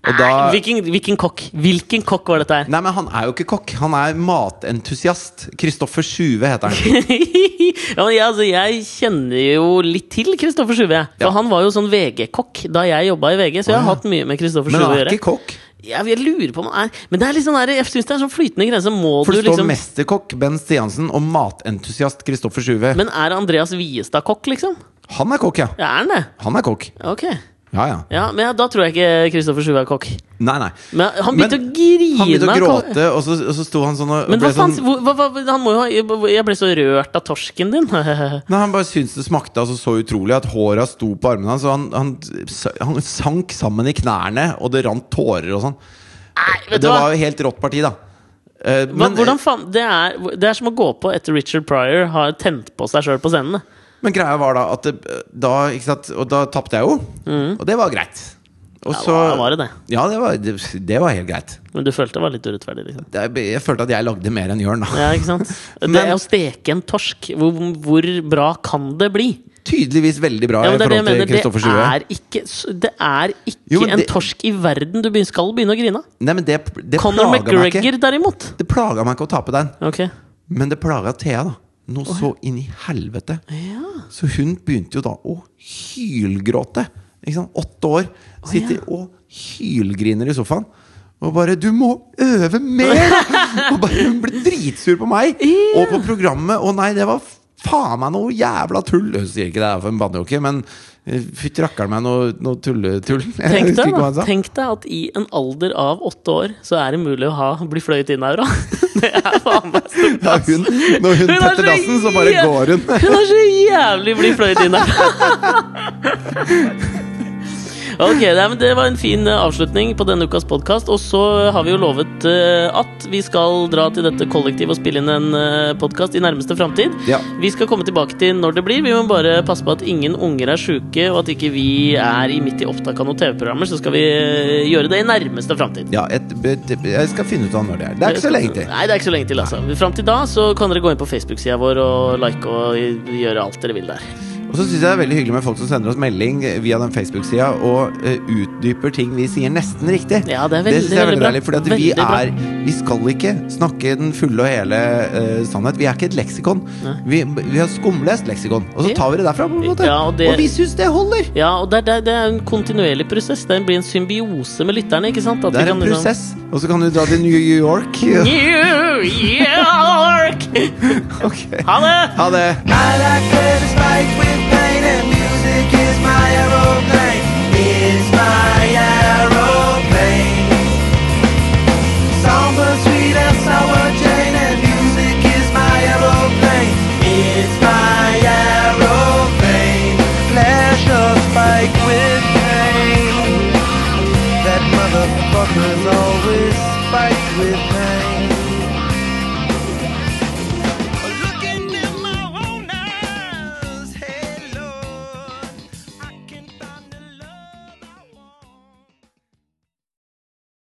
Speaker 1: Og da
Speaker 2: Nei, hvilken, hvilken kokk? Hvilken kokk var dette her?
Speaker 1: Nei, men han er jo ikke kokk. Han er matentusiast. Kristoffer Sjuve heter han.
Speaker 2: ja, men jeg, altså, jeg kjenner jo litt til Kristoffer Sjuve. jeg. For
Speaker 1: Ja.
Speaker 2: han var jo sånn VG-kokk da jeg jobba i VG, så jeg har
Speaker 1: Ah.
Speaker 2: hatt mye med Kristoffer
Speaker 1: Men
Speaker 2: Sjuve å
Speaker 1: han er
Speaker 2: gjøre.
Speaker 1: ikke kokk.
Speaker 2: Jeg, jeg lurer på om han er Men det er litt sånn der, jeg syns det er en sånn flytende grense. Må
Speaker 1: For
Speaker 2: du
Speaker 1: det står
Speaker 2: liksom
Speaker 1: mesterkokk Ben Stiansen og matentusiast Kristoffer Sjuve.
Speaker 2: Men er Andreas Viestad kokk, liksom?
Speaker 1: Han er kokk, ja.
Speaker 2: Ja, er han det?
Speaker 1: Han er kokk.
Speaker 2: Ok.
Speaker 1: Ja, ja.
Speaker 2: Ja, men ja, da tror jeg ikke Kristoffer Sjuve er kokk.
Speaker 1: Nei, nei.
Speaker 2: Men han begynte
Speaker 1: Men
Speaker 2: å grine.
Speaker 1: Han begynte å
Speaker 2: kom-
Speaker 1: gråte, og så, og så sto han sånn og
Speaker 2: Men
Speaker 1: ble
Speaker 2: hva faen
Speaker 1: sånn
Speaker 2: hvor- hva, hva, Han må jo ha Jeg ble så rørt av torsken din. Nei,
Speaker 1: Nei, Han bare syntes det smakte altså, så utrolig at håra sto på armene hans. Og han, han, han sank sammen i knærne, og det rant tårer og sånn.
Speaker 2: vet du
Speaker 1: Det
Speaker 2: hva?
Speaker 1: var jo helt rått parti, da. Eh,
Speaker 2: Hva,
Speaker 1: men,
Speaker 2: hvordan faen, det, er, det er som å gå på etter Richard Pryor har tent på seg sjøl på scenen. det.
Speaker 1: men greia var da at det, da, ikke sant? Og da tapte jeg jo. Og det var greit. Og
Speaker 2: Mm. Ja,
Speaker 1: så
Speaker 2: da var det det.
Speaker 1: Ja, det var, det, det var helt greit.
Speaker 2: Men du følte det var litt urettferdig. liksom
Speaker 1: Det, jeg følte at jeg lagde mer enn Jørn, da.
Speaker 2: Ja, ikke sant? Det
Speaker 1: Men-
Speaker 2: er å steke en torsk. Hvor, hvor bra kan det bli?
Speaker 1: Tydeligvis veldig bra
Speaker 2: Ja, men
Speaker 1: i
Speaker 2: det er det jeg
Speaker 1: forhold til
Speaker 2: mener.
Speaker 1: Kristoffer
Speaker 2: Det
Speaker 1: Sjue.
Speaker 2: er ikke, s- det er ikke
Speaker 1: Jo, men
Speaker 2: en
Speaker 1: det-
Speaker 2: torsk i verden du begyn- skal begynne å grine av.
Speaker 1: Nei, men det, det
Speaker 2: Conor
Speaker 1: plaga meg ikke.
Speaker 2: McGregor, derimot.
Speaker 1: Det plaga meg ikke å tape den,
Speaker 2: Ok
Speaker 1: men det plaga Thea, da. Noe så inn i helvete.
Speaker 2: ja.
Speaker 1: Så hun begynte jo da å hylgråte. Ikke sant? Åtte år. Sitter og hylgriner i sofaen. Og bare 'Du må øve mer!' og bare hun ble dritsur på meg og på programmet. Og nei, det var faen meg noe jævla tull. Hun sier ikke det er for en bannejokke, men eh, fytti rakkeren meg noe, noe tulletull. Jeg
Speaker 2: Tenk
Speaker 1: husker
Speaker 2: deg,
Speaker 1: ikke hva
Speaker 2: da,
Speaker 1: hun sa.
Speaker 2: tenk deg at i en alder av åtte år så er det mulig å ha, bli fløyet inn aura. Det er faen meg stort.
Speaker 1: Ja, hun, når
Speaker 2: Hun er
Speaker 1: hun
Speaker 2: så
Speaker 1: tetter dassen, så bare
Speaker 2: jæv-
Speaker 1: går hun.
Speaker 2: Hun er så jævlig blid fløyet inn aura. Ok, nei, men Det var en fin eh, avslutning på denne ukas podkast. Og så har vi jo lovet eh, at vi skal dra til dette kollektivet og spille inn en podkast i nærmeste framtid.
Speaker 1: Ja.
Speaker 2: Vi skal komme tilbake til når det blir. Vi må bare passe på at ingen unger er sjuke, og at ikke vi er i midt i opptak av noen TV-programmer. Så skal vi eh, gjøre det i nærmeste framtid.
Speaker 1: Ja, et, et, jeg skal finne ut av når det er. Det er ikke så lenge til.
Speaker 2: Nei, det er ikke så lenge til, altså. Fram til da så kan dere gå inn på Facebook-sida vår og like og gjøre alt dere vil der.
Speaker 1: Og så syns jeg det er veldig hyggelig med folk som sender oss melding via den Facebook-sida og eh, utdyper ting vi sier nesten riktig.
Speaker 2: Ja, det er
Speaker 1: det
Speaker 2: veldig,
Speaker 1: synes jeg er
Speaker 2: veldig
Speaker 1: veldig
Speaker 2: bra.
Speaker 1: deilig, for vi,
Speaker 2: Veldig bra.
Speaker 1: er- vi skal ikke snakke den fulle og hele eh, sannhet. Vi er ikke et leksikon.
Speaker 2: Nei.
Speaker 1: Vi, vi har skumlest leksikon, og så
Speaker 2: Ja.
Speaker 1: tar vi det derfra. på en måte
Speaker 2: Ja, og det-
Speaker 1: Og vi syns det holder!
Speaker 2: Ja, og det, er- det, er- det er en kontinuerlig prosess. Det blir en symbiose med lytterne, ikke sant? At
Speaker 1: Det
Speaker 2: vi
Speaker 1: er
Speaker 2: kan
Speaker 1: en
Speaker 2: liksom-
Speaker 1: prosess. Og så kan du dra til New York.
Speaker 2: New York!
Speaker 1: Ok.
Speaker 2: Ha det!
Speaker 1: Ha det!
Speaker 3: I like curves spiked with pain and music is my aeroplane. Is my aeroplane. Somber, sweet and sour chain and music is my aeroplane. Is my aeroplane. Pleasure spiked with pain. That motherfucker's always spiked with pain.